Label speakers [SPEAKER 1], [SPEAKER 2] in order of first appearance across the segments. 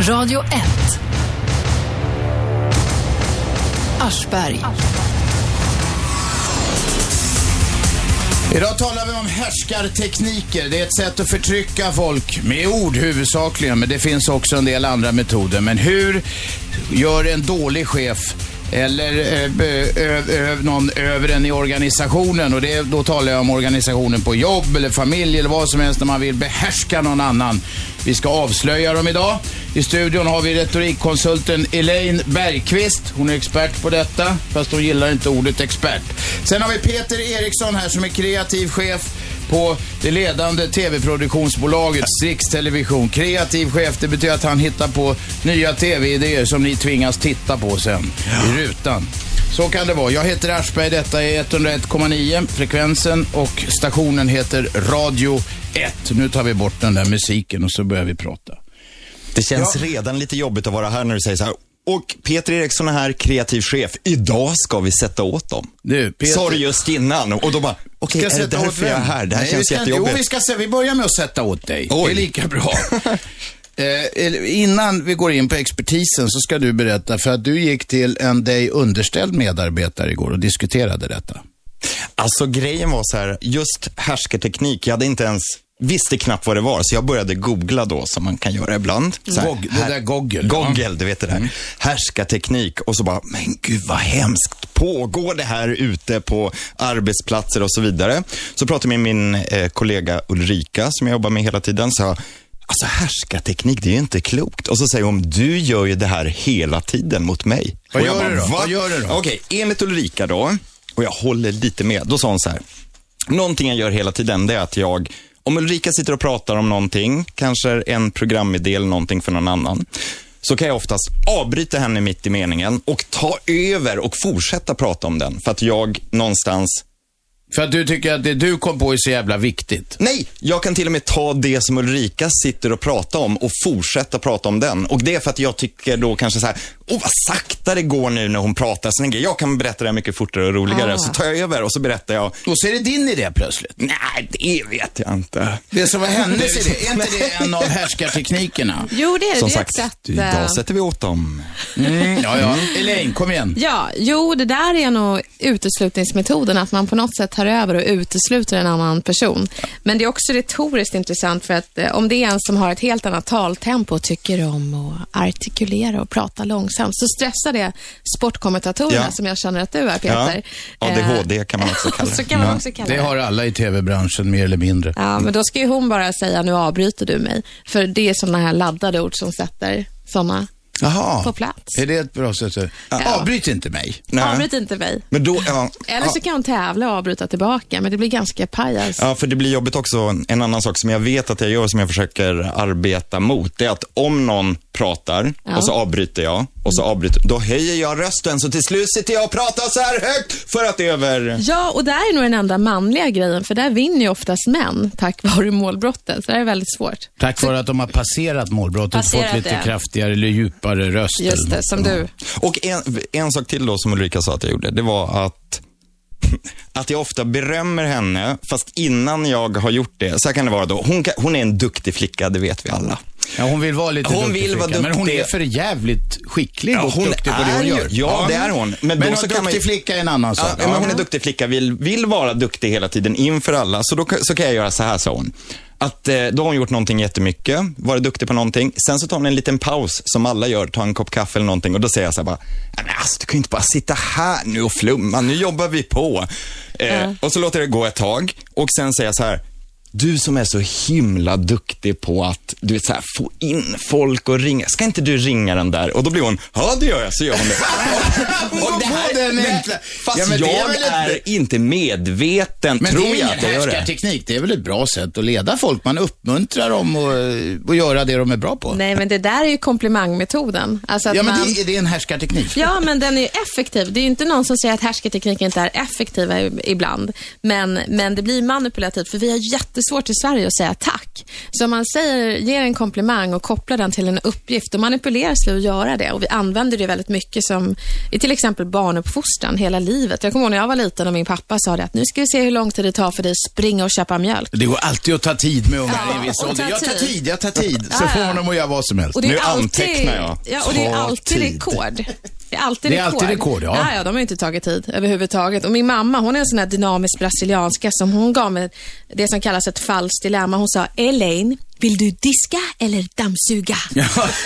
[SPEAKER 1] Radio 1. Aschberg.
[SPEAKER 2] Idag talar vi om härskartekniker. Det är ett sätt att förtrycka folk med ord huvudsakligen, men det finns också en del andra metoder. Men hur gör en dålig chef eller eh, be- ö, ö, någon över en i organisationen och det, då talar jag om organisationen på jobb eller familj eller vad som helst när man vill behärska någon annan. Vi ska avslöja dem idag. I studion har vi retorikkonsulten Elaine Bergqvist. Hon är expert på detta, fast hon gillar inte ordet expert. Sen har vi Peter Eriksson här som är kreativ chef på det ledande tv-produktionsbolaget Strix Television. Kreativ chef, det betyder att han hittar på nya tv-idéer som ni tvingas titta på sen i rutan. Så kan det vara. Jag heter Aschberg, detta är 101,9 frekvensen och stationen heter Radio 1. Nu tar vi bort den där musiken och så börjar vi prata.
[SPEAKER 3] Det känns redan lite jobbigt att vara här när du säger så här. Och Peter Eriksson är här, kreativ chef. Idag ska vi sätta åt dem.
[SPEAKER 2] Du, Peter-
[SPEAKER 3] Sa du just innan. Och då bara, okej, är det
[SPEAKER 2] sätta åt
[SPEAKER 3] därför jag är
[SPEAKER 2] vem?
[SPEAKER 3] här? Det här
[SPEAKER 2] Nej, vi
[SPEAKER 3] känns
[SPEAKER 2] ska, inte- Jo, vi,
[SPEAKER 3] jättejobbigt.
[SPEAKER 2] ska, se- vi börjar med att sätta åt dig. Det är
[SPEAKER 3] Oj.
[SPEAKER 2] lika bra. Eh, eller innan vi går in på expertisen så ska du berätta för att du gick till en dig underställd medarbetare igår och diskuterade detta.
[SPEAKER 3] Alltså grejen var så här, just härskarteknik, jag hade inte ens, visste knappt vad det var. Så jag började googla då, som man kan göra ibland. Så här,
[SPEAKER 2] Gog, det
[SPEAKER 3] här-
[SPEAKER 2] där Mm. goggel.
[SPEAKER 3] Gogel, du vet det där. Härskarteknik och så bara, men gud vad hemskt. Pågår det här ute på arbetsplatser och så vidare? Så pratade jag med min eh, kollega Ulrika som jag jobbar med hela tiden. Så jag, alltså härskarteknik, det är ju inte klokt. Och så säger hon, du gör ju det här hela tiden mot mig.
[SPEAKER 2] Vad
[SPEAKER 3] Och jag
[SPEAKER 2] gör du då?
[SPEAKER 3] "Va?"
[SPEAKER 2] Vad gör du då?
[SPEAKER 3] Okej, enligt Ulrika då, och jag håller lite med, då sa hon så här. Någonting jag gör hela tiden, det är att jag, om Ulrika sitter och pratar om någonting, kanske en programidé eller någonting för någon annan, så kan jag oftast avbryta henne mitt i meningen och ta över och fortsätta prata om den. För att jag någonstans
[SPEAKER 2] För att du tycker att det du kom på är så jävla viktigt.
[SPEAKER 3] Nej, jag kan till och med ta det som Ulrika sitter och pratar om och fortsätta prata om den. Och det är för att jag tycker då kanske så här, åh vad sakta det går nu när hon pratar. Så tänker jag, jag kan berätta det här mycket fortare och roligare. Så tar jag över och så berättar jag,
[SPEAKER 2] Och så är det din idé plötsligt.
[SPEAKER 3] nej det vet jag inte.
[SPEAKER 4] Äh.
[SPEAKER 2] Det som var hennes idé, är inte det en av härskarteknikerna?
[SPEAKER 4] Jo, det är det.
[SPEAKER 3] Som
[SPEAKER 4] det är
[SPEAKER 3] sagt,
[SPEAKER 4] ett sätt. eh,
[SPEAKER 3] idag sätter vi åt dem.
[SPEAKER 2] Mm, ja, ja. Elaine, kom igen.
[SPEAKER 4] Ja, jo, det där är nog uteslutningsmetoden, att man på något sätt tar över och utesluter en annan person. Men det är också retoriskt intressant för att eh, om det är en som har ett helt annat taltempo och tycker om att artikulera och prata långsamt, så stressar det sportkommentatorerna
[SPEAKER 3] Ja.
[SPEAKER 4] som jag känner att du är,
[SPEAKER 3] Ja.
[SPEAKER 4] Peter.
[SPEAKER 3] ADHD kan man också
[SPEAKER 4] Eh,
[SPEAKER 3] kalla det.
[SPEAKER 4] Så kan man
[SPEAKER 3] Ja.
[SPEAKER 4] också kalla
[SPEAKER 2] Det
[SPEAKER 4] det.
[SPEAKER 2] har alla i tv-branschen mer eller mindre.
[SPEAKER 4] Ja, men då ska ju hon bara säga, nu avbryter du mig. För det är sådana här laddade ord som sätter sådana
[SPEAKER 2] Jaha.
[SPEAKER 4] på plats.
[SPEAKER 2] Är det ett bra sätt att... Avbryt inte mig.
[SPEAKER 3] Nej.
[SPEAKER 4] Avbryt inte mig.
[SPEAKER 3] Men då, ja,
[SPEAKER 4] Eller
[SPEAKER 3] ja.
[SPEAKER 4] så kan hon tävla och avbryta tillbaka, men det blir ganska pajas.
[SPEAKER 3] Ja, för det blir jobbigt också. En annan sak som jag vet att jag gör, som jag försöker arbeta mot, det är att om någon pratar
[SPEAKER 4] Ja.
[SPEAKER 3] och så avbryter jag, och så avbryter, då höjer jag rösten, så till slut sitter jag och pratar så här högt för att det är över...
[SPEAKER 4] Ja, och där är nog den enda manliga grejen, för där vinner ju oftast män tack vare målbrottet. Så det här är väldigt svårt.
[SPEAKER 2] Tack vare att de har passerat målbrottet och
[SPEAKER 4] Passerat
[SPEAKER 2] fått lite
[SPEAKER 4] det.
[SPEAKER 2] kraftigare eller djupare röst.
[SPEAKER 4] Just det, som du.
[SPEAKER 3] Och en, en sak till då som Ulrika sa att jag gjorde, det var att att jag ofta berömmer henne, fast innan jag har gjort det. Så här kan det vara då. Hon, kan, hon är en duktig flicka, det vet vi alla.
[SPEAKER 2] Ja, hon vill vara lite
[SPEAKER 3] Hon
[SPEAKER 2] duktig,
[SPEAKER 3] vill vara
[SPEAKER 2] flicka, Men hon
[SPEAKER 3] duktig.
[SPEAKER 2] är för jävligt skicklig
[SPEAKER 3] Ja,
[SPEAKER 2] och
[SPEAKER 3] hon
[SPEAKER 2] duktig på det
[SPEAKER 3] är
[SPEAKER 2] hon
[SPEAKER 3] ju-
[SPEAKER 2] gör.
[SPEAKER 3] ja, det är hon. Men
[SPEAKER 2] Men,
[SPEAKER 3] då
[SPEAKER 2] men
[SPEAKER 3] så
[SPEAKER 2] en
[SPEAKER 3] kan man ju-
[SPEAKER 2] duktig flicka är en annan sak.
[SPEAKER 3] Ja, men hon är duktig flicka, vill, vill vara duktig hela tiden inför alla. Så då kan- så kan jag göra så här, sa hon. Att eh, då har hon gjort någonting jättemycket, varit duktig på någonting. Sen så tar hon en liten paus, som alla gör, tar en kopp kaffe eller någonting och då säger jag så här bara, "Nej, men alltså, du kan ju inte bara sitta här nu och flumma, nu jobbar vi på. Eh, Och så låter jag det gå ett tag och sen säger jag så här, du som är så himla duktig på att du vet, så här, få in folk och ringa. Ska inte du ringa den där? Och då blir hon, ja det gör jag, så gör hon det. och det
[SPEAKER 2] Vad
[SPEAKER 3] här,
[SPEAKER 2] var den
[SPEAKER 3] men-
[SPEAKER 2] egentligen?
[SPEAKER 3] fast
[SPEAKER 2] Ja, men det är
[SPEAKER 3] jag
[SPEAKER 2] väl ett-
[SPEAKER 3] är inte medveten,
[SPEAKER 2] Men
[SPEAKER 3] tror
[SPEAKER 2] det är
[SPEAKER 3] jag
[SPEAKER 2] ingen
[SPEAKER 3] att jag gör det.
[SPEAKER 2] härskarteknik. Det är väl ett bra sätt att leda folk. Man uppmuntrar dem att, att göra det de är bra på.
[SPEAKER 4] Nej, men det där är ju komplimangmetoden. Alltså att
[SPEAKER 2] ja, men
[SPEAKER 4] man...
[SPEAKER 2] det, är- det är en härskarteknik.
[SPEAKER 4] Ja, men den är ju effektiv. Det är ju inte någon som säger att härskarteknik inte är effektiva i- ibland. Men, men det blir manipulativt, för vi har jättes jättesvårt i Sverige att säga tack. Så om man säger, ger en komplimang och kopplar den till en uppgift, då manipuleras vi att göra det. Och vi använder det väldigt mycket som i till exempel barnuppfostran hela livet. Jag kommer ihåg när jag var liten och min pappa sa det att nu ska vi se hur lång tid det tar för dig att springa och köpa mjölk.
[SPEAKER 2] Det går alltid att ta tid med ungar
[SPEAKER 4] Ja,
[SPEAKER 2] i en viss
[SPEAKER 4] och
[SPEAKER 2] ålder.
[SPEAKER 4] ta
[SPEAKER 2] Jag tar
[SPEAKER 4] tid.
[SPEAKER 2] tid, jag tar tid. Så
[SPEAKER 4] Ja,
[SPEAKER 2] får
[SPEAKER 4] ja.
[SPEAKER 2] honom och jag vad som helst.
[SPEAKER 4] Och det är
[SPEAKER 3] Nu
[SPEAKER 4] alltid,
[SPEAKER 3] antecknar jag.
[SPEAKER 4] Ja, och det är
[SPEAKER 3] Ta
[SPEAKER 4] alltid
[SPEAKER 3] tid.
[SPEAKER 4] rekord. Det är alltid
[SPEAKER 2] Det är alltid rekord, ja.
[SPEAKER 4] ja, de har ju inte tagit tid överhuvudtaget. Och min mamma, hon är en sån här dynamisk brasilianska som hon gav mig det som kallas ett falskt dilemma. Hon sa, Elaine, vill du diska eller dammsuga?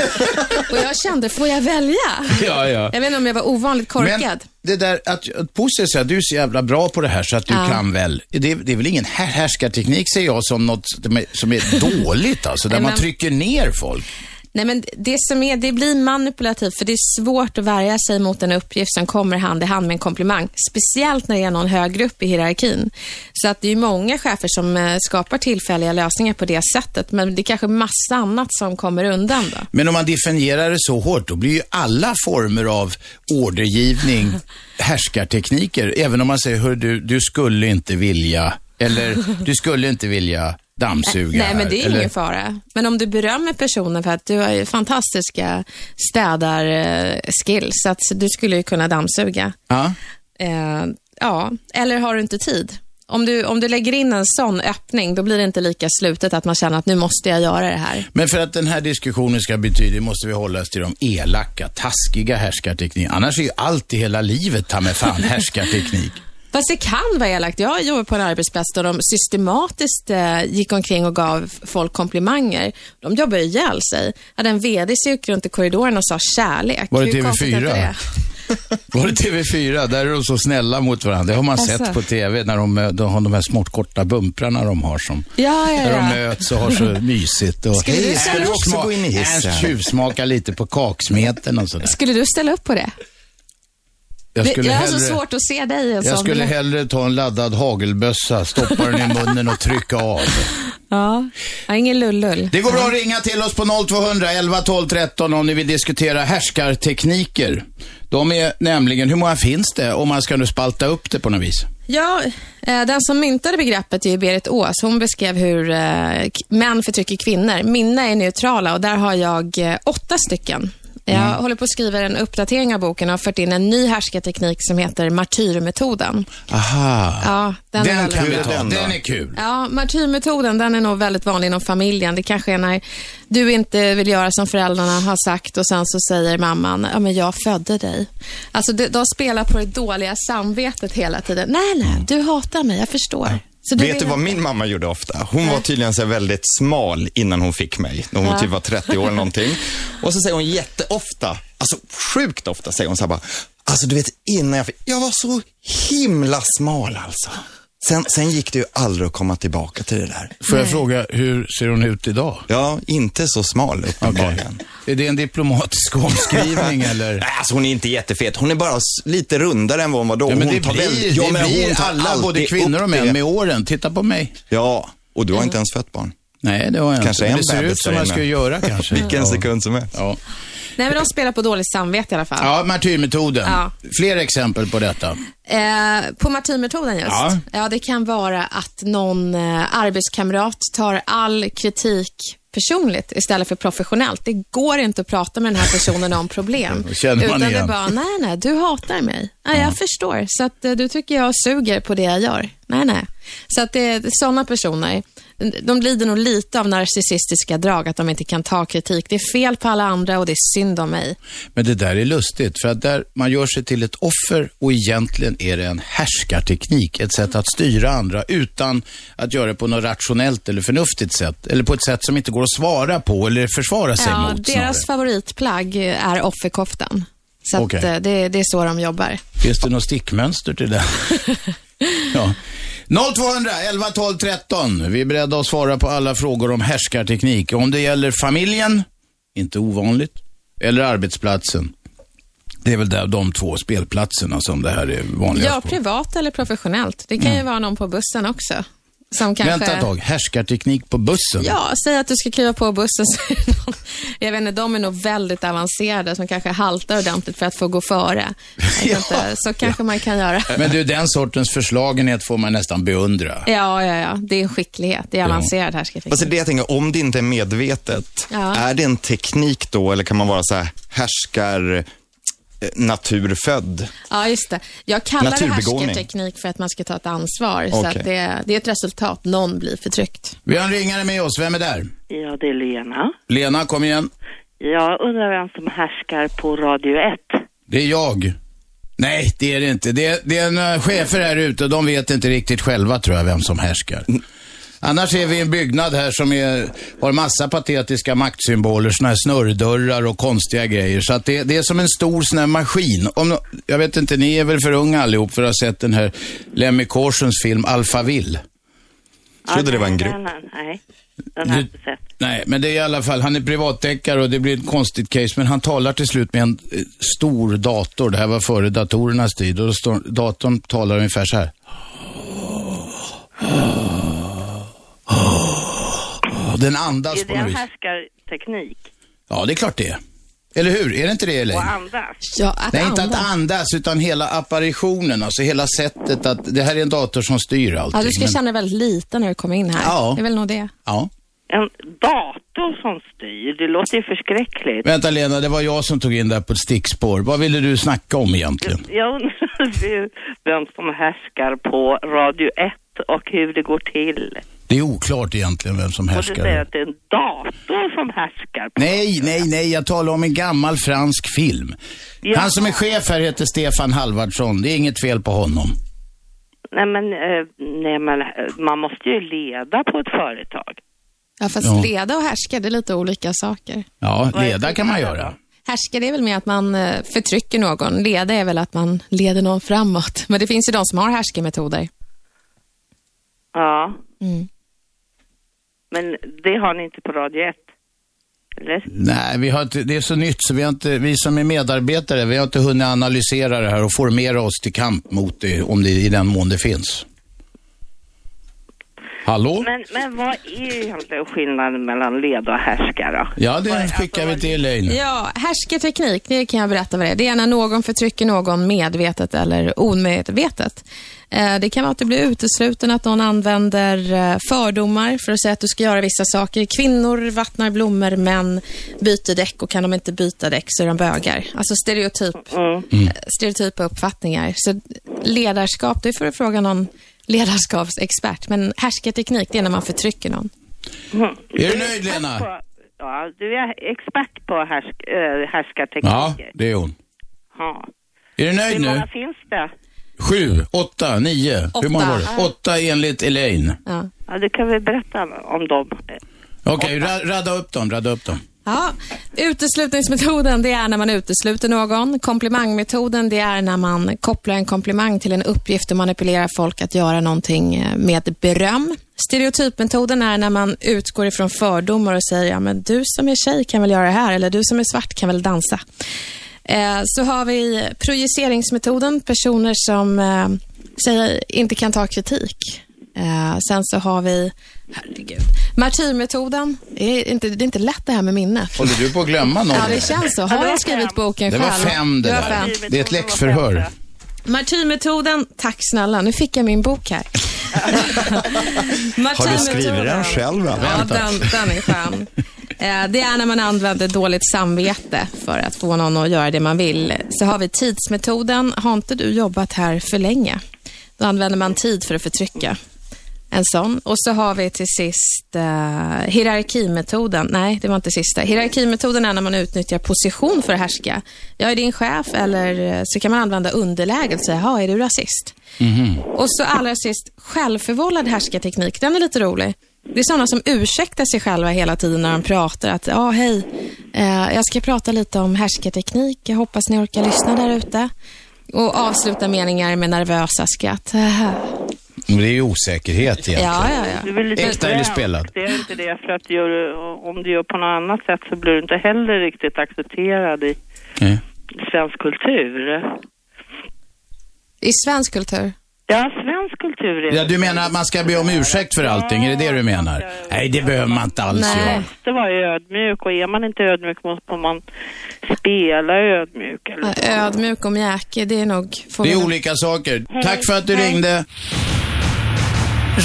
[SPEAKER 4] och jag kände, får jag välja?
[SPEAKER 2] Ja, ja.
[SPEAKER 4] Jag vet inte om jag var ovanligt korkad.
[SPEAKER 2] Men det där att, att Bosse säger att du är så jävla bra på det här så att du
[SPEAKER 4] Ja.
[SPEAKER 2] kan väl. Det, är- det är väl ingen här, härskarteknik säger jag som något som är, som är dåligt alltså. Där
[SPEAKER 4] Nej,
[SPEAKER 2] man
[SPEAKER 4] men-
[SPEAKER 2] trycker ner folk.
[SPEAKER 4] Nej, men det som är, det blir manipulativt för det är svårt att värja sig mot en uppgift som kommer hand i hand med en komplimang. Speciellt när det är någon högre upp i hierarkin. Så att det är ju många chefer som eh, skapar tillfälliga lösningar på det sättet, men det är kanske massa annat som kommer undan då.
[SPEAKER 2] Men om man definierar det så hårt, då blir ju alla former av ordergivning härskartekniker. Även om man säger, hör du, du skulle inte vilja, eller du skulle inte vilja dammsuga
[SPEAKER 4] Eh, Nej, men det är
[SPEAKER 2] här, eller,
[SPEAKER 4] ingen fara. Men om du berömmer personen för att du har ju fantastiska städar-skills, så att du skulle ju kunna dammsuga.
[SPEAKER 2] Ja.
[SPEAKER 4] Eh, ja, eller har du inte tid? Om du, om du lägger in en sån öppning, då blir det inte lika slutet att man känner att nu måste jag göra det här.
[SPEAKER 2] Men för att den här diskussionen ska betyda, måste vi hålla oss till de elaka, taskiga härskarteknikerna. Annars är ju allt i hela livet ta med fan härskarteknik.
[SPEAKER 4] Fast det kan vara elakt. Jag jobbade på en arbetsplats där de systematiskt eh, gick omkring och gav folk komplimanger. De jobbade ihjäl sig. Hade en VD som gick runt i korridoren och sa kärlek.
[SPEAKER 2] Var det
[SPEAKER 4] Hur
[SPEAKER 2] TV4?
[SPEAKER 4] konstigt är det?
[SPEAKER 2] Var det TV4? Där är de så snälla mot varandra. Det har man
[SPEAKER 4] Alltså.
[SPEAKER 2] sett på TV när de, eh, de har de här smart korta bumprarna de har som...
[SPEAKER 4] Ja, ja,
[SPEAKER 2] Där de
[SPEAKER 4] ja.
[SPEAKER 2] möts och har så mysigt. Och, Äh,
[SPEAKER 4] Skulle du
[SPEAKER 2] Ernst
[SPEAKER 4] ställa upp?
[SPEAKER 2] smak-
[SPEAKER 3] gå in i hissen?
[SPEAKER 2] Ernst tjuvsmakar lite på kaksmeten och sådär.
[SPEAKER 4] Skulle du ställa upp på det?
[SPEAKER 2] Jag
[SPEAKER 4] Det-
[SPEAKER 2] skulle
[SPEAKER 4] jag har så
[SPEAKER 2] hellre,
[SPEAKER 4] svårt att se dig i en
[SPEAKER 2] jag
[SPEAKER 4] sån.
[SPEAKER 2] skulle hellre ta en laddad hagelbössa, stoppa den i munnen och trycka av.
[SPEAKER 4] Ja. ja, ingen lullull.
[SPEAKER 2] Det går bra att ringa till oss på 0200 11 12 13 om ni vill diskutera härskartekniker. De är nämligen, hur många finns det om man ska nu spalta upp det på något vis?
[SPEAKER 4] Ja, eh, den som myntade begreppet är ju Berit Ås. Hon beskrev hur eh, k- män förtrycker kvinnor. Mina är neutrala och där har jag eh, åtta stycken. Jag håller på att skriva en uppdatering av boken och har fört in en ny härskarteknik som heter martyrmetoden.
[SPEAKER 2] Aha.
[SPEAKER 4] Ja, den, är
[SPEAKER 2] Den
[SPEAKER 4] väldigt
[SPEAKER 2] kan vi
[SPEAKER 4] bra.
[SPEAKER 2] ta,
[SPEAKER 3] Den då?
[SPEAKER 2] den är kul.
[SPEAKER 4] Ja, martyrmetoden den är nog väldigt vanlig inom familjen. Det kanske är när du inte vill göra som föräldrarna har sagt och sen så säger mamman, ja men jag födde dig. Alltså de, de spelar på det dåliga samvetet hela tiden. Nej, nej, du hatar mig, jag förstår. Så
[SPEAKER 3] Mm. Vet
[SPEAKER 4] vill
[SPEAKER 3] du vad
[SPEAKER 4] inte-
[SPEAKER 3] min mamma gjorde ofta? Hon var tydligen så här väldigt smal innan hon fick mig, när hon typ var 30 år eller någonting. Och så säger hon jätteofta, alltså sjukt ofta säger hon så här bara, alltså du vet innan jag fick, jag var så himla smal alltså. Sen, sen gick det ju aldrig att komma tillbaka till det där.
[SPEAKER 2] Får jag fråga, hur ser hon ut idag?
[SPEAKER 3] Ja, inte så smal uppenbarligen.
[SPEAKER 2] Är det en diplomatisk omskrivning eller?
[SPEAKER 3] Nej, alltså hon är inte jättefet. Hon är bara s- lite rundare än vad hon var då.
[SPEAKER 2] Ja, men
[SPEAKER 3] hon
[SPEAKER 2] det
[SPEAKER 3] tar väl-
[SPEAKER 2] blir,
[SPEAKER 3] Ja,
[SPEAKER 2] det
[SPEAKER 3] men hon
[SPEAKER 2] blir
[SPEAKER 3] tar
[SPEAKER 2] alla, både
[SPEAKER 3] alltid
[SPEAKER 2] kvinnor
[SPEAKER 3] upp
[SPEAKER 2] och män,
[SPEAKER 3] det.
[SPEAKER 2] med åren. Titta på mig.
[SPEAKER 3] Ja, och du har inte ens fött barn.
[SPEAKER 2] Nej, det har jag inte.
[SPEAKER 3] Kanske en
[SPEAKER 2] Men det ser
[SPEAKER 3] bebis
[SPEAKER 2] ut som
[SPEAKER 3] där
[SPEAKER 2] man
[SPEAKER 3] inne.
[SPEAKER 2] ska göra kanske.
[SPEAKER 3] Vilken
[SPEAKER 2] ja.
[SPEAKER 3] sekund som helst.
[SPEAKER 2] Ja,
[SPEAKER 4] Nej, men de spelar på dåligt samvete i alla fall.
[SPEAKER 2] ja martyrmetoden.
[SPEAKER 4] Ja.
[SPEAKER 2] Fler exempel på detta.
[SPEAKER 4] Eh, på martyrmetoden just?
[SPEAKER 2] Ja.
[SPEAKER 4] det kan vara att någon eh, arbetskamrat tar all kritik personligt istället för professionellt. Det går inte att prata med den här personen om problem.
[SPEAKER 2] Det känner man
[SPEAKER 4] utan det
[SPEAKER 2] igen.
[SPEAKER 4] är bara, nej, nej, du hatar mig. Nej, jag förstår. Så att eh, du tycker jag suger på det jag gör. Nej, nej. Så att det är sådana personer. De lider nog lite av narcissistiska drag, att de inte kan ta kritik. Det är fel på alla andra och det är synd om mig.
[SPEAKER 2] Men det där är lustigt, för att där man gör sig till ett offer och egentligen är det en härskarteknik, ett sätt att styra andra utan att göra det på något rationellt eller förnuftigt sätt, eller på ett sätt som inte går att svara på eller försvara sig
[SPEAKER 4] Ja,
[SPEAKER 2] mot. snarare.
[SPEAKER 4] deras favoritplagg är offerkoftan. Så att,
[SPEAKER 2] Okej.
[SPEAKER 4] eh, det, det är så de jobbar.
[SPEAKER 2] Finns det något stickmönster till det? ja. 0200 11 12 13. Vi är beredda att svara på alla frågor om härskarteknik. Om det gäller familjen, inte ovanligt, eller arbetsplatsen. Det är väl där de två spelplatserna som det här är vanligast
[SPEAKER 4] Ja,
[SPEAKER 2] på.
[SPEAKER 4] privat eller professionellt. Det kan ju
[SPEAKER 2] Mm.
[SPEAKER 4] vara någon på bussen också. Som kanske...
[SPEAKER 2] Vänta ett tag, härskarteknik på bussen?
[SPEAKER 4] Ja, säg att du ska kliva på bussen så är det någon, Jag vet inte, de är nog väldigt avancerade som kanske haltar ordentligt för att få gå före. Jag vet inte, Så kanske man kan göra.
[SPEAKER 2] Men du, den sortens förslagenhet får man nästan beundra.
[SPEAKER 4] Ja, ja, ja. Det är en skicklighet. Det är avancerad
[SPEAKER 3] Fast Alltså, det
[SPEAKER 4] härskarteknik.
[SPEAKER 3] är det jag tänker, om det inte är medvetet,
[SPEAKER 4] Ja.
[SPEAKER 3] är det en teknik då eller kan man vara så här härskar eh, naturfödd?
[SPEAKER 4] Ja, just det. Jag kallar det
[SPEAKER 3] Naturbegåvning.
[SPEAKER 4] härskarteknik för att man ska ta ett ansvar. Så
[SPEAKER 3] Okej.
[SPEAKER 4] att det, det är ett resultat. Någon blir förtryckt.
[SPEAKER 2] Vi har en ringare med oss. Vem är där?
[SPEAKER 1] Ja, det är Lena.
[SPEAKER 2] Lena, kom igen.
[SPEAKER 1] Jag undrar vem som härskar på Radio 1.
[SPEAKER 2] Det är jag. Nej, det är det inte. Det är, det är en eh, chefer här ute och de vet inte riktigt själva tror jag vem som härskar. Annars är vi i en byggnad här som är, har massa patetiska maktsymboler, såna här snurrdörrar och konstiga grejer. Så att det, det är som en stor sån här maskin. Om, no- jag vet inte, ni är väl för unga allihop för att ha sett den här Lemmy Korsens film Alphaville?
[SPEAKER 3] Trodde det var en
[SPEAKER 1] nej,
[SPEAKER 3] grupp.
[SPEAKER 1] Nej, nej. Den har jag inte sett.
[SPEAKER 2] Nej, men det är i alla fall, han är privatdeckare och det blir ett konstigt case, men han talar till slut med en eh, stor dator. Det här var före datorernas tid och då står, datorn talar ungefär så här. Den andas
[SPEAKER 1] Är
[SPEAKER 2] på
[SPEAKER 1] det en
[SPEAKER 2] något vis.
[SPEAKER 1] härskarteknik?
[SPEAKER 2] Ja, det är klart det är. Eller hur? Är det inte det, Elaine?
[SPEAKER 1] Och andas?
[SPEAKER 4] Ja, att
[SPEAKER 2] Nej, inte
[SPEAKER 4] andas.
[SPEAKER 2] att andas, utan hela apparitionen, alltså hela sättet att det här är en dator som styr allting.
[SPEAKER 4] Ja, du ska
[SPEAKER 2] men-
[SPEAKER 4] känna dig väldigt liten när du kommer in här.
[SPEAKER 2] Ja.
[SPEAKER 4] Det är väl nog det.
[SPEAKER 2] Ja.
[SPEAKER 1] En dator som styr? Det låter ju förskräckligt.
[SPEAKER 2] Vänta Lena, det var jag som tog in det här på ett stickspår. Vad ville du snacka om egentligen?
[SPEAKER 1] Jag undrar ju vem som härskar på Radio 1 och hur det går till.
[SPEAKER 2] Det är oklart egentligen vem som
[SPEAKER 1] Och du säger
[SPEAKER 2] härskar.
[SPEAKER 1] att det är en dator som härskar. På.
[SPEAKER 2] Nej, nej, nej, jag talar om en gammal fransk film.
[SPEAKER 1] Ja.
[SPEAKER 2] Han som är chef här heter Stefan Halvardsson. Det är inget fel på honom.
[SPEAKER 1] Nej, men, eh, nej, men eh, man måste ju leda på ett företag.
[SPEAKER 4] Ja, fast
[SPEAKER 2] Ja.
[SPEAKER 4] leda och härska, det är lite olika saker.
[SPEAKER 2] Ja,
[SPEAKER 1] Vad är
[SPEAKER 2] leda kan man
[SPEAKER 1] skillnaden
[SPEAKER 2] göra.
[SPEAKER 4] Härska, det är väl mer att man eh, förtrycker någon. Leda är väl att man leder någon framåt. Men det finns ju de som har härskemetoder.
[SPEAKER 1] Ja.
[SPEAKER 4] Mm.
[SPEAKER 1] Men det har ni inte på Radio 1? Eller?
[SPEAKER 2] Nej, vi har inte, det är så nytt så vi, har inte, vi som är medarbetare, vi har inte hunnit analysera det här och formera oss till kamp mot det, om det i den mån det finns. Hallå?
[SPEAKER 1] Men, men vad är egentligen skillnaden mellan leda och härskare?
[SPEAKER 2] Ja, det skickar
[SPEAKER 1] alltså,
[SPEAKER 2] vi till Elaine.
[SPEAKER 4] Ja, härskarteknik, det kan jag berätta vad det är. Det är när någon förtrycker någon medvetet eller omedvetet. Eh, Det kan vara att du blir utesluten, att någon använder eh, fördomar för att säga att du ska göra vissa saker. Kvinnor vattnar blommor, män byter däck och kan de inte byta däck så är de bögar. Alltså stereotyp,
[SPEAKER 1] Mm.
[SPEAKER 4] eh, stereotypa uppfattningar. Så ledarskap, det får du fråga någon ledarskapsexpert. Men härskarteknik, det är när man förtrycker någon.
[SPEAKER 2] Är du nöjd Lena?
[SPEAKER 1] På, ja, du är expert på härsk, äh,
[SPEAKER 2] Ja,
[SPEAKER 1] härskartekniker.
[SPEAKER 2] det är hon.
[SPEAKER 1] Ja.
[SPEAKER 2] Är du nöjd
[SPEAKER 1] Hur
[SPEAKER 2] nu?
[SPEAKER 1] många finns det?
[SPEAKER 2] Sju, åtta, nio. Hur många var det?
[SPEAKER 4] Åtta.
[SPEAKER 2] Åtta enligt Elaine.
[SPEAKER 4] Ja.
[SPEAKER 1] Ja, du kan väl berätta om dem.
[SPEAKER 2] Okej, ra- radda upp dem, radda upp dem.
[SPEAKER 4] Ja, uteslutningsmetoden det är när man utesluter någon. Komplimangmetoden det är när man kopplar en komplimang till en uppgift och manipulerar folk att göra någonting eh, med beröm. Stereotypmetoden är när man utgår ifrån fördomar och säger ja, men du som är tjej kan väl göra det här eller du som är svart kan väl dansa. Eh, så har vi projiceringsmetoden, personer som eh, säger inte kan ta kritik. Eh, sen så har vi, herregud, martyrmetoden. Det är inte, det är inte lätt det här med minnet.
[SPEAKER 2] Håller du på att glömma någon?
[SPEAKER 4] Ja, det känns så. Har
[SPEAKER 1] det var
[SPEAKER 4] jag skrivit
[SPEAKER 1] fem.
[SPEAKER 4] boken
[SPEAKER 2] Det
[SPEAKER 4] själv?
[SPEAKER 2] var fem det
[SPEAKER 4] var
[SPEAKER 2] där.
[SPEAKER 4] fem.
[SPEAKER 2] Det är ett läxförhör.
[SPEAKER 4] Martyrmetoden, tack snälla. Nu fick jag min bok här.
[SPEAKER 3] Har du skrivit den själv? Då?
[SPEAKER 4] Ja, den, den är skön. Eh, Det är när man använder dåligt samvete för att få någon att göra det man vill. Så har vi tidsmetoden. Har inte du jobbat här för länge? Då använder man tid för att förtrycka. En sån. Och så har vi till sist eh, hierarkimetoden. Nej, det var inte sista. Hierarkimetoden är när man utnyttjar position för att härska. Jag är din chef eller eh, så kan man använda underläget och säga, "Jaha, är du rasist?
[SPEAKER 3] Mm-hmm.
[SPEAKER 4] Och så allra sist, självförvållad härskarteknik. Den är lite rolig. Det är sådana som ursäktar sig själva hela tiden när de pratar. Att, ja, hej, eh, jag ska prata lite om härskarteknik. Jag hoppas ni orkar lyssna där ute. Och avsluta meningar med nervösa skratt.
[SPEAKER 2] Men det är ju osäkerhet egentligen.
[SPEAKER 4] Ja, ja, ja.
[SPEAKER 1] Du är väl lite
[SPEAKER 2] Äkta eller
[SPEAKER 1] svensk.
[SPEAKER 2] spelad?
[SPEAKER 1] Det är inte det, för att gör, du- om du gör på något annat sätt så blir du inte heller riktigt accepterad i
[SPEAKER 2] Okej.
[SPEAKER 1] svensk kultur.
[SPEAKER 4] I svensk kultur.
[SPEAKER 1] Ja, svensk kultur är
[SPEAKER 2] Ja, du menar att man ska be om ursäkt för allting? Är det det du menar? Nej, det behöver man inte alls
[SPEAKER 4] Nej.
[SPEAKER 2] göra.
[SPEAKER 1] måste vara ödmjuk och är man inte ödmjuk måste man spela ödmjuk. Eller?
[SPEAKER 4] Ja, Ödmjuk och mjäkig, det är nog... får
[SPEAKER 2] Det är
[SPEAKER 4] vi-
[SPEAKER 2] olika saker. Tack för att du ringde.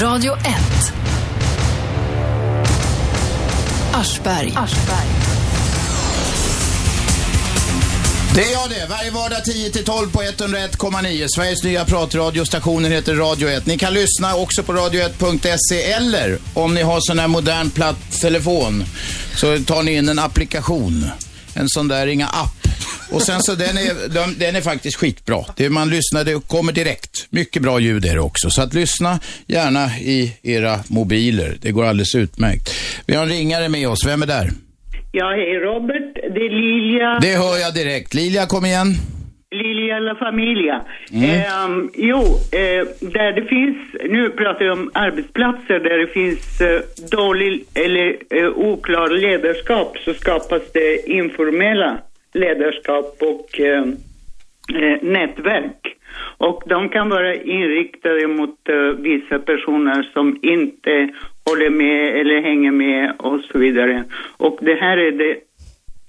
[SPEAKER 5] Radio 1. Aschberg.
[SPEAKER 2] Det är jag det. Varje vardag 10 till 12 på 101,9. Sveriges nya pratradio. heter Radio 1. Ni kan lyssna också på radio1.se eller om ni har sån här modern platt telefon så tar ni in en applikation. En sån där, inga app. Och sen så den är, den, den är faktiskt skitbra. Det är, man lyssnar, det kommer direkt. Mycket bra ljud är det också. Så att lyssna gärna i era mobiler. Det går alldeles utmärkt. Vi har en ringare med oss. Vem är där?
[SPEAKER 6] Ja, hej Robert. Det är Lilja,
[SPEAKER 2] Det hör jag direkt. Lilia, kom igen.
[SPEAKER 6] Lilja La Familia.
[SPEAKER 2] Mm.
[SPEAKER 6] Ehm, jo, eh, där det finns, nu pratar jag om arbetsplatser där det finns eh, dålig eller eh, oklar ledarskap så skapas det informella ledarskap och eh, eh, nätverk. Och de kan vara inriktade mot eh, vissa personer som inte håller med eller hänger med och så vidare. Och det här är det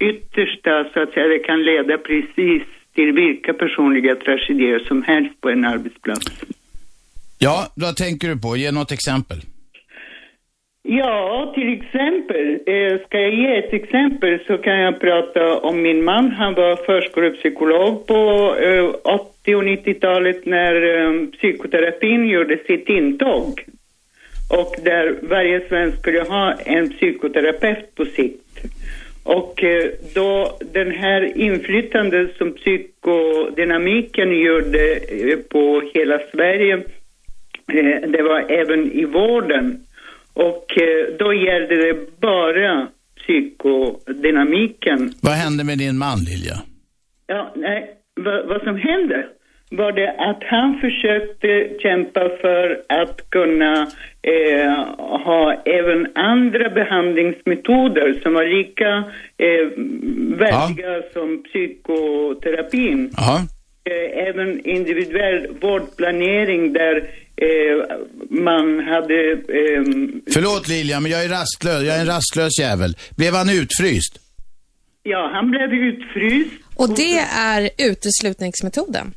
[SPEAKER 6] yttersta så att säga, det kan leda precis till vilka personliga tragedier som helst på en arbetsplats.
[SPEAKER 2] Ja, vad tänker du på? Ge något exempel.
[SPEAKER 6] Ja, till exempel, eh, ska jag ge ett exempel så kan jag prata om min man. Han var förskolepsykolog på eh, 80 och 90-talet när eh, psykoterapin gjorde sitt intåg. Och där varje svensk skulle ha en psykoterapeut på sikt. Och eh, då den här inflytande som psykodynamiken gjorde eh, på hela Sverige, eh, det var även i vården. Och eh, då gällde det bara psykodynamiken.
[SPEAKER 2] Vad hände med din man, Lilja?
[SPEAKER 6] Ja, nej, vad, vad som hände var det att han försökte kämpa för att kunna eh, ha även andra behandlingsmetoder som var lika eh, värdiga som psykoterapin
[SPEAKER 2] Jaha.
[SPEAKER 6] eh, även individuell vårdplanering där eh, man hade... Eh,
[SPEAKER 2] Förlåt Lilja, men jag är rastlös. Jag är en rastlös jävel. Blev han utfryst?
[SPEAKER 6] ja, han blev utfryst.
[SPEAKER 4] Och det är uteslutningsmetoden.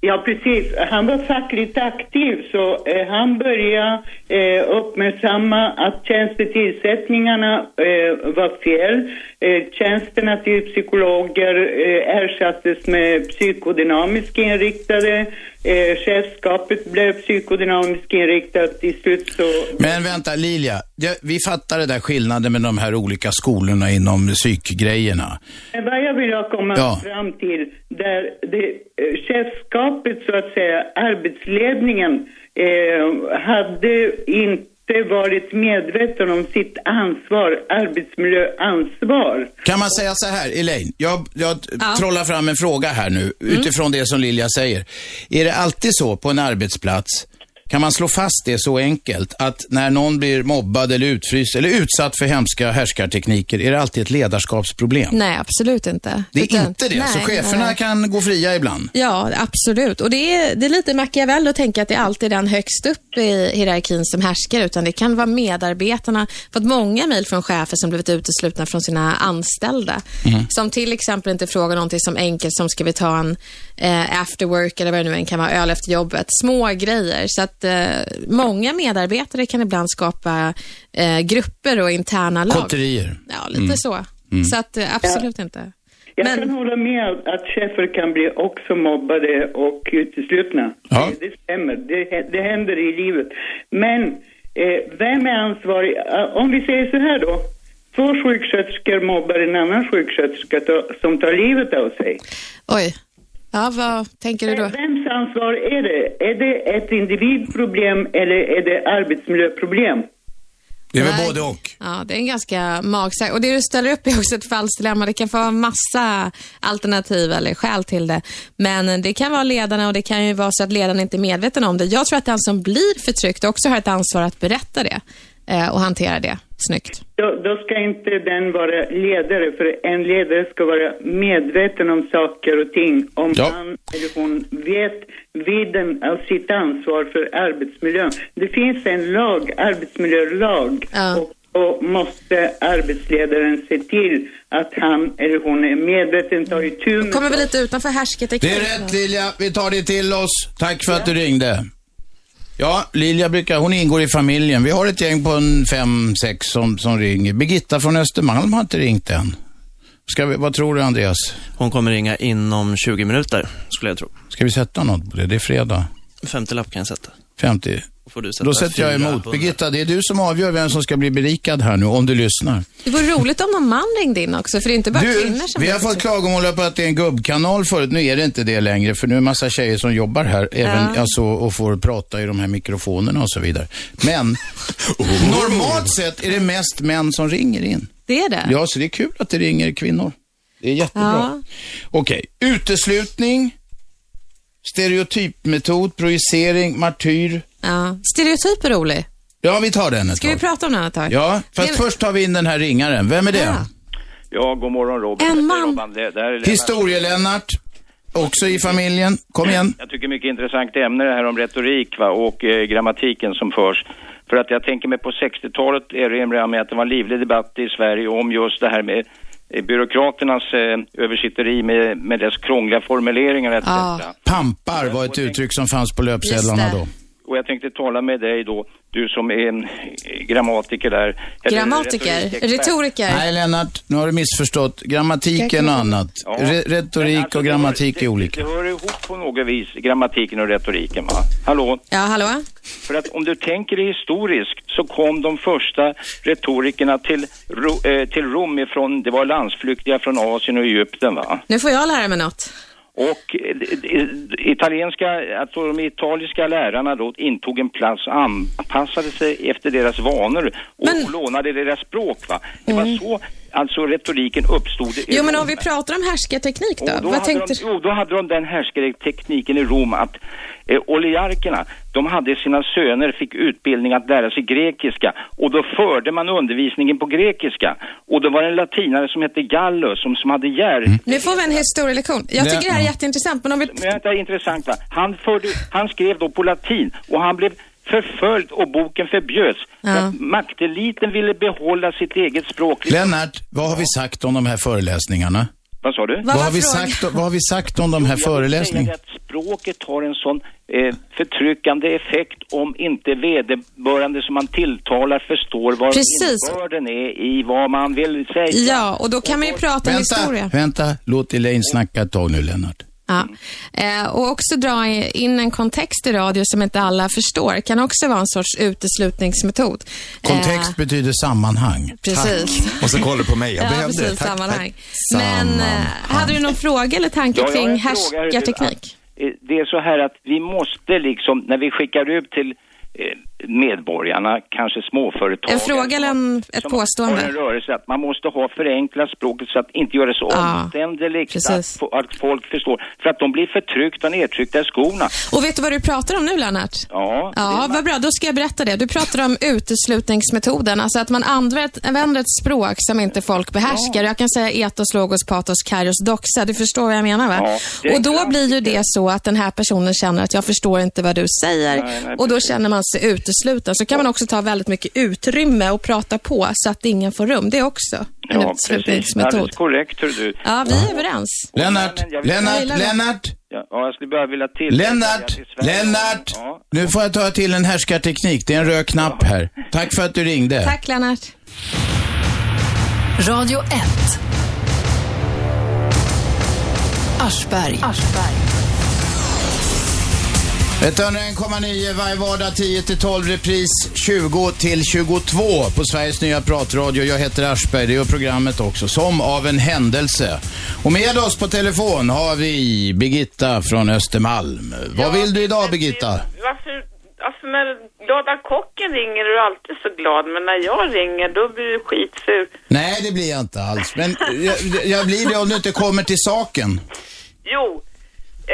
[SPEAKER 6] Ja, precis. Han var fackligt aktiv så eh, han började eh, uppmärksamma att tjänstetillsättningarna eh, var fel. Eh, tjänsterna till psykologer eh, ersattes med psykodynamiskt inriktade. Eh, chefskapet blev psykodynamiskt inriktat. Till slut så
[SPEAKER 2] Men vänta, Lilja. Det, vi fattar det där skillnaden med de här olika skolorna inom psykgrejerna.
[SPEAKER 6] Men vad jag vill ha komma
[SPEAKER 2] Ja.
[SPEAKER 6] fram till, där det, eh, chefskapet så att säga, arbetsledningen eh, hade inte varit medveten om sitt ansvar, arbetsmiljöansvar.
[SPEAKER 2] Kan man säga så här, Elaine? Jag, jag trollar fram en fråga här nu utifrån det som Lilja säger. Är det alltid så på en arbetsplats, kan man slå fast det så enkelt, att när någon blir mobbad eller utfryst eller utsatt för hemska härskartekniker, är det alltid ett ledarskapsproblem?
[SPEAKER 4] Nej, absolut inte.
[SPEAKER 2] Det är
[SPEAKER 4] Utan-
[SPEAKER 2] inte det, så
[SPEAKER 4] nej,
[SPEAKER 2] cheferna
[SPEAKER 4] nej.
[SPEAKER 2] kan gå fria ibland.
[SPEAKER 4] Ja, absolut. Och det är, det är lite Machiavelli att tänka att det alltid är den högst upp i hierarkin som härskar, utan det kan vara medarbetarna. Fått många mejl från chefer som blivit uteslutna från sina anställda. Som till exempel inte frågar någonting som enkelt som ska vi ta en eh, after work eller vad det nu än kan vara, öl efter jobbet. Små grejer. Så att eh, många medarbetare kan ibland skapa eh, grupper och interna lag.
[SPEAKER 2] Kotterier.
[SPEAKER 4] Ja, lite så. Så att eh, absolut inte.
[SPEAKER 6] Jag
[SPEAKER 4] Men-
[SPEAKER 6] kan hålla med att chefer kan bli också mobbade och uteslutna.
[SPEAKER 2] Ja.
[SPEAKER 6] Det, det stämmer, det, det händer i livet. Men eh, vem är ansvarig? Eh, Om vi säger så här då. Två sjuksköterskor mobbar en annan sjuksköterska ta, som tar livet av sig.
[SPEAKER 4] Oj. Ja, vad tänker du då?
[SPEAKER 6] Men Vems ansvar är det? Är det ett individproblem eller är det arbetsmiljöproblem?
[SPEAKER 2] Det är väl
[SPEAKER 4] Nej.
[SPEAKER 2] både och.
[SPEAKER 4] Ja, det är en ganska magstark. Och det du ställer upp är också ett falskt dilemma. Det kan få vara massa alternativ eller skäl till det. Men det kan vara ledarna och det kan ju vara så att ledarna inte är medveten om det. Jag tror att den som blir förtryckt också har ett ansvar att berätta det eh, och hantera det. Snyggt.
[SPEAKER 6] Då, då ska inte den vara ledare, för en ledare ska vara medveten om saker och ting. Om
[SPEAKER 2] Ja.
[SPEAKER 6] han eller hon vet vidden av sitt ansvar för arbetsmiljön. Det finns en lag, arbetsmiljölag,
[SPEAKER 4] Ja.
[SPEAKER 6] och då måste arbetsledaren se till att han eller hon är medveten, tar itu med
[SPEAKER 4] Kommer vi lite utanför härskarteknik?
[SPEAKER 2] Det är rätt Lilja, vi tar det till oss. Tack för att du ringde. Ja, Lilja brukar, hon ingår i familjen. Vi har ett gäng på en fem, sex som, som ringer. Birgitta från Östermalm har inte ringt än. Ska vi, vad tror du Andreas?
[SPEAKER 7] Hon kommer ringa inom 20 minuter, skulle jag tro.
[SPEAKER 2] Ska vi sätta något på det? Det är fredag.
[SPEAKER 7] 50 lapp kan jag sätta.
[SPEAKER 2] 50.
[SPEAKER 7] Då får du sätta
[SPEAKER 2] Då sätter jag emot.
[SPEAKER 7] 400.
[SPEAKER 2] Birgitta, det är du som avgör vem som ska bli berikad här nu, om du lyssnar.
[SPEAKER 4] Det vore roligt om någon man ringde in också, för det är inte bara
[SPEAKER 2] Du,
[SPEAKER 4] kvinnor som
[SPEAKER 2] vi har
[SPEAKER 4] ringer.
[SPEAKER 2] fått klagomål på att det är en gubbkanal förut. Nu är det inte det längre, för nu är det en massa tjejer som jobbar här även, alltså, och får prata i de här mikrofonerna och så vidare. Men
[SPEAKER 8] Oh.
[SPEAKER 2] normalt sett är det mest män som ringer in.
[SPEAKER 4] Det är det?
[SPEAKER 2] Ja, så det är kul att det ringer kvinnor. Det är jättebra.
[SPEAKER 4] Ja.
[SPEAKER 2] Okej, uteslutning, stereotypmetod, projicering, martyr.
[SPEAKER 4] ja. Stereotyp är rolig.
[SPEAKER 2] Ja, vi tar den ett
[SPEAKER 4] Ska vi
[SPEAKER 2] tag.
[SPEAKER 4] prata om den ett tag?
[SPEAKER 2] Ja, fast
[SPEAKER 4] Men-
[SPEAKER 2] först tar vi in den här ringaren. Vem är det?
[SPEAKER 4] Ja.
[SPEAKER 8] Ja, god morgon
[SPEAKER 4] En
[SPEAKER 8] Robin. Jag heter
[SPEAKER 4] man.
[SPEAKER 8] Robban. Det, det här är Lennart.
[SPEAKER 2] Historie-Lennart, också i familjen. Kom igen.
[SPEAKER 8] Jag tycker mycket intressant ämne det här om retorik va, och eh, grammatiken som förs. För att jag tänker mig på 60-talet erinrar jag mig att det var en livlig debatt i Sverige om just det här med eh, byråkraternas eh, översitteri med, med dess krångliga formuleringar etc.
[SPEAKER 4] Ja.
[SPEAKER 2] Pampar var ett uttryck som fanns på löpsedlarna
[SPEAKER 4] Just det.
[SPEAKER 2] då.
[SPEAKER 8] Och jag tänkte tala med dig då, du som är en eh, grammatiker där. Eller
[SPEAKER 4] Grammatiker,
[SPEAKER 8] retorikexpert.
[SPEAKER 4] retoriker.
[SPEAKER 2] Nej, Lennart, nu har du missförstått. Grammatiken och annat.
[SPEAKER 8] Ja.
[SPEAKER 2] Re-
[SPEAKER 8] Men
[SPEAKER 2] retorik
[SPEAKER 8] alltså,
[SPEAKER 2] och
[SPEAKER 8] det hör-
[SPEAKER 2] grammatik
[SPEAKER 8] det-
[SPEAKER 2] är olika.
[SPEAKER 8] Det hör ihop på något vis, grammatiken och retoriken va? Hallå?
[SPEAKER 4] Ja, hallå?
[SPEAKER 8] För att om du tänker det historiskt så kom de första retorikerna till, Ro, eh, till Rom ifrån, det var landsflyktiga från Asien och Egypten va.
[SPEAKER 4] Nu får jag lära mig något.
[SPEAKER 8] Och eh, d- d- italienska, alltså de italienska lärarna då intog en plats och anpassade sig efter deras vanor och
[SPEAKER 4] Men- Mm.
[SPEAKER 8] lånade deras språk va. Det var så alltså retoriken uppstod. i
[SPEAKER 4] Jo, men
[SPEAKER 8] Rom.
[SPEAKER 4] om vi pratar om härskarteknik då?
[SPEAKER 8] Och då,
[SPEAKER 4] Vad
[SPEAKER 8] hade
[SPEAKER 4] tänkte
[SPEAKER 8] de,
[SPEAKER 4] du?
[SPEAKER 8] jo, då hade de den härskartekniken i Rom att eh, oligarkerna, de hade sina söner, fick utbildning att lära sig grekiska och då förde man undervisningen på grekiska. Och då var det en latinare som hette Gallus som, som hade järn.
[SPEAKER 4] Nu får vi en historielektion. Jag
[SPEAKER 2] Det-
[SPEAKER 4] tycker det här är
[SPEAKER 2] Mm. ja.
[SPEAKER 4] jätteintressant, men om vi...
[SPEAKER 8] Men det är intressant va? Han, förde, han skrev då på latin och han blev förföljd och boken förbjöds.
[SPEAKER 4] Ja.
[SPEAKER 8] För att makteliten ville behålla sitt eget språk.
[SPEAKER 2] Lennart, vad har vi sagt om de här föreläsningarna?
[SPEAKER 8] Vad sa du?
[SPEAKER 4] Vad
[SPEAKER 2] Vad
[SPEAKER 4] var
[SPEAKER 2] har vi
[SPEAKER 4] frågan?
[SPEAKER 2] sagt, vad har vi sagt om de här
[SPEAKER 8] Jag vill säga det
[SPEAKER 2] föreläsningarna?
[SPEAKER 8] Att språket har en sån eh, förtryckande effekt om inte vederbörande som man tilltalar förstår vad
[SPEAKER 4] Precis.
[SPEAKER 8] innebörden är i vad man vill säga.
[SPEAKER 4] Ja, och då kan man ju prata om
[SPEAKER 2] Vänta,
[SPEAKER 4] historia.
[SPEAKER 2] vänta, låt Elaine snacka ett tag nu, Lennart.
[SPEAKER 4] Ja. Eh, och också dra i- in en kontext i radio som inte alla förstår. Kan också vara en sorts uteslutningsmetod.
[SPEAKER 2] Kontext
[SPEAKER 4] Eh,
[SPEAKER 2] betyder sammanhang.
[SPEAKER 4] precis.
[SPEAKER 3] Och så kollar du på mig. Jag
[SPEAKER 4] Ja,
[SPEAKER 3] behövde det.
[SPEAKER 4] precis.
[SPEAKER 3] Tack,
[SPEAKER 4] Sammanhang.
[SPEAKER 3] tack.
[SPEAKER 4] Men eh,
[SPEAKER 3] Sammanhang.
[SPEAKER 4] hade du någon fråga eller tanke
[SPEAKER 8] Ja, jag har
[SPEAKER 4] kring
[SPEAKER 8] en fråga, hur du-
[SPEAKER 4] härskarteknik?
[SPEAKER 8] att, eh, Det är så här att vi måste liksom, när vi skickar ut till eh, medborgarna, kanske småföretag.
[SPEAKER 4] En fråga eller en- ett
[SPEAKER 8] som
[SPEAKER 4] påstående?
[SPEAKER 8] Har en rörelse, att man måste ha förenklat språket så att inte göra det så
[SPEAKER 4] Ja,
[SPEAKER 8] omständeligt
[SPEAKER 4] precis.
[SPEAKER 8] att, fo- att folk förstår. För att de blir förtryckta och nedtryckta i skorna.
[SPEAKER 4] Och vet du vad du pratar om nu, Lennart?
[SPEAKER 8] Ja,
[SPEAKER 4] Ja, vad bra. Då ska jag berätta det. Du pratar om uteslutningsmetoden, alltså att man använder, använder ett språk som inte folk behärskar. Jag kan säga etos, logos, patos, kairos, doxa. Du förstår vad jag menar, va?
[SPEAKER 8] Ja, det är
[SPEAKER 4] och då
[SPEAKER 8] klart.
[SPEAKER 4] blir ju det så att den här personen känner att jag förstår inte vad du säger.
[SPEAKER 8] Nej, nej,
[SPEAKER 4] och då
[SPEAKER 8] precis.
[SPEAKER 4] känner man sig utesluten. Så kan man också ta väldigt mycket utrymme och prata på så att ingen får rum. Det är också en uteslutningsmetod.
[SPEAKER 8] Alldeles korrekt, hör du.
[SPEAKER 4] Ja, vi är överens.
[SPEAKER 2] Lennart,
[SPEAKER 8] men jag vill-
[SPEAKER 2] Lennart,
[SPEAKER 4] Jag gillar det.
[SPEAKER 2] Lennart,
[SPEAKER 8] Ja, ja, jag skulle bara vilja till.
[SPEAKER 2] Lennart,
[SPEAKER 8] till Sverige.
[SPEAKER 2] Lennart.
[SPEAKER 8] Ja.
[SPEAKER 2] Nu får jag ta till en härskarteknik. Det är en röd knapp här. Tack för att du ringde.
[SPEAKER 4] Tack, Lennart.
[SPEAKER 5] Radio 1. Aschberg. Aschberg.
[SPEAKER 2] 101,9 varje vardag 10 till 12 repris 20 till 22 på Sveriges nya pratradio. Jag heter Aschberg, det gör programmet också, som av en händelse. Och med oss på telefon har vi Birgitta från Östermalm. Vad vill du idag Birgitta?
[SPEAKER 9] Varför, alltså när glada kocken ringer är du alltid så glad, men när jag ringer då blir du skitful.
[SPEAKER 2] Nej, det blir jag inte alls. Men jag, jag blir det om du inte kommer till saken.
[SPEAKER 9] Jo,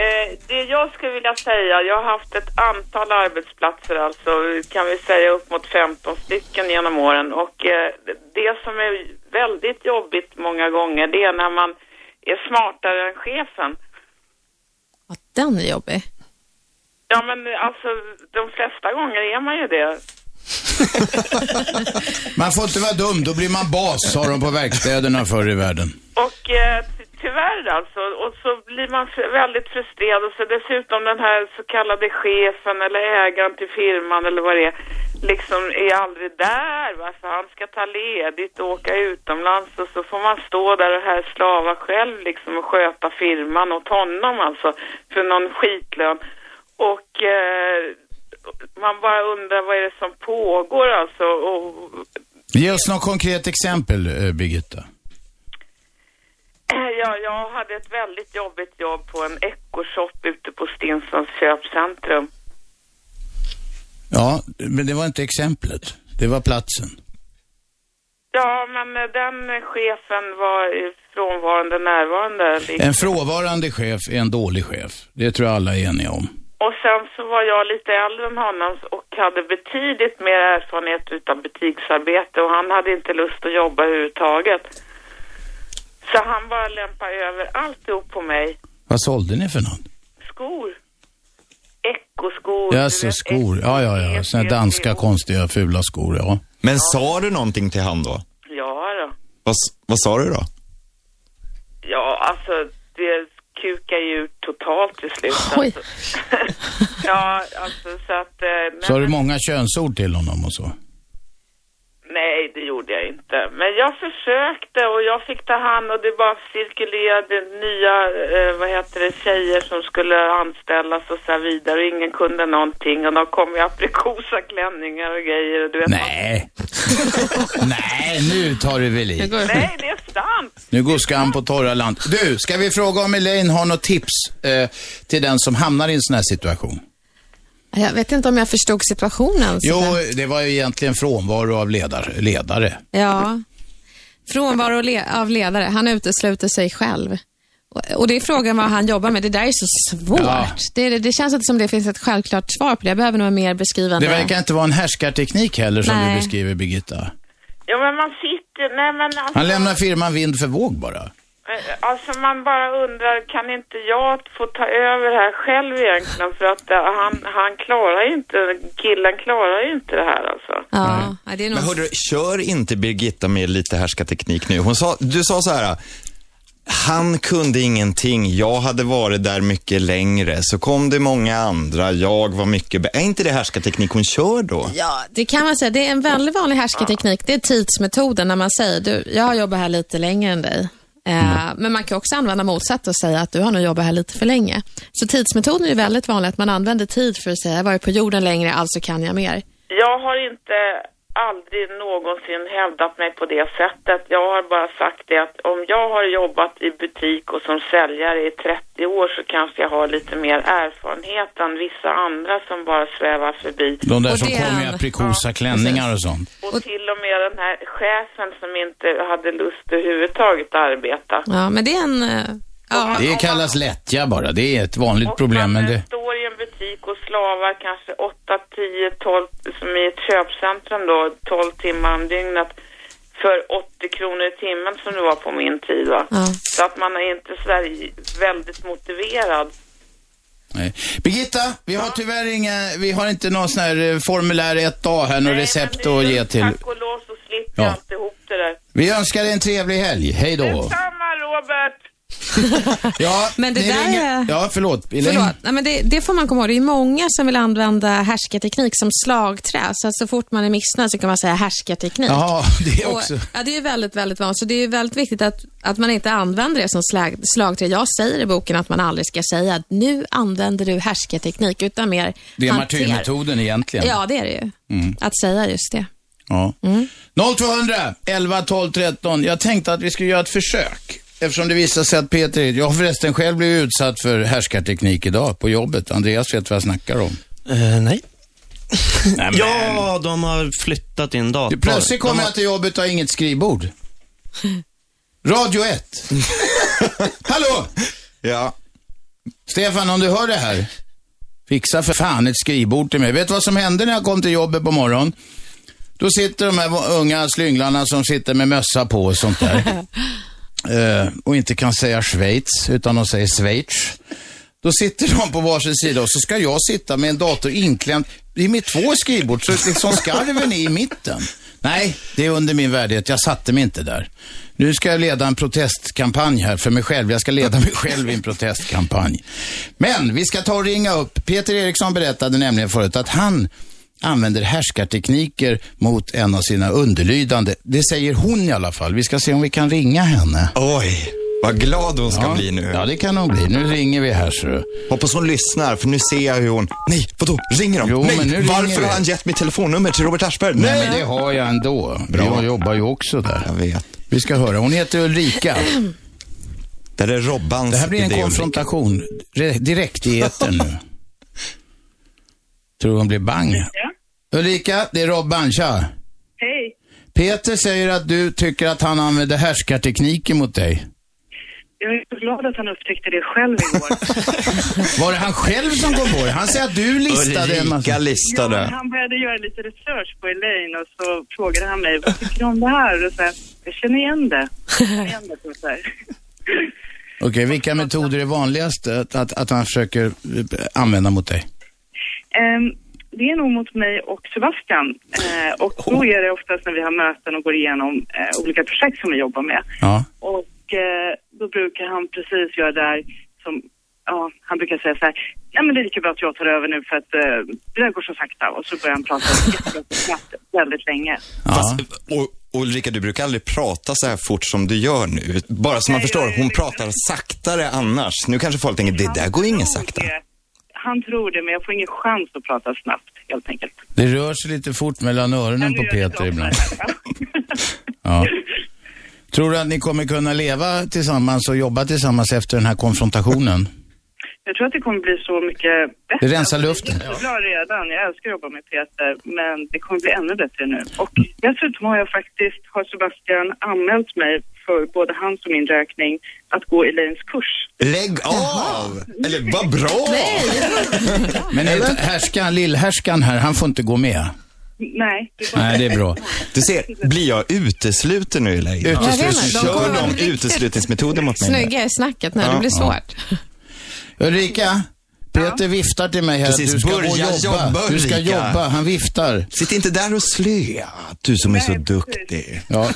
[SPEAKER 9] eh, det jag skulle vilja säga, jag har haft ett antal arbetsplatser alltså, kan vi säga upp mot 15 stycken genom åren och eh, det som är väldigt jobbigt många gånger det är när man är smartare än chefen.
[SPEAKER 4] Ja, den är jobbig.
[SPEAKER 9] Ja men alltså de flesta gånger är man ju det.
[SPEAKER 2] Man får inte vara dum, då blir man bas, sa de på verkstäderna förr i världen.
[SPEAKER 9] Och eh, ty- tyvärr alltså, och så blir man fr- väldigt frustrerad och så dessutom den här så kallade chefen eller ägaren till firman eller vad det är, liksom är aldrig där va? för han ska ta ledigt och åka utomlands och så får man stå där och här slava själv liksom och sköta firman åt honom alltså för någon skitlön. Och eh, man bara undrar vad är det som pågår alltså och
[SPEAKER 2] Ge oss något konkret exempel, eh, Birgitta.
[SPEAKER 9] Eh, Ja, jag hade ett väldigt jobbigt jobb på en ekoshop ute på Stinsons köpcentrum.
[SPEAKER 2] Ja, men det var inte exemplet. Det var platsen.
[SPEAKER 9] Ja, men eh, den eh, chefen var eh, frånvarande närvarande. liksom.
[SPEAKER 2] En frånvarande chef är en dålig chef. Det tror jag alla är eniga om.
[SPEAKER 9] Och sen så var jag lite äldre än honom och hade betydligt mer erfarenhet utav butiksarbete och han hade inte lust att jobba överhuvudtaget. Så han bara lämpade över alltihop på mig.
[SPEAKER 2] Vad sålde ni för något?
[SPEAKER 9] Skor. Ekoskor.
[SPEAKER 2] Ja, så skor. Ja, ja, ja. Såna här danska konstiga fula skor, ja.
[SPEAKER 3] Men sa du någonting till han då?
[SPEAKER 9] Ja, då.
[SPEAKER 3] Vad, s- vad sa du då?
[SPEAKER 9] Ja, alltså det kukar ju ut totalt till slut. Alltså. ja, alltså så att... eh, Men,
[SPEAKER 2] Sa du många könsord till honom och så?
[SPEAKER 9] Nej, det gjorde jag inte. Men jag försökte och jag fick ta hand och det bara cirkulerade nya, eh, vad heter det, tjejer som skulle anställas och så här vidare och ingen kunde någonting och de kom i aprikosa klänningar och grejer och du vet.
[SPEAKER 2] Nej. Nej, nu tar du väl i.
[SPEAKER 9] Nej, det är sant.
[SPEAKER 2] Nu går skam på torra land. Du, ska vi fråga om Elaine har något tips eh, till den som hamnar i en sån här situation?
[SPEAKER 4] Jag vet inte om jag förstod situationen. så
[SPEAKER 2] Jo,
[SPEAKER 4] väl.
[SPEAKER 2] det var ju egentligen frånvaro av ledare. ledare.
[SPEAKER 4] Ja. Frånvaro le- av ledare. Han utesluter sig själv. Och- Och det är frågan vad han jobbar med. Det där är så svårt.
[SPEAKER 2] Ja.
[SPEAKER 4] Det, det- det känns inte som det finns ett självklart svar på det. Jag behöver nog en mer beskrivande.
[SPEAKER 2] Det verkar inte vara en härskarteknik heller som
[SPEAKER 4] Nej.
[SPEAKER 2] du beskriver, Birgitta.
[SPEAKER 9] Ja, men man sitter, nej men alltså.
[SPEAKER 2] Han lämnar firman vind för våg bara.
[SPEAKER 9] Eh, Alltså man bara undrar, kan inte jag få ta över här själv egentligen? För att eh, han, han klarar ju inte, killen klarar ju inte det här alltså.
[SPEAKER 4] Ja, det är nog...
[SPEAKER 3] Men hörde du, kör inte Birgitta med lite härskarteknik nu. Hon sa, du sa så här, han kunde ingenting, jag hade varit där mycket längre, så kom det många andra, jag var mycket bä-" Är inte det härskarteknik hon kör då?
[SPEAKER 4] Ja, det kan man säga. Det är en väldigt vanlig härskarteknik. Det är tidsmetoden när man säger, du, jag har jobbat här lite längre än dig. Eh,
[SPEAKER 2] Mm.
[SPEAKER 4] Men man kan också använda motsatt och säga att du har nog jobbat här lite för länge. Så tidsmetoden är ju väldigt vanlig, att man använder tid för att säga, jag har varit på jorden längre, alltså kan jag mer.
[SPEAKER 9] Jag har inte aldrig någonsin hävdat mig på det sättet. Jag har bara sagt det att om jag har jobbat i butik och som säljare i 30 år så kanske jag har lite mer erfarenhet än vissa andra som bara svävar förbi.
[SPEAKER 2] De där
[SPEAKER 4] Och
[SPEAKER 2] som
[SPEAKER 4] det
[SPEAKER 2] kom i
[SPEAKER 4] är-
[SPEAKER 2] aprikosa klänningar och sånt.
[SPEAKER 9] Och till och med den här chefen som inte hade lust överhuvudtaget att arbeta.
[SPEAKER 4] Ja, men det är en... eh, Ja,
[SPEAKER 2] Det kallas lättja bara. Det är ett vanligt problem, men
[SPEAKER 9] man eh,
[SPEAKER 2] det...
[SPEAKER 9] står i en butik och slavar kanske 8, 10, 12, som i ett köpcentrum då, 12 timmar om dygnet för 80 kronor i timmen som det var på min tid va.
[SPEAKER 4] Ja.
[SPEAKER 9] Så att man är inte sådär väldigt motiverad.
[SPEAKER 2] Nej. Birgitta, vi har tyvärr inga... Vi har inte någon sån här eh, formulär 1A här, något
[SPEAKER 9] Nej,
[SPEAKER 2] recept
[SPEAKER 9] men det är
[SPEAKER 2] att
[SPEAKER 9] ju-
[SPEAKER 2] ge till.
[SPEAKER 9] Tack och lov så slipper
[SPEAKER 2] Ja.
[SPEAKER 9] jag alltihop det där.
[SPEAKER 2] Vi önskar dig en trevlig helg. Hej då.
[SPEAKER 9] Detsamma Robert!
[SPEAKER 2] Ja,
[SPEAKER 4] Men det
[SPEAKER 2] ni
[SPEAKER 4] där är-
[SPEAKER 2] Ja, förlåt. Elaine.
[SPEAKER 4] Förlåt, Nej, men det, det får man komma ihåg. Det är många som vill använda härskarteknik som slagträ. Så, att så fort man är missnöjd så kan man säga härskarteknik.
[SPEAKER 2] Jaha, det är också...
[SPEAKER 4] Och, ja, det är väldigt, väldigt vanligt. Så det är väldigt viktigt att, att man inte använder det som slag, slagträ. Jag säger i boken att man aldrig ska säga att nu använder du härskarteknik, utan mer
[SPEAKER 2] Det är
[SPEAKER 4] hanter-
[SPEAKER 2] martyrmetoden Mm. egentligen.
[SPEAKER 4] Ja, det är det ju. Att säga just det. Mm.
[SPEAKER 2] Ja. 0200 11 12 13. Jag tänkte att vi skulle göra ett försök. Eftersom det visar sig att Peter är... Jag har förresten själv blivit utsatt för härskarteknik idag på jobbet. Andreas vet vad jag snackar om.
[SPEAKER 7] Eh, nej.
[SPEAKER 2] Nej, men-
[SPEAKER 7] Ja, de har flyttat in dator.
[SPEAKER 2] Du, plötsligt
[SPEAKER 7] de
[SPEAKER 2] kommer
[SPEAKER 7] har...
[SPEAKER 2] jag till jobbet och har inget skrivbord. Radio 1. Hallå!
[SPEAKER 3] Ja.
[SPEAKER 2] Stefan, om du hör det här, fixa för fan ett skrivbord till mig. Vet du vad som hände när jag kom till jobbet på morgonen? Då sitter de här unga slynglarna som sitter med mössa på och sånt där. Eh, och inte kan säga Schweiz, utan de säger Schweiz. Då sitter de på varsin sida och så ska jag sitta med en dator inklämd. Det är mitt två skrivbord, så liksom skarven är i mitten. Nej, det är under min värdighet. Jag satte mig inte där. Nu ska jag leda en protestkampanj här för mig själv. Jag ska leda mig själv i en protestkampanj. Men vi ska ta och ringa upp. Peter Eriksson berättade nämligen förut att han använder härskartekniker mot en av sina underlydande. Det säger hon i alla fall. Vi ska se om vi kan ringa henne.
[SPEAKER 3] Oj, vad glad hon ska
[SPEAKER 2] Ja.
[SPEAKER 3] bli nu.
[SPEAKER 2] Ja, det kan hon bli. Nu ringer vi här, ser du.
[SPEAKER 3] Hoppas hon lyssnar, för nu ser jag hur hon... Nej, vadå? Ringer de?
[SPEAKER 2] Jo,
[SPEAKER 3] Nej,
[SPEAKER 2] men nu ringer
[SPEAKER 3] varför
[SPEAKER 2] vi.
[SPEAKER 3] har han gett mitt telefonnummer till Robert Aschberg?
[SPEAKER 2] Nej, men det har jag ändå. Bra. Jag jobbar ju också där.
[SPEAKER 3] Jag vet.
[SPEAKER 2] Vi ska höra. Hon heter Ulrika.
[SPEAKER 3] Det där är Robbans
[SPEAKER 2] Det här blir en
[SPEAKER 3] idé,
[SPEAKER 2] konfrontation Re- direkt i etern nu. Tror hon blir bang. Ulrika, det är Robban. Tja.
[SPEAKER 10] Hej.
[SPEAKER 2] Peter säger att du tycker att han använder härskartekniker mot dig.
[SPEAKER 10] Jag är så glad att han upptäckte det själv igår.
[SPEAKER 2] Var det han själv som kom på det? Han säger att du listade en massa...
[SPEAKER 3] Ulrika listade.
[SPEAKER 10] Han började göra lite research på Elaine och så frågade han mig, vad tycker du om det här? Och så här, jag känner igen det. Jag känner igen det. Så här.
[SPEAKER 2] Okej, vilka metoder är vanligast att, att, att han försöker eh, använda mot dig?
[SPEAKER 10] Ehm, det är nog mot mig och Sebastian. Eh, och
[SPEAKER 3] Oh.
[SPEAKER 10] då är det oftast när vi har möten och går igenom eh, olika projekt som vi jobbar med.
[SPEAKER 2] Ja.
[SPEAKER 10] Och eh, då brukar han precis göra där som, ja, han brukar säga så här, nej men det är lika bra att jag tar över nu för att eh, det där går så sakta. Och så börjar han prata jättesnabbt väldigt länge.
[SPEAKER 3] Fast, och, och Ulrika, du brukar aldrig prata så här fort som du gör nu. Bara så man förstår, hon pratar saktare annars. Nu kanske folk tänker, det där går ingen sakta.
[SPEAKER 10] Han tror det, men jag får ingen chans att prata snabbt helt enkelt.
[SPEAKER 2] Det rör sig lite fort mellan öronen på Peter ibland. Ja. Tror du att ni kommer kunna leva tillsammans och jobba tillsammans efter den här konfrontationen?
[SPEAKER 10] Jag tror att det kommer bli så mycket bättre.
[SPEAKER 2] Det rensar luften.
[SPEAKER 10] Jag är så glad redan. Jag älskar att jobba med Peter, men det kommer bli ännu bättre nu. Och
[SPEAKER 2] Mm.
[SPEAKER 10] dessutom har jag faktiskt, har Sebastian anmält mig för både hans och min räkning att gå Elaines kurs.
[SPEAKER 3] Lägg av! Eller vad bra!
[SPEAKER 2] Men är det härskan, lillhärskan här, han får inte gå med.
[SPEAKER 10] Nej, det är bara...
[SPEAKER 2] Nej, det är bra.
[SPEAKER 3] Du ser, blir jag utesluten nu i läget?
[SPEAKER 2] Utesluten. Jag vet inte, de
[SPEAKER 3] Kör
[SPEAKER 2] kommer-
[SPEAKER 3] de uteslutningsmetoder mot mig? nu?
[SPEAKER 4] Snygga i snacket när det
[SPEAKER 3] Ja.
[SPEAKER 4] blir svårt.
[SPEAKER 2] Ulrika, Peter viftar till mig här
[SPEAKER 3] Precis,
[SPEAKER 2] att du ska gå och
[SPEAKER 3] börja
[SPEAKER 2] jobba.
[SPEAKER 3] jobba,
[SPEAKER 2] du ska
[SPEAKER 3] Ulrika.
[SPEAKER 2] jobba, han viftar.
[SPEAKER 3] Sitt inte där och slöa, Ah, du som är så duktig.
[SPEAKER 2] Ja.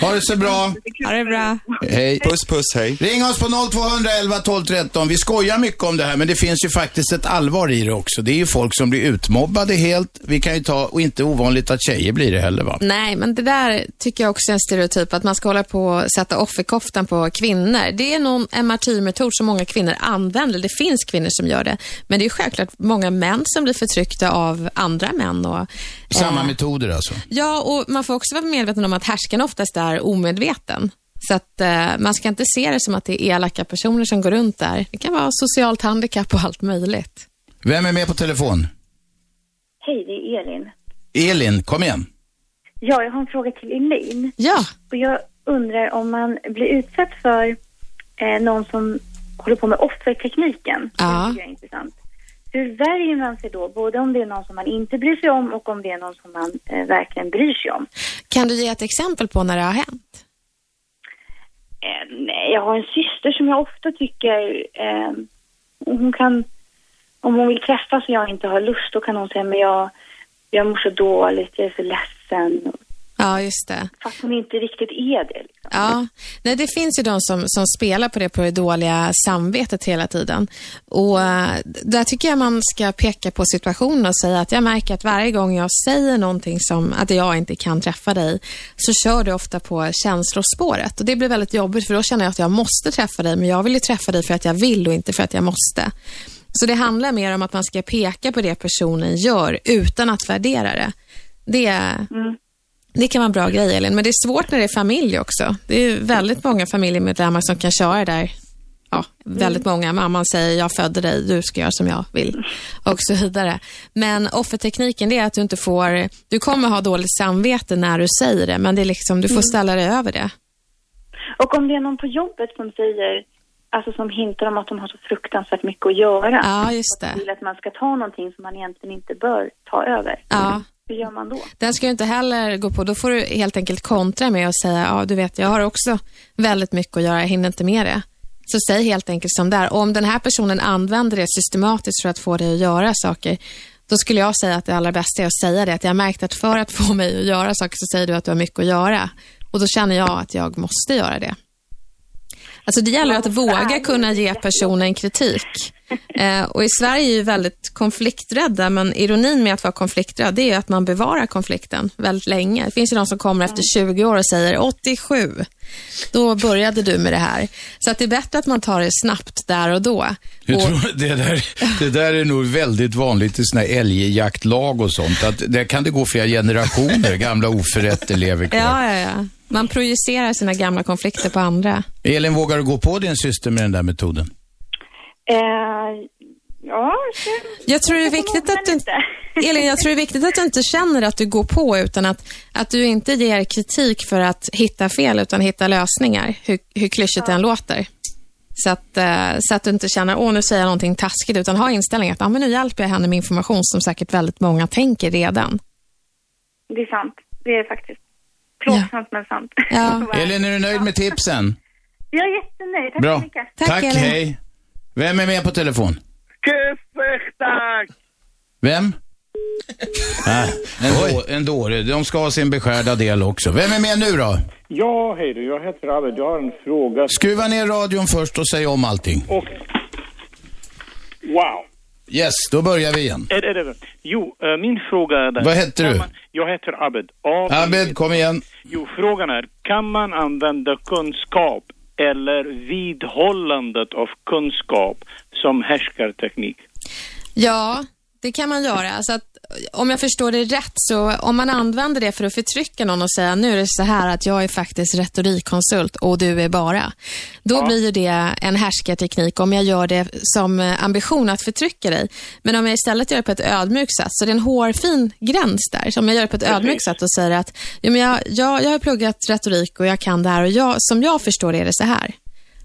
[SPEAKER 2] Ha det så bra.
[SPEAKER 4] Ha det bra.
[SPEAKER 2] Hej.
[SPEAKER 3] Puss, puss, hej.
[SPEAKER 2] Ring oss på 0211 12 13. Vi skojar mycket om det här, men det finns ju faktiskt ett allvar i det också. Det är ju folk som blir utmobbade helt. Vi kan ju ta, och inte ovanligt att tjejer blir det heller va?
[SPEAKER 4] Nej, men det där tycker jag också är en stereotyp, att man ska hålla på och sätta offerkoftan på kvinnor. Det är någon, en martyrmetod som många kvinnor använder. Det finns kvinnor som gör det, men det är självklart många män som blir förtryckta av andra män. Och,
[SPEAKER 2] Samma
[SPEAKER 4] eh,
[SPEAKER 2] metoder alltså.
[SPEAKER 4] Ja, och man får också vara medveten om att härskarna oftast är omedveten. Så att eh, man ska inte se det som att det är elaka personer som går runt där. Det kan vara socialt handikapp och allt möjligt.
[SPEAKER 2] Vem är med på telefon?
[SPEAKER 11] Hej, det är Elin.
[SPEAKER 2] Elin, kom igen.
[SPEAKER 11] Ja, jag har en fråga till Elin.
[SPEAKER 4] Ja.
[SPEAKER 11] Och jag undrar om man blir utsatt för eh, någon som håller på med offertekniken.
[SPEAKER 4] Ja.
[SPEAKER 11] Det tycker jag är intressant. Hur värjer man sig då, både om det är någon som man inte bryr sig om och om det är någon som man eh, verkligen bryr sig om?
[SPEAKER 4] Kan du ge ett exempel på när det har hänt?
[SPEAKER 11] Eh, nej, jag har en syster som jag ofta tycker, eh, hon kan, om hon vill träffas och jag inte har lust, då kan hon säga, men jag, jag mår så dåligt, jag är så ledsen.
[SPEAKER 4] Ja, just det.
[SPEAKER 11] Fast hon inte riktigt är det.
[SPEAKER 4] Ja, nej, det finns ju de som, som spelar på det, på det dåliga samvetet hela tiden. Och eh, där tycker jag man ska peka på situationen och säga att jag märker att varje gång jag säger någonting som att jag inte kan träffa dig, så kör du ofta på känslospåret. Och det blir väldigt jobbigt, för då känner jag att jag måste träffa dig, men jag vill ju träffa dig för att jag vill och inte för att jag måste. Så det handlar mer om att man ska peka på det personen gör utan att värdera det. Det är det kan vara en bra grej, Elin, men det är svårt när det är familj också. Det är ju väldigt många familjemedlemmar som kan köra det där. Ja, väldigt många. Mamman säger, jag födde dig, du ska göra som jag vill och så vidare. Men offertekniken, det är att du inte får, du kommer ha dåligt samvete när du säger det, men det är liksom, du får ställa dig över det.
[SPEAKER 11] Och om det är någon på jobbet som säger alltså som hintar om att de har så fruktansvärt mycket att göra.
[SPEAKER 4] Ja, just det.
[SPEAKER 11] Och vill att man ska ta någonting som man egentligen inte bör ta över.
[SPEAKER 4] Ja.
[SPEAKER 11] Hur gör man då?
[SPEAKER 4] Den ska du inte heller gå på. Då får du helt enkelt kontra med att säga, ja du vet, jag har också väldigt mycket att göra, jag hinner inte med det. Så säg helt enkelt som det är. Om den här personen använder det systematiskt för att få dig att göra saker, då skulle jag säga att det allra bästa är att säga det. Att jag har märkt att för att få mig att göra saker så säger du att du har mycket att göra. Och då känner jag att jag måste göra det. Alltså det gäller att våga kunna ge personen kritik. Eh, och I Sverige är ju väldigt konflikträdda, men ironin med att vara konflikträdd det är ju att man bevarar konflikten väldigt länge. Det finns ju de som kommer efter 20 år och säger 87, då började du med det här. Så att det är bättre att man tar det snabbt där och då.
[SPEAKER 2] Hur
[SPEAKER 4] och,
[SPEAKER 2] tror du, det, där, det där är nog väldigt vanligt i såna här älgjaktlag och sånt. Att där kan det gå flera generationer, gamla oförrätter lever kvar.
[SPEAKER 4] ja, ja, ja. Man projicerar sina gamla konflikter på andra.
[SPEAKER 2] Elin, vågar du gå på din syster med den där metoden?
[SPEAKER 11] Eh, ja,
[SPEAKER 4] Jag tror det är viktigt att du inte... Elin, jag tror det är viktigt att du inte känner att du går på utan att, att du inte ger kritik för att hitta fel utan hitta lösningar, hur, hur klyschigt det än låter. Så att, eh, så att du inte känner, åh nu säger jag någonting taskigt, utan ha inställningen att ah, men nu hjälper jag henne med information som säkert väldigt många tänker redan.
[SPEAKER 11] det är sant. Det är faktiskt plågsamt men sant.
[SPEAKER 2] Elin, är du nöjd med tipsen?
[SPEAKER 11] Jag är jättenöjd. Tack
[SPEAKER 2] Bra.
[SPEAKER 11] så mycket.
[SPEAKER 2] Tack, hej. Vem är med på telefon?
[SPEAKER 12] Tack!
[SPEAKER 2] Vem? Ah, en, då, en dåre. De ska ha sin beskärda del också. Vem är med nu då?
[SPEAKER 12] Ja, hej du. Jag heter Abed. Jag har en fråga.
[SPEAKER 2] Skruva ner radion först och säg om allting.
[SPEAKER 12] Och... Wow.
[SPEAKER 2] Yes, då börjar vi igen.
[SPEAKER 12] Är det, är det, jo, eh, min fråga är... där.
[SPEAKER 2] Vad heter
[SPEAKER 12] Kan
[SPEAKER 2] du?
[SPEAKER 12] man- Jag heter Abed. A-
[SPEAKER 2] Abed, kom igen.
[SPEAKER 12] Jo, frågan är, kan man använda kunskap eller vidhållandet av kunskap som härskarteknik?
[SPEAKER 4] Ja, det kan man göra. Så att, om jag förstår det rätt, så om man använder det för att förtrycka någon och säga nu är det så här att jag är faktiskt retorikkonsult och du är bara. Då blir ju det en härskarteknik om jag gör det som eh, ambition att förtrycka dig. Men om jag istället gör det på ett ödmjukt sätt, så det är en hårfin gräns där. Så om jag gör det på ett ödmjukt sätt och säger att jo, men jag, jag, jag har pluggat retorik och jag kan det här och jag, som jag förstår det är det så här.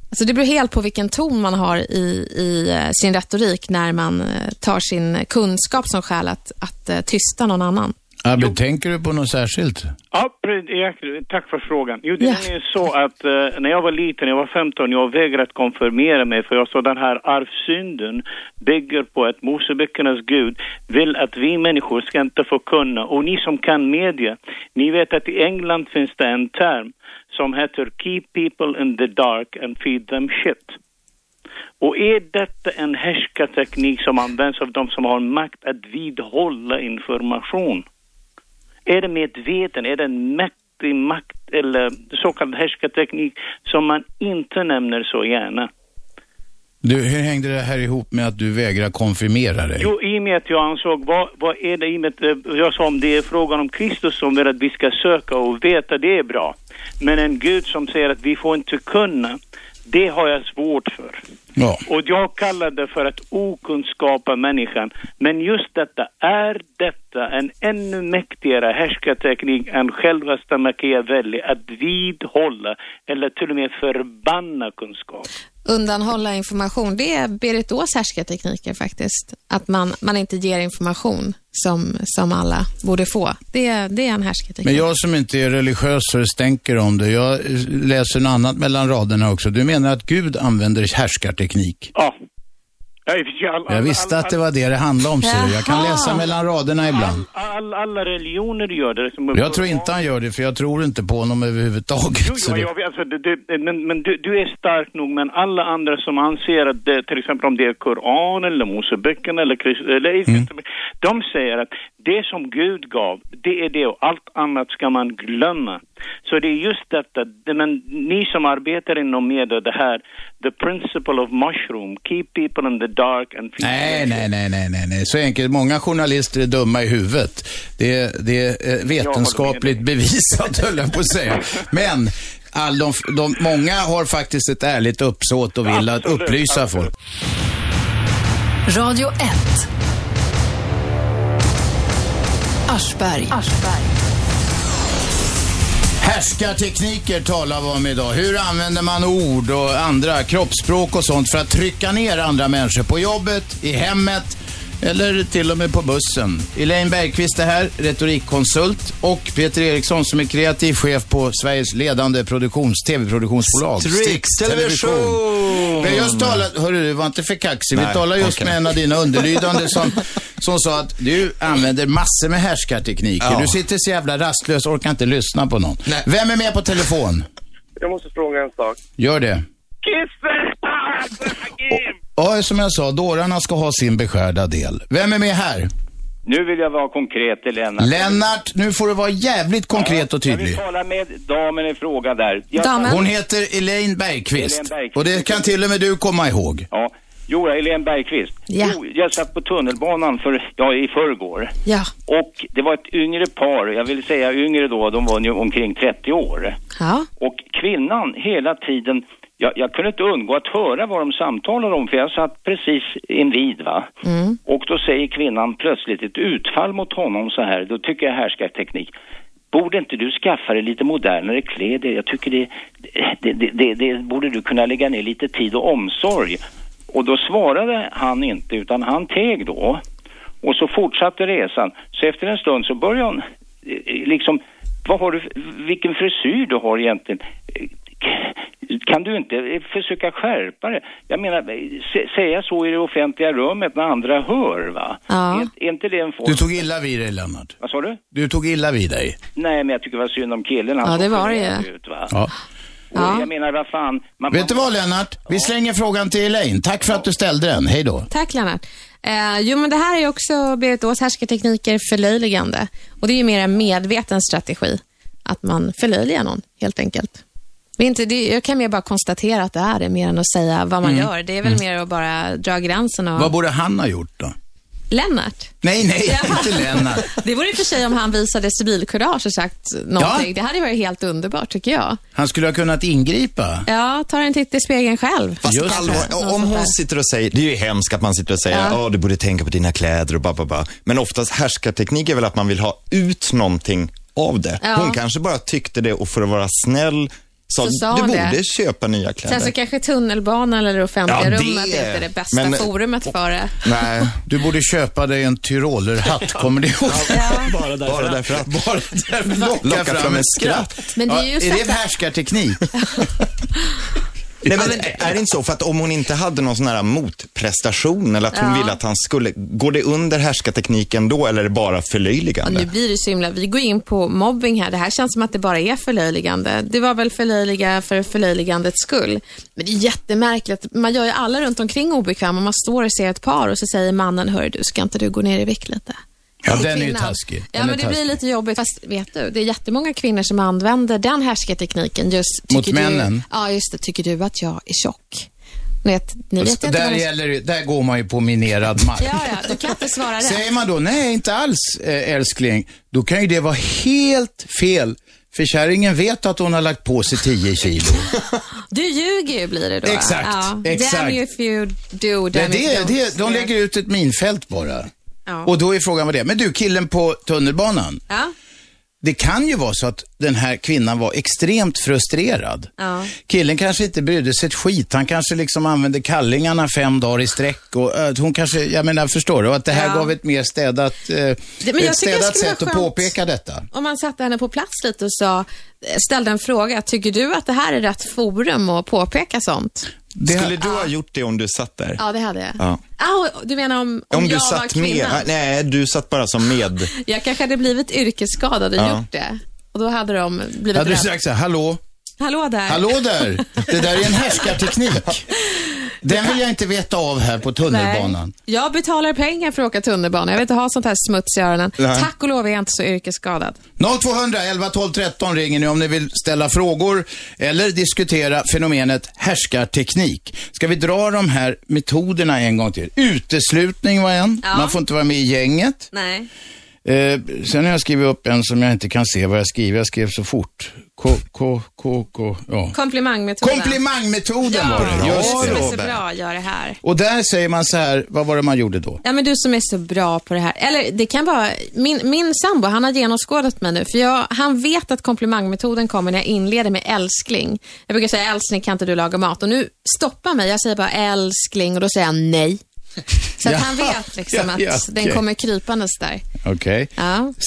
[SPEAKER 4] Alltså det beror helt på vilken ton man har i, i eh, sin retorik när man eh, tar sin kunskap som skäl att, att eh, tysta någon annan.
[SPEAKER 2] Abed, tänker du på något särskilt?
[SPEAKER 12] Ja, pre- jag- tack för frågan. Jo, det är så att eh, när jag var liten, jag var 15, jag vägrade att konfirmera mig för jag sa den här arvsynden bygger på att Moseböckernas Gud vill att vi människor ska inte få kunna. Och ni som kan media, ni vet att i England finns det en term som heter Keep people in the dark and feed them shit. Och är detta en härskarteknik som används av de som har makt att vidhålla information? Är det medveten? Är det en mäktig makt eller så kallad härskarteknik som man inte nämner så gärna?
[SPEAKER 2] Du, hur hängde det här ihop med att du vägrar konfirmera dig?
[SPEAKER 12] Jo, i och med att jag ansåg, vad, vad är det i och med att eh, jag sa om det är frågan om Kristus som vill att vi ska söka och veta, det är bra. Men en Gud som säger att vi får inte kunna, det har jag svårt för.
[SPEAKER 2] Ja.
[SPEAKER 12] Och jag kallar det för att okunskapa människan. Men just detta, är detta en ännu mäktigare härskarteknik än självaste Machiavelli? Att vidhålla eller till och med förbanna kunskap?
[SPEAKER 4] Undanhålla information, det är Berit Ås härskartekniker faktiskt. Att man, man inte ger information som, som alla borde få. Det, är- det är en härskarteknik.
[SPEAKER 2] Men jag som inte är religiös så stänker om det. Jag eh, läser något annat mellan raderna också. Du menar att Gud använder härskarteknik?
[SPEAKER 12] Ja. Ja, i och för sig, all-
[SPEAKER 2] Jag
[SPEAKER 12] all-
[SPEAKER 2] visste
[SPEAKER 12] Alltså, all-
[SPEAKER 2] att det var det det handlade om, ser du. Jag kan
[SPEAKER 12] Jaha.
[SPEAKER 2] läsa mellan raderna ibland.
[SPEAKER 12] All, alla religioner gör det. Som
[SPEAKER 2] Jag tror inte han gör det, för jag tror inte på honom överhuvudtaget.
[SPEAKER 12] Jo,
[SPEAKER 2] så
[SPEAKER 12] jo,
[SPEAKER 2] det-
[SPEAKER 12] jag vet, alltså, det, det, men, men du, du är stark nog, men alla andra som anser att det, till exempel om det är Koran eller Moseböckerna eller, Krist, eller de säger att det som Gud gav, det är det och allt annat ska man glömma. Så det är just detta, det- men ni som arbetar inom media, det här, the principle of mushroom, keep people in the dark and
[SPEAKER 2] Nej, nej, nej, nej, nej, nej, så enkelt. Många journalister är dumma i huvudet. Det, är- det är eh, vetenskapligt bevisat, höll jag på att säga. Men all de, de, många har faktiskt ett ärligt uppsåt och vill att upplysa folk.
[SPEAKER 5] Radio 1. Aschberg. Aschberg.
[SPEAKER 2] Härskartekniker talar vi om idag. Hur använder man ord och andra kroppsspråk och sånt för att trycka ner andra människor på jobbet, i hemmet eller till och med på bussen. Elaine Bergqvist är här, retorikkonsult och Peter Eriksson som är kreativ chef på Sveriges ledande produktions, tv-produktionsbolag
[SPEAKER 3] Strix Television.
[SPEAKER 2] Vi har just talat, hörru du var inte för kaxig, vi
[SPEAKER 3] Nej,
[SPEAKER 2] talade just
[SPEAKER 3] okej.
[SPEAKER 2] med en av dina underlydande som, som sa att du använder massor med härskartekniker.
[SPEAKER 13] Ja.
[SPEAKER 2] Du sitter så jävla rastlös, orkar inte lyssna på någon. Vem är med på telefon?
[SPEAKER 13] Jag måste fråga en sak.
[SPEAKER 2] Gör det. Ja, som jag sa, dårarna ska ha sin beskärda del. Vem är med här?
[SPEAKER 8] Nu vill jag vara konkret till Lennart.
[SPEAKER 2] Lennart, nu får du vara jävligt konkret och
[SPEAKER 8] Jag vill
[SPEAKER 2] tydlig.
[SPEAKER 8] tala med damen i fråga där. Jag-
[SPEAKER 2] Hon heter Elaine Bergqvist.
[SPEAKER 8] Elaine Bergqvist.
[SPEAKER 2] Och det kan till och med du komma ihåg.
[SPEAKER 8] Ja. Jo, Helene Bergqvist.
[SPEAKER 2] Ja.
[SPEAKER 8] Jo, jag satt på tunnelbanan för, ja, i förrgår.
[SPEAKER 4] Ja.
[SPEAKER 8] Och det var ett yngre par, jag vill säga yngre då, de var nu omkring 30 år.
[SPEAKER 4] Ja.
[SPEAKER 8] Och kvinnan hela tiden, jag, jag kunde inte undgå att höra vad de samtalade om för jag satt precis invid va.
[SPEAKER 4] Mm.
[SPEAKER 8] Och då säger kvinnan plötsligt ett utfall mot honom så här, då tycker jag härskar teknik. Borde inte du skaffa dig lite modernare kläder? Jag tycker det, det, det, det, det borde du kunna lägga ner lite tid och omsorg. Och då svarade han inte utan han teg då. Och så fortsatte resan. Så efter en stund så började hon eh, eh, liksom, vad har du, vilken frisyr du har egentligen? Eh, Kan du inte eh, försöka skärpa det? Jag menar, eh, sä- säga så i det offentliga rummet när andra hör va?
[SPEAKER 2] Ja.
[SPEAKER 8] Är inte det en form?
[SPEAKER 2] Du tog illa vid dig, Lennart.
[SPEAKER 8] Vad sa du?
[SPEAKER 2] Du tog illa vid dig.
[SPEAKER 8] Nej, men jag tycker det var synd om killen. Han
[SPEAKER 2] Ja, det
[SPEAKER 8] såg
[SPEAKER 2] var det
[SPEAKER 8] generad
[SPEAKER 2] ju.
[SPEAKER 8] Ut, va?
[SPEAKER 2] Ja.
[SPEAKER 8] Och jag menar, vad fan. Man,
[SPEAKER 2] Vet du vad, Lennart? Vi slänger frågan till Elaine. Tack för att du ställde den. Hej då.
[SPEAKER 4] Tack Lennart. Eh, jo, men det här är också Berit Ås härskartekniker förlöjligande. Och det är ju mer en medveten strategi. Att man förlöjligar någon, helt enkelt. Det är inte, det, jag kan mer bara konstatera att det är det, mer än att säga vad man
[SPEAKER 2] Mm.
[SPEAKER 4] gör. Det är väl
[SPEAKER 2] Mm.
[SPEAKER 4] mer att bara dra gränsen och...
[SPEAKER 2] Vad borde han ha gjort då?
[SPEAKER 4] Lennart?
[SPEAKER 2] Nej, nej, inte Lennart.
[SPEAKER 4] Det vore i och för sig om han visade civilkurage och sagt någonting. Det hade varit helt underbart, tycker jag.
[SPEAKER 2] Han skulle ha kunnat ingripa.
[SPEAKER 4] Ja, ta en titt i spegeln själv.
[SPEAKER 3] Fast
[SPEAKER 4] Kanske.
[SPEAKER 3] allvar,
[SPEAKER 4] Något
[SPEAKER 3] om
[SPEAKER 4] sånt där.
[SPEAKER 3] hon sitter och säger, det är ju hemskt att man sitter och säger,
[SPEAKER 4] Ja.
[SPEAKER 3] ja du borde tänka på dina kläder och ba, ba, ba. Men oftast härskarteknik är väl att man vill ha ut någonting av det.
[SPEAKER 4] Ja.
[SPEAKER 3] Hon kanske bara tyckte det och för att vara snäll sa,
[SPEAKER 4] Så sa
[SPEAKER 3] du
[SPEAKER 4] hon
[SPEAKER 3] borde
[SPEAKER 4] det."
[SPEAKER 3] köpa
[SPEAKER 4] Sen
[SPEAKER 3] nya
[SPEAKER 4] så
[SPEAKER 3] kläder.
[SPEAKER 4] kanske tunnelbanan eller det offentliga
[SPEAKER 3] Ja, det-
[SPEAKER 4] rummet inte är det bästa
[SPEAKER 3] Men-
[SPEAKER 4] forumet för det.
[SPEAKER 3] Nej.
[SPEAKER 2] Du borde köpa dig en tyrolerhatt, kommer du ihåg?
[SPEAKER 3] Bara därför, bara därför att.
[SPEAKER 2] Bara därför locka,
[SPEAKER 3] Locka
[SPEAKER 2] fram,
[SPEAKER 3] fram
[SPEAKER 2] ett
[SPEAKER 3] ett
[SPEAKER 2] skratt.
[SPEAKER 4] Men det är ju
[SPEAKER 2] ja,
[SPEAKER 4] så
[SPEAKER 2] är
[SPEAKER 4] att-
[SPEAKER 2] det härskarteknik?
[SPEAKER 3] Nej, men är det inte så? För att om hon inte hade någon sån här motprestation eller att hon
[SPEAKER 4] Ja.
[SPEAKER 3] ville att han skulle, går det under härskartekniken då eller är det bara
[SPEAKER 4] Ja, nu
[SPEAKER 3] förlöjligande?
[SPEAKER 4] blir det så himla... Vi går in på mobbing här. Det här känns som att det bara är förlöjligande. Det var väl förlöjliga för förlöjligandets skull. Men det är jättemärkligt. Man gör ju alla runt omkring obekväma. Man står och ser ett par och så säger mannen, hör du, ska inte du gå ner i vikt lite?
[SPEAKER 2] Ja, den är ju
[SPEAKER 4] Kvinnan.
[SPEAKER 2] taskig. Den
[SPEAKER 4] Ja,
[SPEAKER 2] är
[SPEAKER 4] men det
[SPEAKER 2] taskig.
[SPEAKER 4] blir lite jobbigt. Fast vet du, det är jättemånga kvinnor som använder den härskartekniken just...
[SPEAKER 2] Mot
[SPEAKER 4] tycker
[SPEAKER 2] männen?
[SPEAKER 4] Du, ja, just det. Tycker du att jag är tjock? Ni vet, ni vet inte vad
[SPEAKER 2] där,
[SPEAKER 4] man-
[SPEAKER 2] gäller, det- där går man ju på minerad mark.
[SPEAKER 4] Ja, ja, du kan inte svara rätt.
[SPEAKER 2] Säger man då, nej inte alls eh, älskling, då kan ju det vara helt fel. För kärringen vet att hon har lagt på sig 10 kilo.
[SPEAKER 4] Du ljuger ju blir det då.
[SPEAKER 2] Exakt,
[SPEAKER 4] ja. Damn
[SPEAKER 2] exakt.
[SPEAKER 4] you if you do,
[SPEAKER 2] Det,
[SPEAKER 4] damn if you
[SPEAKER 2] det,
[SPEAKER 4] don't.
[SPEAKER 2] det, de lägger ut ett minfält bara.
[SPEAKER 4] Ja.
[SPEAKER 2] Och då är frågan vad det är. Men du, killen på tunnelbanan.
[SPEAKER 4] Ja.
[SPEAKER 2] Det kan ju vara så att den här kvinnan var extremt frustrerad.
[SPEAKER 4] Ja.
[SPEAKER 2] Killen kanske inte brydde sig ett skit. Han kanske liksom använde kallingarna fem dagar i sträck. Och, eh, hon kanske, jag menar, förstår du? Och att det här
[SPEAKER 4] Ja.
[SPEAKER 2] gav ett mer städat, eh,
[SPEAKER 4] tycker det
[SPEAKER 2] ett städat
[SPEAKER 4] skulle
[SPEAKER 2] sätt
[SPEAKER 4] vara
[SPEAKER 2] att
[SPEAKER 4] skönt.
[SPEAKER 2] påpeka detta.
[SPEAKER 4] Om man satte henne på plats lite och sa, ställde en fråga, tycker du att det här är rätt forum att påpeka sånt?
[SPEAKER 3] Skulle du ha gjort det om du satt där?
[SPEAKER 4] Ja, det hade jag.
[SPEAKER 3] Ja.
[SPEAKER 4] Ah, du menar om, om,
[SPEAKER 3] Om, du
[SPEAKER 4] jag var
[SPEAKER 3] satt med?
[SPEAKER 4] kvinnan?
[SPEAKER 3] Ah, Nej, du satt bara som med.
[SPEAKER 4] Jag kanske hade blivit yrkesskadad och
[SPEAKER 3] Ja.
[SPEAKER 4] gjort det. Och då hade de blivit
[SPEAKER 2] Hade du
[SPEAKER 4] rädda.
[SPEAKER 2] sagt så här, hallå,
[SPEAKER 4] Hallå där.
[SPEAKER 2] hallå där, det där är en härskarteknik. Den vill jag inte veta av här på tunnelbanan.
[SPEAKER 4] Nej, jag betalar pengar för att åka tunnelbana. Jag vill inte ha sånt här smuts i öronen.
[SPEAKER 2] Nej.
[SPEAKER 4] Tack och lov är jag inte så yrkesskadad.
[SPEAKER 2] 0200 11 12 13 ringer ni om ni vill ställa frågor eller diskutera fenomenet härskarteknik. Ska vi dra de här metoderna en gång till? Uteslutning var en.
[SPEAKER 4] Ja.
[SPEAKER 2] Man får inte vara med i gänget.
[SPEAKER 4] Nej.
[SPEAKER 2] Eh, sen har jag skrivit upp en som jag inte kan se vad jag skriver. Jag skrev så fort. K, K, K, K, ja.
[SPEAKER 4] Komplimangmetoden.
[SPEAKER 2] Komplimangmetoden
[SPEAKER 4] ja,
[SPEAKER 2] var det.
[SPEAKER 4] Just
[SPEAKER 2] Just
[SPEAKER 4] du som
[SPEAKER 2] det.
[SPEAKER 4] är så bra gör det här.
[SPEAKER 2] Och där säger man så här, vad var det man gjorde då?
[SPEAKER 4] Ja, men du som är så bra på det här. Eller det kan vara, min, min sambo, han har genomskådat mig nu. För jag, han vet att komplimangmetoden kommer när jag inleder med älskling. Jag brukar säga älskling, kan inte du laga mat? Och nu stoppar mig, jag säger bara älskling och då säger han nej. Så att han
[SPEAKER 2] Jaha.
[SPEAKER 4] vet liksom
[SPEAKER 2] Ja,
[SPEAKER 4] att
[SPEAKER 2] ja,
[SPEAKER 4] den
[SPEAKER 2] okej.
[SPEAKER 4] kommer krypandes där.
[SPEAKER 2] Okej.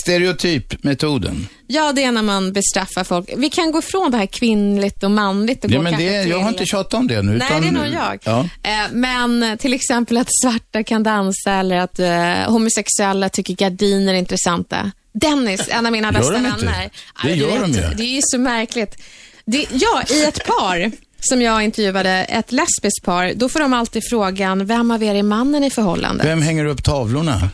[SPEAKER 2] Stereotypmetoden.
[SPEAKER 4] Ja, det är när man bestraffar folk. Vi kan gå ifrån det här kvinnligt och manligt och
[SPEAKER 2] Ja,
[SPEAKER 4] gå
[SPEAKER 2] men
[SPEAKER 4] kanske
[SPEAKER 2] det,
[SPEAKER 4] till...
[SPEAKER 2] jag har inte tjatat om det nu.
[SPEAKER 4] Nej,
[SPEAKER 2] utan,
[SPEAKER 4] det är nog jag.
[SPEAKER 2] Ja.
[SPEAKER 4] Eh, Men eh, till exempel att svarta kan dansa eller att eh, homosexuella tycker gardiner är intressanta. Dennis, en av mina
[SPEAKER 2] Gör
[SPEAKER 4] bästa
[SPEAKER 2] de
[SPEAKER 4] vänner.
[SPEAKER 2] inte?
[SPEAKER 4] Aj,
[SPEAKER 2] Det
[SPEAKER 4] du
[SPEAKER 2] gör de
[SPEAKER 4] vet,
[SPEAKER 2] ju.
[SPEAKER 4] Det är ju så märkligt. Det, ja, i ett par som jag intervjuade, ett lesbiskt par, då får de alltid frågan, vem av er är mannen i förhållandet?
[SPEAKER 2] Vem hänger upp tavlorna?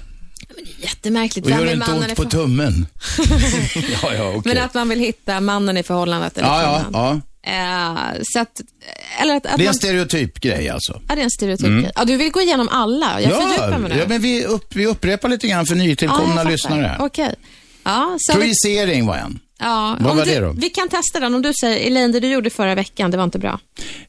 [SPEAKER 4] Jättemärkligt.
[SPEAKER 2] Och
[SPEAKER 4] Vem
[SPEAKER 2] gör
[SPEAKER 4] är
[SPEAKER 2] inte
[SPEAKER 4] mannen
[SPEAKER 2] ont
[SPEAKER 4] i
[SPEAKER 2] på
[SPEAKER 4] förhållandet?
[SPEAKER 2] tummen? ja, ja, okej.
[SPEAKER 4] Men att man vill hitta mannen i förhållandet. Eller
[SPEAKER 2] Ja, ja,
[SPEAKER 4] kvinnan.
[SPEAKER 2] ja.
[SPEAKER 4] Eh, så att, eller att, att
[SPEAKER 2] Det är en
[SPEAKER 4] man,
[SPEAKER 2] stereotyp grej alltså.
[SPEAKER 4] ja, det är en stereotyp.
[SPEAKER 2] Mm.
[SPEAKER 4] Ja, du vill gå igenom alla. Jag fördjupar mig nu.
[SPEAKER 2] ja men vi, upp, vi upprepar lite grann för
[SPEAKER 4] Ja, jag
[SPEAKER 2] nytillkomna
[SPEAKER 4] fattar.
[SPEAKER 2] lyssnare. här.
[SPEAKER 4] Okej. Ja, sen
[SPEAKER 2] Projicering var en.
[SPEAKER 4] ja,
[SPEAKER 2] Vad
[SPEAKER 4] om
[SPEAKER 2] var
[SPEAKER 4] du,
[SPEAKER 2] det då?
[SPEAKER 4] Vi kan testa den. Om du säger, Elaine, det du gjorde förra veckan, det var inte bra.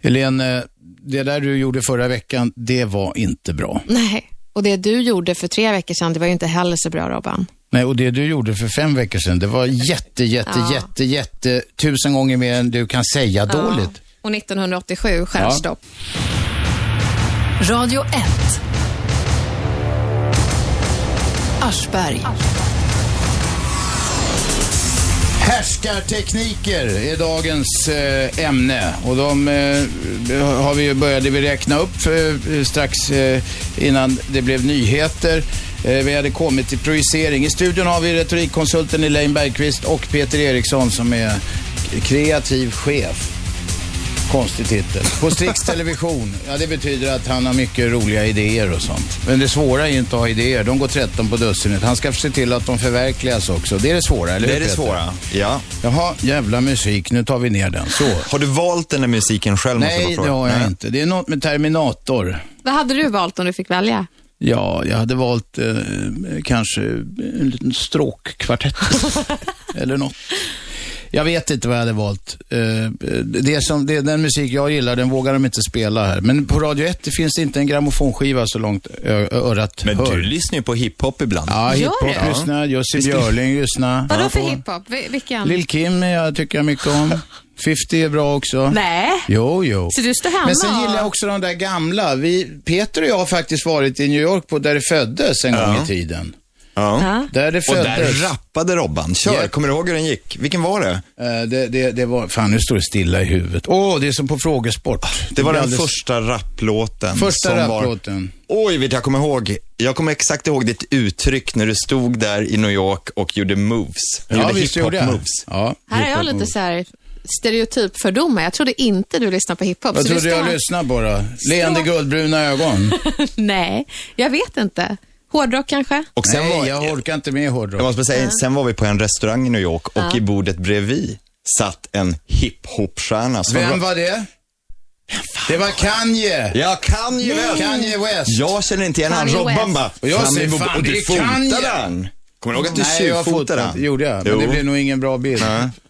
[SPEAKER 2] Helene, eh, det där du gjorde förra veckan, det var inte bra.
[SPEAKER 4] Nej, och det du gjorde för tre veckor sedan, det var ju inte heller så bra, Robban.
[SPEAKER 2] Nej, och det du gjorde för fem veckor sedan, det var jätte, jätte,
[SPEAKER 4] Ja.
[SPEAKER 2] jätte, jätte, tusen gånger mer än du kan säga dåligt.
[SPEAKER 4] Och 1987, skärstopp.
[SPEAKER 5] Radio 1. Aschberg.
[SPEAKER 2] Härskartekniker är dagens eh, ämne och de eh, har vi ju började vi räkna upp eh, strax eh, innan det blev nyheter. Eh, vi hade kommit till projicering. I studion har vi retorikkonsulten Elaine Bergqvist och Peter Eriksson som är kreativ chef. Konstig titel. På Strix Television, ja det betyder att han har mycket roliga idéer och sånt. Men det svåra är ju inte att ha idéer, de går 13 på dussinet. Han ska se till att de förverkligas också. Det är det svåra, eller
[SPEAKER 3] Det
[SPEAKER 2] hur
[SPEAKER 3] är det
[SPEAKER 2] Peter?
[SPEAKER 3] svåra, ja.
[SPEAKER 2] Jaha, jävla musik. Nu tar vi ner den. Så.
[SPEAKER 3] Har du valt den där musiken själv? måste
[SPEAKER 2] Nej,
[SPEAKER 3] jag bara
[SPEAKER 2] det
[SPEAKER 3] fråga.
[SPEAKER 2] har jag
[SPEAKER 3] Nej.
[SPEAKER 2] inte. Det är något med Terminator.
[SPEAKER 4] Vad hade du valt om du fick välja?
[SPEAKER 2] Ja, jag hade valt eh, kanske en liten stråkkvartett eller något. Jag vet inte vad jag hade valt. Eh, det som, det, den musik jag gillar, den vågar de inte spela här. Men på Radio 1 det finns inte en grammofonskiva så långt ö- örat
[SPEAKER 3] Men
[SPEAKER 2] hör.
[SPEAKER 3] du lyssnar ju på hiphop ibland.
[SPEAKER 2] Ja, hiphop lyssnar, Jussi Björling lyssnar.
[SPEAKER 4] Vadå
[SPEAKER 2] Ja,
[SPEAKER 4] för
[SPEAKER 2] på-
[SPEAKER 4] hiphop? Vi- Vilken?
[SPEAKER 2] Lil Kim jag tycker jag mycket om. 50 är bra också.
[SPEAKER 4] Nej.
[SPEAKER 2] Jo, jo.
[SPEAKER 4] Så du står hemma
[SPEAKER 2] Men sen gillar jag
[SPEAKER 4] och-
[SPEAKER 2] också de där gamla. Vi, Peter och jag har faktiskt varit i New York på där det föddes en gång i tiden.
[SPEAKER 3] Ja.
[SPEAKER 2] Där det
[SPEAKER 3] Och där
[SPEAKER 2] föddes.
[SPEAKER 3] rappade Robban. Kör,
[SPEAKER 2] Ja.
[SPEAKER 3] kommer du ihåg hur den gick? Vilken var det?
[SPEAKER 2] Eh, det, det, det var, fan nu står det stilla i huvudet. Åh, det är som på frågesport.
[SPEAKER 3] Ah, Det var
[SPEAKER 2] blir
[SPEAKER 3] den
[SPEAKER 2] alldeles-
[SPEAKER 3] första rapplåten.
[SPEAKER 2] Första
[SPEAKER 3] som var-
[SPEAKER 2] rapplåten.
[SPEAKER 3] Oj, vet jag kommer ihåg. Jag kommer exakt ihåg ditt uttryck när du stod där i New York och gjorde moves.
[SPEAKER 2] Ja, visst gjorde jag.
[SPEAKER 3] moves.
[SPEAKER 2] Ja,
[SPEAKER 4] Här är jag lite så här stereotypfördomar. Jag trodde inte du lyssnade på hiphop.
[SPEAKER 2] Jag
[SPEAKER 4] så du
[SPEAKER 2] trodde jag
[SPEAKER 4] står-
[SPEAKER 2] lyssnade bara. Leende guldbruna ögon.
[SPEAKER 4] Nej, jag vet inte. Hårdrock kanske?
[SPEAKER 3] Och sen
[SPEAKER 2] Nej,
[SPEAKER 3] var-
[SPEAKER 2] jag orkar inte med hårdrock.
[SPEAKER 3] Jag måste bara säga, sen var vi på en restaurang i New York och
[SPEAKER 4] Ja.
[SPEAKER 3] i bordet bredvid satt en hiphopstjärna. som-
[SPEAKER 2] Vem var det? Det var Kanye. Mm.
[SPEAKER 3] Ja, Kanye West.
[SPEAKER 2] Kanye West.
[SPEAKER 3] Jag känner inte igen han.
[SPEAKER 2] Kanye
[SPEAKER 3] Robban
[SPEAKER 2] West.
[SPEAKER 3] bara,
[SPEAKER 2] Och jag
[SPEAKER 3] fram
[SPEAKER 2] säger,
[SPEAKER 3] i bo-
[SPEAKER 2] fan,
[SPEAKER 3] och
[SPEAKER 2] det
[SPEAKER 3] du
[SPEAKER 2] är Kanye.
[SPEAKER 3] fotade han. Kommer du ihåg att du
[SPEAKER 2] Nej, jag
[SPEAKER 3] tjuvfotade
[SPEAKER 2] fotade.
[SPEAKER 3] han?
[SPEAKER 2] Det gjorde jag. Men
[SPEAKER 3] Jo.
[SPEAKER 2] det blev nog ingen bra bild.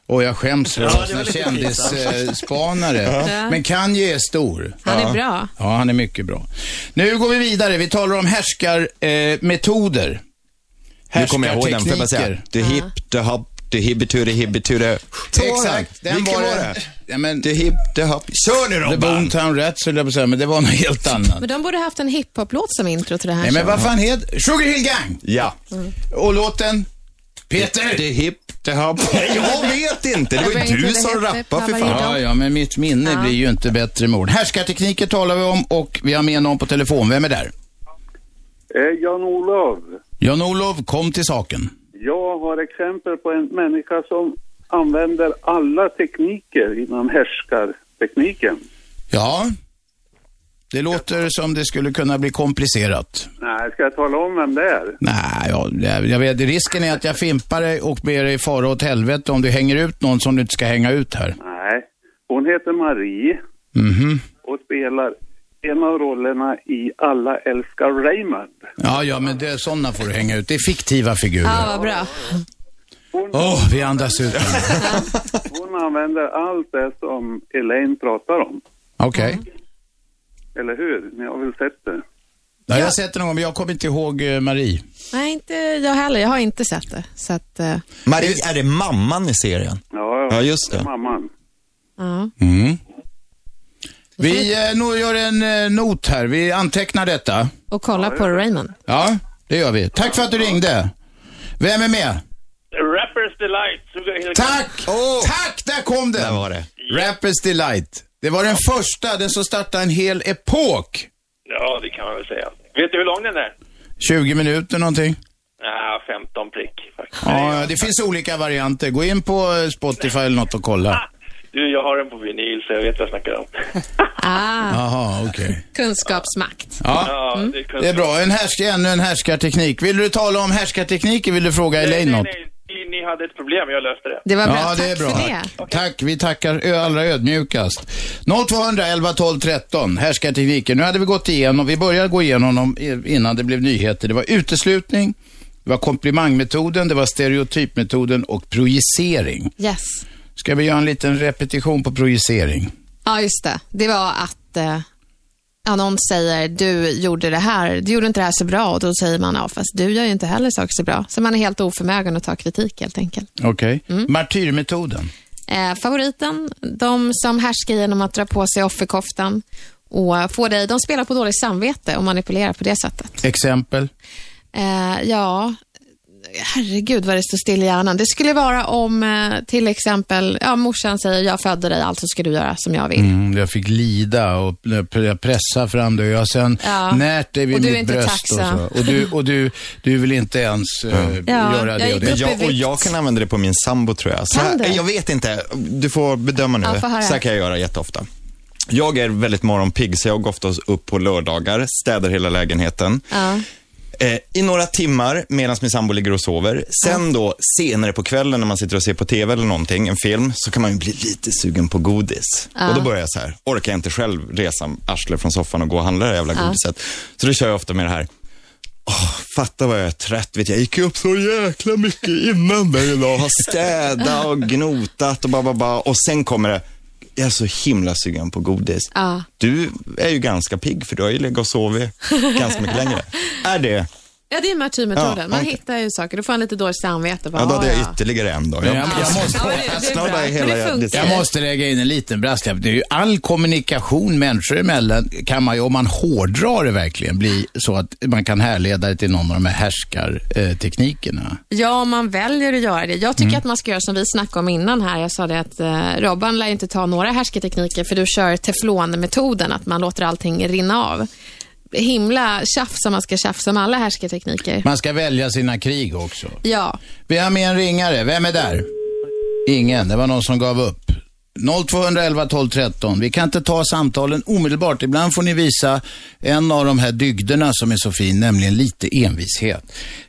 [SPEAKER 2] Och jag skäms för
[SPEAKER 3] Ja,
[SPEAKER 2] att
[SPEAKER 3] det
[SPEAKER 2] vara
[SPEAKER 3] var
[SPEAKER 2] sån
[SPEAKER 3] lite pinsamt.
[SPEAKER 2] kändisspanare.
[SPEAKER 4] Ja.
[SPEAKER 2] Men Kanye är stor.
[SPEAKER 4] Han är Ja. bra.
[SPEAKER 2] Ja, han är mycket bra. Nu går vi vidare. Vi talar om härskarmetoder. Eh, metoder.
[SPEAKER 3] Nu kommer jag ihåg den, för jag bara säga,
[SPEAKER 2] Härskartekniker.
[SPEAKER 3] du hipp, du hopp, du hibbiture, hibbiture.
[SPEAKER 2] Exakt, den
[SPEAKER 3] Vilken
[SPEAKER 2] var
[SPEAKER 3] var
[SPEAKER 2] det.
[SPEAKER 3] det?
[SPEAKER 2] Ja, men,
[SPEAKER 3] Du hipp, du hopp. Kör nu
[SPEAKER 2] The
[SPEAKER 3] Robban!
[SPEAKER 2] Boomtown Rats höll jag på att säga, men det var något helt annat.
[SPEAKER 4] Men de borde haft en hiphop-låt som intro till det här.
[SPEAKER 2] Nej, men
[SPEAKER 4] känner jag.
[SPEAKER 2] vad fan heter... Sugar Hill Gang!
[SPEAKER 3] Ja.
[SPEAKER 2] Och låten? Peter!
[SPEAKER 3] Det är hipp, det hopp. Jag vet inte, det var
[SPEAKER 4] Bring
[SPEAKER 3] ju
[SPEAKER 4] it
[SPEAKER 3] du
[SPEAKER 4] to the
[SPEAKER 3] som
[SPEAKER 4] hip,
[SPEAKER 3] rappade för
[SPEAKER 4] hip, hop,
[SPEAKER 3] fan.
[SPEAKER 2] Ja, ja, men mitt minne
[SPEAKER 4] Ja.
[SPEAKER 2] blir ju inte bättre med ord. Härskartekniker talar vi om och vi har med någon på telefon. Vem är där?
[SPEAKER 13] Eh, Jan-Olof,
[SPEAKER 2] Jan-Olof, kom till saken.
[SPEAKER 13] jag har exempel på en människa som använder alla tekniker inom härskartekniken.
[SPEAKER 2] Ja, det låter som det skulle kunna bli komplicerat.
[SPEAKER 13] Nej, ska jag tala om vem det är?
[SPEAKER 2] Nej, ja, jag, jag vet, risken är att jag fimpar dig och ber dig fara åt helvete om du hänger ut någon som du inte ska hänga ut här.
[SPEAKER 13] Nej, hon heter Marie
[SPEAKER 2] Mhm.
[SPEAKER 13] och spelar en en av rollerna i Alla älskar Raymond.
[SPEAKER 2] Ja, ja, men det, sådana får du hänga ut. Det är fiktiva figurer.
[SPEAKER 4] Ja, Ah, vad bra.
[SPEAKER 2] Åh, vi andas ut.
[SPEAKER 13] Hon använder allt det som Elaine pratar om.
[SPEAKER 2] Okej.
[SPEAKER 13] Eller hur? Ni har väl sett det?
[SPEAKER 2] Ja, jag har sett det någon gång, men jag kommer inte ihåg eh, Marie.
[SPEAKER 4] Nej, inte jag heller. Jag har inte sett det. Så att, eh,
[SPEAKER 3] Marie, är det mamman i serien?
[SPEAKER 13] Ja,
[SPEAKER 3] ja just det.
[SPEAKER 13] Mamman.
[SPEAKER 4] ja.
[SPEAKER 2] Mm. Vi eh, nog gör en eh, not här. Vi antecknar detta.
[SPEAKER 4] Och kolla på Raymond.
[SPEAKER 2] Ja, det gör vi. Tack för att du ringde. Vem är med?
[SPEAKER 14] Rappers Delight. Suga Hill-
[SPEAKER 2] Tack! Tack, där kom den!
[SPEAKER 3] var det.
[SPEAKER 2] Rappers Delight. Det var den första, den som startade en hel epok.
[SPEAKER 14] Ja, det kan man väl säga. Vet du hur lång den är?
[SPEAKER 2] 20 minuter någonting.
[SPEAKER 14] Ja, 15 prick faktiskt.
[SPEAKER 2] Ja, ja, det finns olika varianter. Gå in på eh, Spotify eller något och kolla.
[SPEAKER 14] Du, jag har den på vinyl så jag vet vad jag snackar om.
[SPEAKER 4] Ah,
[SPEAKER 2] Jaha, okej.
[SPEAKER 4] kunskapsmakt.
[SPEAKER 2] Ja.
[SPEAKER 14] Mm.
[SPEAKER 2] Det är bra. En härsk, ännu en härskarteknik. Vill du tala om härskartekniker? Vill du fråga Elaine något?
[SPEAKER 14] Ni, ni hade ett problem, jag löste det.
[SPEAKER 4] Det var bra.
[SPEAKER 2] Ja,
[SPEAKER 4] Tack
[SPEAKER 2] det är bra.
[SPEAKER 4] för det.
[SPEAKER 2] Tack. Tack. Vi tackar ö- allra ödmjukast. 0200 11 12 13. Härskartekniker. Nu hade vi gått igenom, vi började gå igenom dem i- innan det blev nyheter. Det var uteslutning, det var komplimangmetoden, det var stereotypmetoden och projicering.
[SPEAKER 4] Yes.
[SPEAKER 2] Ska vi göra en liten repetition på projicering?
[SPEAKER 4] Ja, just det. Det var att eh, ja, någon säger du gjorde det här, du gjorde inte det här så bra och då säger man ja, fast du gör ju inte heller saker så bra. Så man är helt oförmögen att ta kritik helt enkelt.
[SPEAKER 2] Okej.
[SPEAKER 4] Mm.
[SPEAKER 2] Martyrmetoden.
[SPEAKER 4] Eh, favoriten, de som härskar genom att dra på sig offerkoftan och få dig, de spelar på dåligt samvete och manipulerar på det sättet.
[SPEAKER 2] Exempel.
[SPEAKER 4] Eh, ja, herregud vad det står still i hjärnan. Det skulle vara om eh, till exempel, ja morsan säger jag födde dig, alltså ska du göra som jag vill.
[SPEAKER 2] Mm, jag fick lida och jag pressa fram det och jag sen
[SPEAKER 4] Ja.
[SPEAKER 2] närt dig vid
[SPEAKER 4] Och du är
[SPEAKER 2] mitt
[SPEAKER 4] inte
[SPEAKER 2] bröst och
[SPEAKER 4] tacksam.
[SPEAKER 2] så. Och du, och du, du vill inte ens eh,
[SPEAKER 4] Ja,
[SPEAKER 2] göra
[SPEAKER 4] jag
[SPEAKER 2] det
[SPEAKER 4] gick
[SPEAKER 2] och det.
[SPEAKER 4] upp i
[SPEAKER 3] Jag, och jag kan använda det på min sambo tror jag. Så
[SPEAKER 4] Kan
[SPEAKER 3] här,
[SPEAKER 4] du?
[SPEAKER 3] jag vet inte, du får bedöma nu.
[SPEAKER 4] Ja, få höra.
[SPEAKER 3] så här kan jag göra jätteofta. Jag är väldigt morgonpigg så jag går oftast upp på lördagar, städar hela lägenheten.
[SPEAKER 4] Ja.
[SPEAKER 3] Eh, I några timmar medan min sambo ligger och sover. Sen då senare på kvällen när man sitter och ser på tv eller någonting, en film, så kan man ju bli lite sugen på godis.
[SPEAKER 15] Ja.
[SPEAKER 3] Och då börjar jag så här, orkar jag inte själv resa arslet från soffan och gå och handla det här jävla
[SPEAKER 15] Ja.
[SPEAKER 3] godiset. Så då kör jag ofta med det här, Fatta vad jag är trött. Vet jag. jag gick ju upp så jäkla mycket innan där idag. Har städat och gnotat och bara, bara. Och sen kommer det. Jag är så himla sugen på godis.
[SPEAKER 4] Ja.
[SPEAKER 3] Du är ju ganska pigg för du har ju legat och sovit ganska mycket längre. Är det?
[SPEAKER 4] Ja, det är martyrmetoden.
[SPEAKER 3] Ja,
[SPEAKER 4] Man
[SPEAKER 3] okej.
[SPEAKER 4] hittar ju saker, då får han lite dåligt samvete. Bara,
[SPEAKER 3] Ja, då hade jag
[SPEAKER 4] "Ah,
[SPEAKER 3] ytterligare en dag.
[SPEAKER 2] Men jag- jag måste-
[SPEAKER 4] Ja, men det- det är bra. Men det funkar.
[SPEAKER 2] jag måste lägga in en liten brasklapp. Det är ju all kommunikation människor emellan kan man ju, om man hårdrar det verkligen, bli så att man kan härleda det till någon av de här härskarteknikerna.
[SPEAKER 4] Ja, om man väljer att göra det. Jag tycker
[SPEAKER 2] Mm.
[SPEAKER 4] att man ska göra som vi snackade om innan här. Jag sa det att eh, Robban lär inte ta några härsketekniker för du kör teflonmetoden, att man låter allting rinna av. Himla tjafs om man ska tjafsa om alla härsketekniker.
[SPEAKER 2] Man ska välja sina krig också.
[SPEAKER 4] Ja.
[SPEAKER 2] Vi har med en ringare. Vem är där? Ingen. Det var någon som gav upp. 0211 12 13. Vi kan inte ta samtalen omedelbart. Ibland får ni visa en av de här dygderna som är så fin, nämligen lite envishet.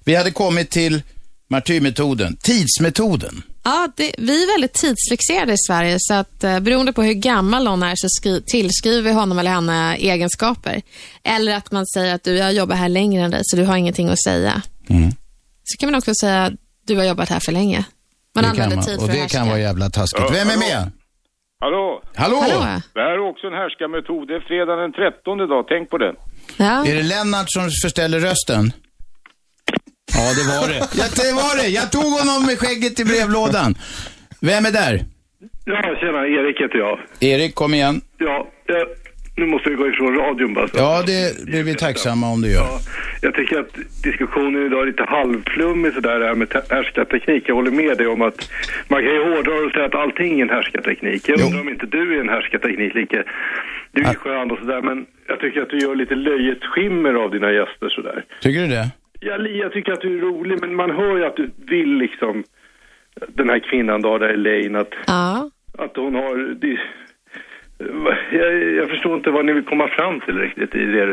[SPEAKER 2] Vi hade kommit till martyrmetoden, tidsmetoden.
[SPEAKER 4] Ja, det, vi är väldigt tidsfixerade i Sverige så att eh, beroende på hur gammal någon är så skri- tillskriver vi honom eller henne egenskaper. Eller att man säger att du, jag jobbar här längre än dig så du har ingenting att säga.
[SPEAKER 2] Mm.
[SPEAKER 4] Så kan man också säga du har jobbat här för länge. Man
[SPEAKER 2] Det
[SPEAKER 4] använder
[SPEAKER 2] kan
[SPEAKER 4] tid
[SPEAKER 2] Och
[SPEAKER 4] för att
[SPEAKER 2] det
[SPEAKER 4] härska.
[SPEAKER 2] kan vara jävla taskigt.
[SPEAKER 16] Ja,
[SPEAKER 2] Vem är
[SPEAKER 16] hallå?
[SPEAKER 2] med?
[SPEAKER 16] Hallå!
[SPEAKER 2] Hallå? Hallå?
[SPEAKER 16] Det här är också en härskarmetod. Det är fredag den 13 idag, tänk på det.
[SPEAKER 2] Är det Lennart som förställer rösten? Ja, det var det. ja, det var det. Jag tog honom med skägget i brevlådan. Vem är där?
[SPEAKER 17] Ja, tjena, Erik heter jag.
[SPEAKER 2] Erik, kom igen.
[SPEAKER 17] Ja, eh, nu måste vi gå ifrån radion bara. så.
[SPEAKER 2] Ja, det blir vi tacksamma om du gör.
[SPEAKER 17] Jag tycker att diskussionen idag är lite halvflummig sådär det här med te- härskarteknik. Jag håller med dig om att man kan ju hårdra och säga att allting är en härskarteknik. Jag undrar om inte du är en härskarteknik, Lika. Du är skön och sådär, men jag tycker att du gör lite löjets skimmer av dina gäster sådär.
[SPEAKER 2] Tycker du det?
[SPEAKER 17] Ja, Li, jag tycker att du är rolig, men man hör ju att du vill liksom den här kvinnan då, där Elaine, att, att hon har... Det, jag, jag förstår inte vad ni vill komma fram till riktigt i det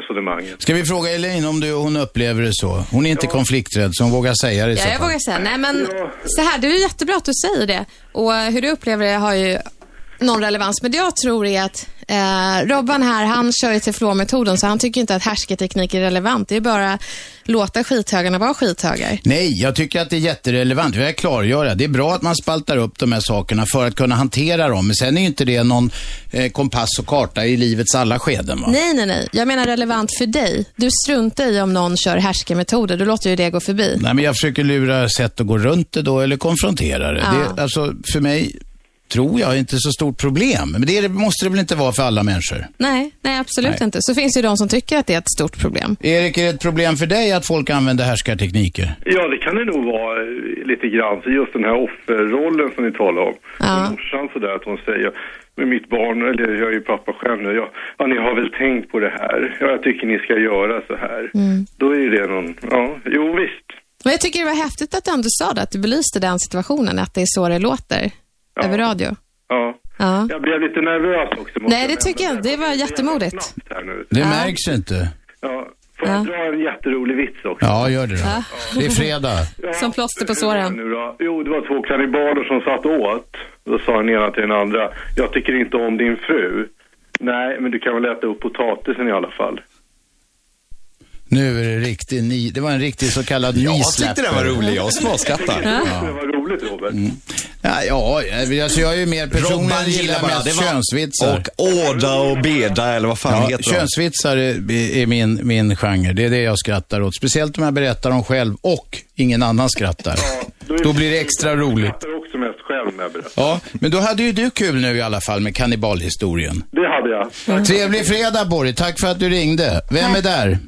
[SPEAKER 17] resonemanget.
[SPEAKER 2] Ska vi fråga Elaine om du, hon upplever det så? Hon är inte konflikträdd, så hon vågar säga det i så
[SPEAKER 4] Ja, jag
[SPEAKER 2] fall.
[SPEAKER 4] vågar säga. Nej, men så här, det är ju jättebra att du säger det. Och eh, hur du upplever det har ju någon relevans. Men det jag tror är att Eh, Robban här, han kör ju teflonmetoden så han tycker inte att härskarteknik är relevant. Det är bara låta skithögarna vara skithögar.
[SPEAKER 2] Nej, jag tycker att det är jätterelevant. Vi har klargöra. Det är bra att man spaltar upp de här sakerna för att kunna hantera dem. Men sen är ju inte det någon eh, kompass och karta i livets alla skeden. Va?
[SPEAKER 4] Nej, nej, nej. Jag menar relevant för dig. Du struntar i om någon kör härskarmetoder. Du låter ju det gå förbi.
[SPEAKER 2] Nej, men jag försöker lura sätt att gå runt det då eller konfrontera det.
[SPEAKER 4] Ja.
[SPEAKER 2] det alltså, för mig tror jag inte så stort problem. Men det är, det måste det väl inte vara för alla människor?
[SPEAKER 4] Nej, nej absolut
[SPEAKER 2] Nej.
[SPEAKER 4] inte. Så finns det ju de som tycker att det är ett stort problem.
[SPEAKER 2] Erik, är det ett problem för dig att folk använder härskartekniker?
[SPEAKER 17] Ja, det kan det nog vara eh, lite grann. Så Just den här offerrollen som ni talar om.
[SPEAKER 4] Ja.
[SPEAKER 17] Morsan sådär att hon säger, med mitt barn, eller jag är ju pappa själv nu, ja, ja, ni har väl tänkt på det här. Ja, jag tycker ni ska göra så här.
[SPEAKER 4] Mm.
[SPEAKER 17] Då är ju det någon, ja, jo visst.
[SPEAKER 4] Men jag tycker det var häftigt att du ändå sa det, att du belyste den situationen, att det är så det låter över radio.
[SPEAKER 17] Ja.
[SPEAKER 4] Ja.
[SPEAKER 17] Jag blev lite nervös också. måste
[SPEAKER 4] Nej, det
[SPEAKER 17] jag
[SPEAKER 4] tycker jag
[SPEAKER 17] nämna.
[SPEAKER 4] inte. Det var jättemodigt.
[SPEAKER 17] Här nu.
[SPEAKER 2] Det märks inte.
[SPEAKER 17] Ja, får jag dra en jätterolig vits också?
[SPEAKER 2] Ja, gör det då.
[SPEAKER 4] Ja.
[SPEAKER 2] Det är fredag.
[SPEAKER 4] Som plåster på såren.
[SPEAKER 17] Nu då? Jo, det var två kannibaler som satt åt. Då sa den ena till den andra, jag tycker inte om din fru. Nej, men du kan väl äta upp potatisen i alla fall.
[SPEAKER 2] Nu är det riktig ni... Det var en riktig så kallad jag
[SPEAKER 3] tyckte den var rolig. Jag småskrattar.
[SPEAKER 17] Det var roligt, Robert.
[SPEAKER 3] Mm.
[SPEAKER 2] Ja, ja, alltså jag är ju mer personligen gillar mest könsvitsar.
[SPEAKER 3] Och åda och beda eller vad fan
[SPEAKER 2] Ja,
[SPEAKER 3] heter de?
[SPEAKER 2] könsvitsar är, är min, min genre. Det är det jag skrattar åt. Speciellt om jag berättar dem själv och ingen annan skrattar. Då blir det extra roligt.
[SPEAKER 17] Jag är också mest själv när jag berättar.
[SPEAKER 2] Ja, men då hade ju du kul nu i alla fall med kannibalhistorien.
[SPEAKER 17] Det hade jag.
[SPEAKER 2] Trevlig fredag Borg, tack för att du ringde. Vem är där?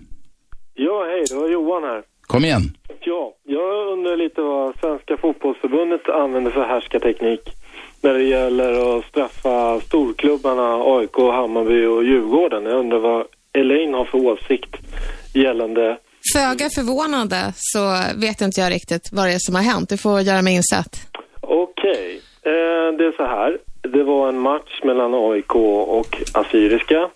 [SPEAKER 15] Ja, hej, det var Johan här.
[SPEAKER 2] Kom igen.
[SPEAKER 15] Ja, jag undrar lite vad Svenska Fotbollsförbundet använder för härskarteknik när det gäller att straffa storklubbarna AIK, Hammarby och Djurgården. Jag undrar vad Elaine har för åsikt gällande...
[SPEAKER 4] Föga förvånande så vet inte jag riktigt vad det är som har hänt. Du får göra mig insatt.
[SPEAKER 15] Okej, eh, det är så här. Det var en match mellan AIK och Assyriska.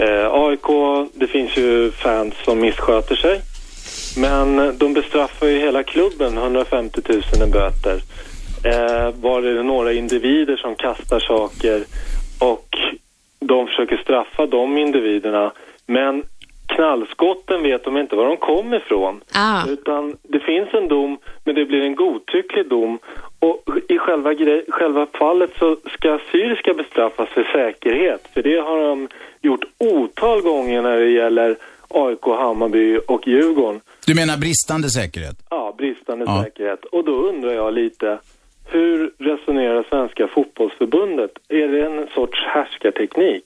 [SPEAKER 15] Eh, AIK, det finns ju fans som missköter sig. Men de bestraffar ju hela klubben, 150 000 i böter. Eh, var det några individer som kastar saker och de försöker straffa de individerna. Men knallskotten vet de inte var de kom ifrån.
[SPEAKER 4] Ah.
[SPEAKER 15] Utan det finns en dom, men det blir en godtycklig dom. Och i själva, gre- själva fallet så ska syriska bestraffas för säkerhet. För det har de gjort otal gånger när det gäller AIK, Hammarby och Djurgården.
[SPEAKER 2] Du menar bristande säkerhet?
[SPEAKER 15] Ja, bristande
[SPEAKER 2] Ja.
[SPEAKER 15] säkerhet. Och då undrar jag lite, hur resonerar Svenska fotbollsförbundet? Är det en sorts härskarteknik?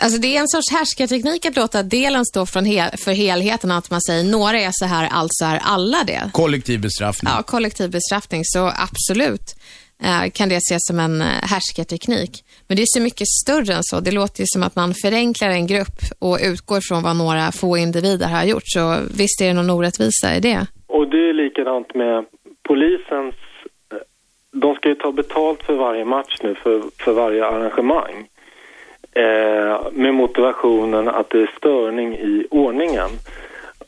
[SPEAKER 4] Alltså det är en sorts härskarteknik att låta delen stå från hel- för helheten, att man säger några är så här, alltså är alla det.
[SPEAKER 2] Kollektiv bestraffning.
[SPEAKER 4] Ja, kollektiv bestraffning, så absolut eh, kan det ses som en eh, härskarteknik. Men det är så mycket större än så. Det låter ju som att man förenklar en grupp och utgår från vad några få individer har gjort. Så visst är det någon orättvisa i det.
[SPEAKER 15] Och det är likadant med polisens... eh, De ska ju ta betalt för varje match nu, för, för varje arrangemang. Eh, med motivationen att det är störning i ordningen.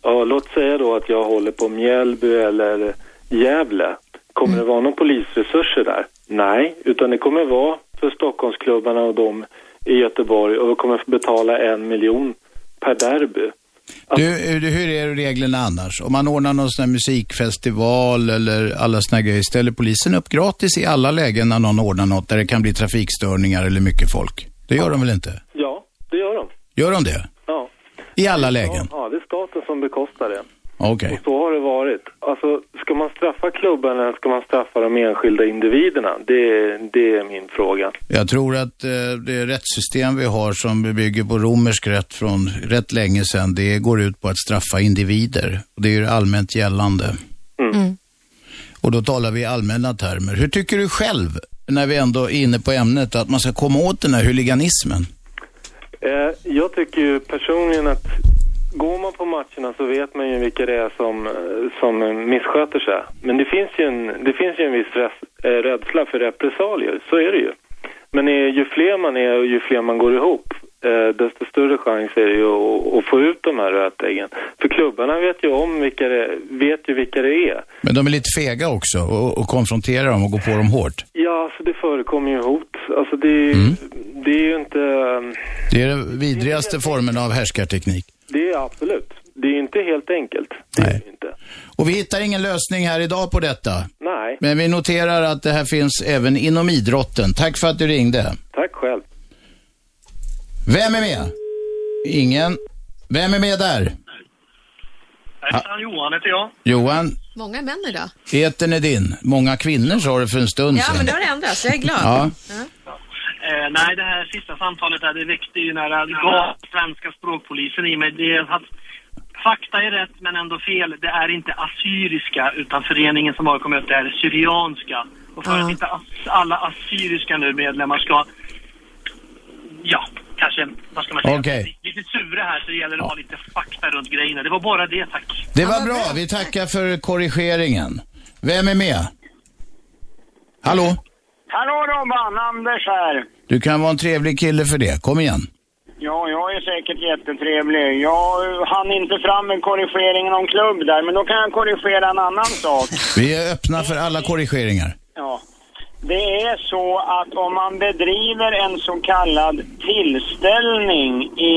[SPEAKER 15] Och låt säga då att jag håller på Mjällby eller Gävle. Kommer det vara någon polisresurser där? Nej, utan det kommer vara för Stockholmsklubbarna och de i Göteborg och vi kommer få betala en miljon per derby.
[SPEAKER 2] Du, du, hur är reglerna annars? Om man ordnar någon sån här musikfestival eller alla såna här grejer, ställer polisen upp gratis i alla lägen när någon ordnar något där det kan bli trafikstörningar eller mycket folk? Det gör de väl inte?
[SPEAKER 15] Ja, det gör de.
[SPEAKER 2] Gör de det?
[SPEAKER 15] Ja.
[SPEAKER 2] I alla lägen?
[SPEAKER 15] Ja, det är staten som bekostar det.
[SPEAKER 2] Okej.
[SPEAKER 15] Och så har det varit. Alltså, ska man straffa klubbarna eller ska man straffa de enskilda individerna? Det, är- det är min fråga.
[SPEAKER 2] Jag tror att eh, det rättssystem vi har som bygger på romersk rätt från rätt länge sedan, det går ut på att straffa individer. Och det är ju allmänt gällande. Och då talar vi i allmänna termer. Hur tycker du själv, när vi ändå är inne på ämnet, att man ska komma åt den här huliganismen?
[SPEAKER 15] Eh, jag tycker ju personligen att går man på matcherna så vet man ju vilka det är som, eh, som eh, missköter sig. Men det finns ju en, det finns ju en viss res, eh, rädsla för repressalier, så är det ju. Men eh, ju fler man är och ju fler man går ihop, eh, desto större chans är det ju att, att få ut de här rötäggen. För klubbarna vet ju om vilka det, vet ju vilka det är.
[SPEAKER 2] Men de är lite fega också och, och konfronterar dem och går på dem hårt.
[SPEAKER 15] Ja, alltså det förekommer ju hot. Alltså det, är ju- det är ju inte... ehm,
[SPEAKER 2] Det är den vidrigaste formen av härskarteknik.
[SPEAKER 15] Det är absolut. Det är inte helt enkelt.
[SPEAKER 2] Och vi hittar ingen lösning här idag på detta.
[SPEAKER 15] Nej.
[SPEAKER 2] Men vi noterar att det här finns även inom idrotten. Tack för att du ringde.
[SPEAKER 15] Tack själv.
[SPEAKER 2] Vem är med? Ingen. Vem är med där?
[SPEAKER 18] Hejsan, Johan heter jag.
[SPEAKER 2] Johan,
[SPEAKER 4] Många män idag.
[SPEAKER 2] etern är din. Många kvinnor sa du för en stund
[SPEAKER 4] Ja,
[SPEAKER 2] sedan.
[SPEAKER 4] men det har ändrats. Jag är glad.
[SPEAKER 2] Ja.
[SPEAKER 18] Eh, nej, det här sista samtalet där, det väckte ju nära gav svenska språkpolisen i mig. Det är att fakta är rätt, men ändå fel. Det är inte assyriska, utan föreningen som har kommit upp, det är syrianska. Och för att inte as- alla assyriska nu medlemmar ska, ja, kanske, vad ska man säga,
[SPEAKER 2] Okej.
[SPEAKER 18] lite sura här så det gäller att ha lite fakta runt grejerna. Det var bara det, tack.
[SPEAKER 2] Det var bra. Vi tackar för korrigeringen. Vem är med? Hallå?
[SPEAKER 19] Hallå Robban, Anders här.
[SPEAKER 2] Du kan vara en trevlig kille för det. Kom igen.
[SPEAKER 19] Ja, jag är säkert jättetrevlig. Jag eh, hann inte fram med korrigeringen om klubb där, men då kan jag korrigera en annan sak.
[SPEAKER 2] Vi är öppna för alla korrigeringar.
[SPEAKER 19] Ja. Det är så att om man bedriver en så kallad tillställning i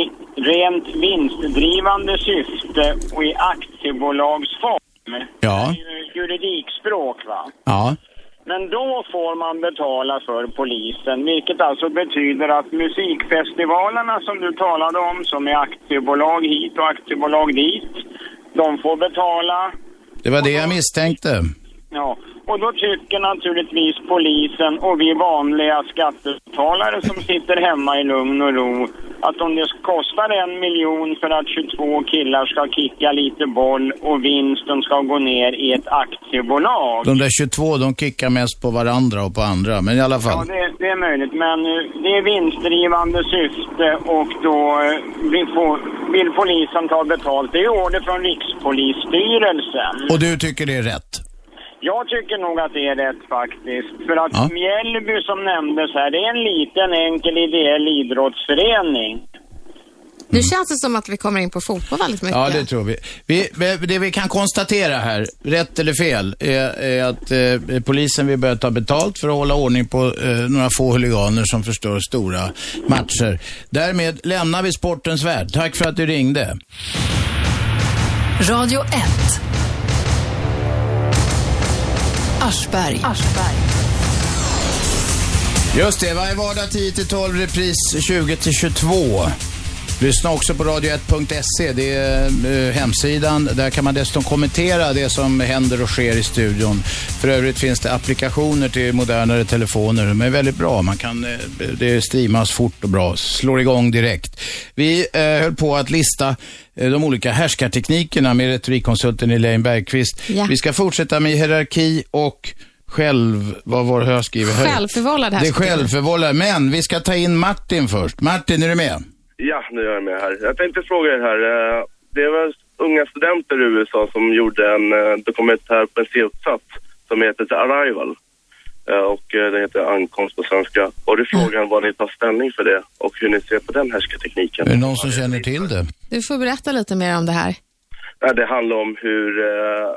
[SPEAKER 19] rent vinstdrivande syfte och i aktiebolagsform,
[SPEAKER 2] Ja.
[SPEAKER 19] eh, juridikspråk va,
[SPEAKER 2] Ja.
[SPEAKER 19] Men då får man betala för polisen, vilket alltså betyder att musikfestivalerna som du talade om, som är aktiebolag hit och aktiebolag dit, de får betala.
[SPEAKER 2] Det var det jag misstänkte.
[SPEAKER 19] Ja, och då tycker naturligtvis polisen och vi vanliga skattebetalare som sitter hemma i lugn och ro att om det kostar en miljon för att 22 killar ska kicka lite boll och vinsten ska gå ner i ett aktiebolag.
[SPEAKER 2] De där 22, de kickar mest på varandra och på andra, men i alla
[SPEAKER 19] Ja,
[SPEAKER 2] fall.
[SPEAKER 19] det, det är möjligt, men eh, det är vinstdrivande syfte och då eh, vi får, vill polisen ta betalt. Det är order från Rikspolisstyrelsen.
[SPEAKER 2] Och du tycker det är rätt?
[SPEAKER 19] Jag tycker nog att det är rätt faktiskt. För att Mjällby som nämndes här, det är en liten enkel ideell idrottsförening.
[SPEAKER 4] Nu känns det som att vi kommer in på fotboll väldigt mycket.
[SPEAKER 2] Ja, det tror vi. vi. vi- Det vi kan konstatera här, rätt eller fel, är, är att eh, polisen vill börja ta betalt för att hålla ordning på eh, några få huliganer som förstör stora matcher. Därmed lämnar vi sportens värld. Tack för att du ringde.
[SPEAKER 5] Radio 1. Aschberg.
[SPEAKER 2] Just det, varje vardag 10-12, repris 20-22. Lyssna också på radio1.se, det är eh, hemsidan. Där kan man dessutom kommentera det som händer och sker i studion. För övrigt finns det applikationer till modernare telefoner. De är väldigt bra, man kan, eh, det streamas fort och bra, slår igång direkt. Vi eh, höll på att lista eh, de olika härskarteknikerna med retorikkonsulten Elaine Bergqvist.
[SPEAKER 4] Ja.
[SPEAKER 2] Vi ska fortsätta med hierarki och själv, vad var det jag skriver? här?
[SPEAKER 4] Självförvållad här.
[SPEAKER 2] Det är självförvållad, men vi ska ta in Martin först. Martin, är du med?
[SPEAKER 20] Ja, nu är jag med här. Jag tänkte fråga er här. eh, Det var unga studenter i USA som gjorde en eh, dokumentär på en C-uppsats som heter The Arrival. Eh, Och eh, den heter Ankomst på svenska. Och det är frågan vad ni tar ställning för det och hur ni ser på den härskartekniken.
[SPEAKER 2] Är det någon som känner till det?
[SPEAKER 4] Du får berätta lite mer om det här.
[SPEAKER 20] Ja, Det handlar om hur eh,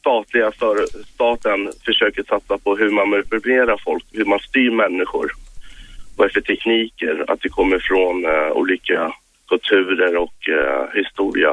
[SPEAKER 20] statliga för, staten försöker satsa på hur man manipulerar folk, hur man styr människor. Vad det är för tekniker, att det kommer från eh, olika kulturer och eh, historia.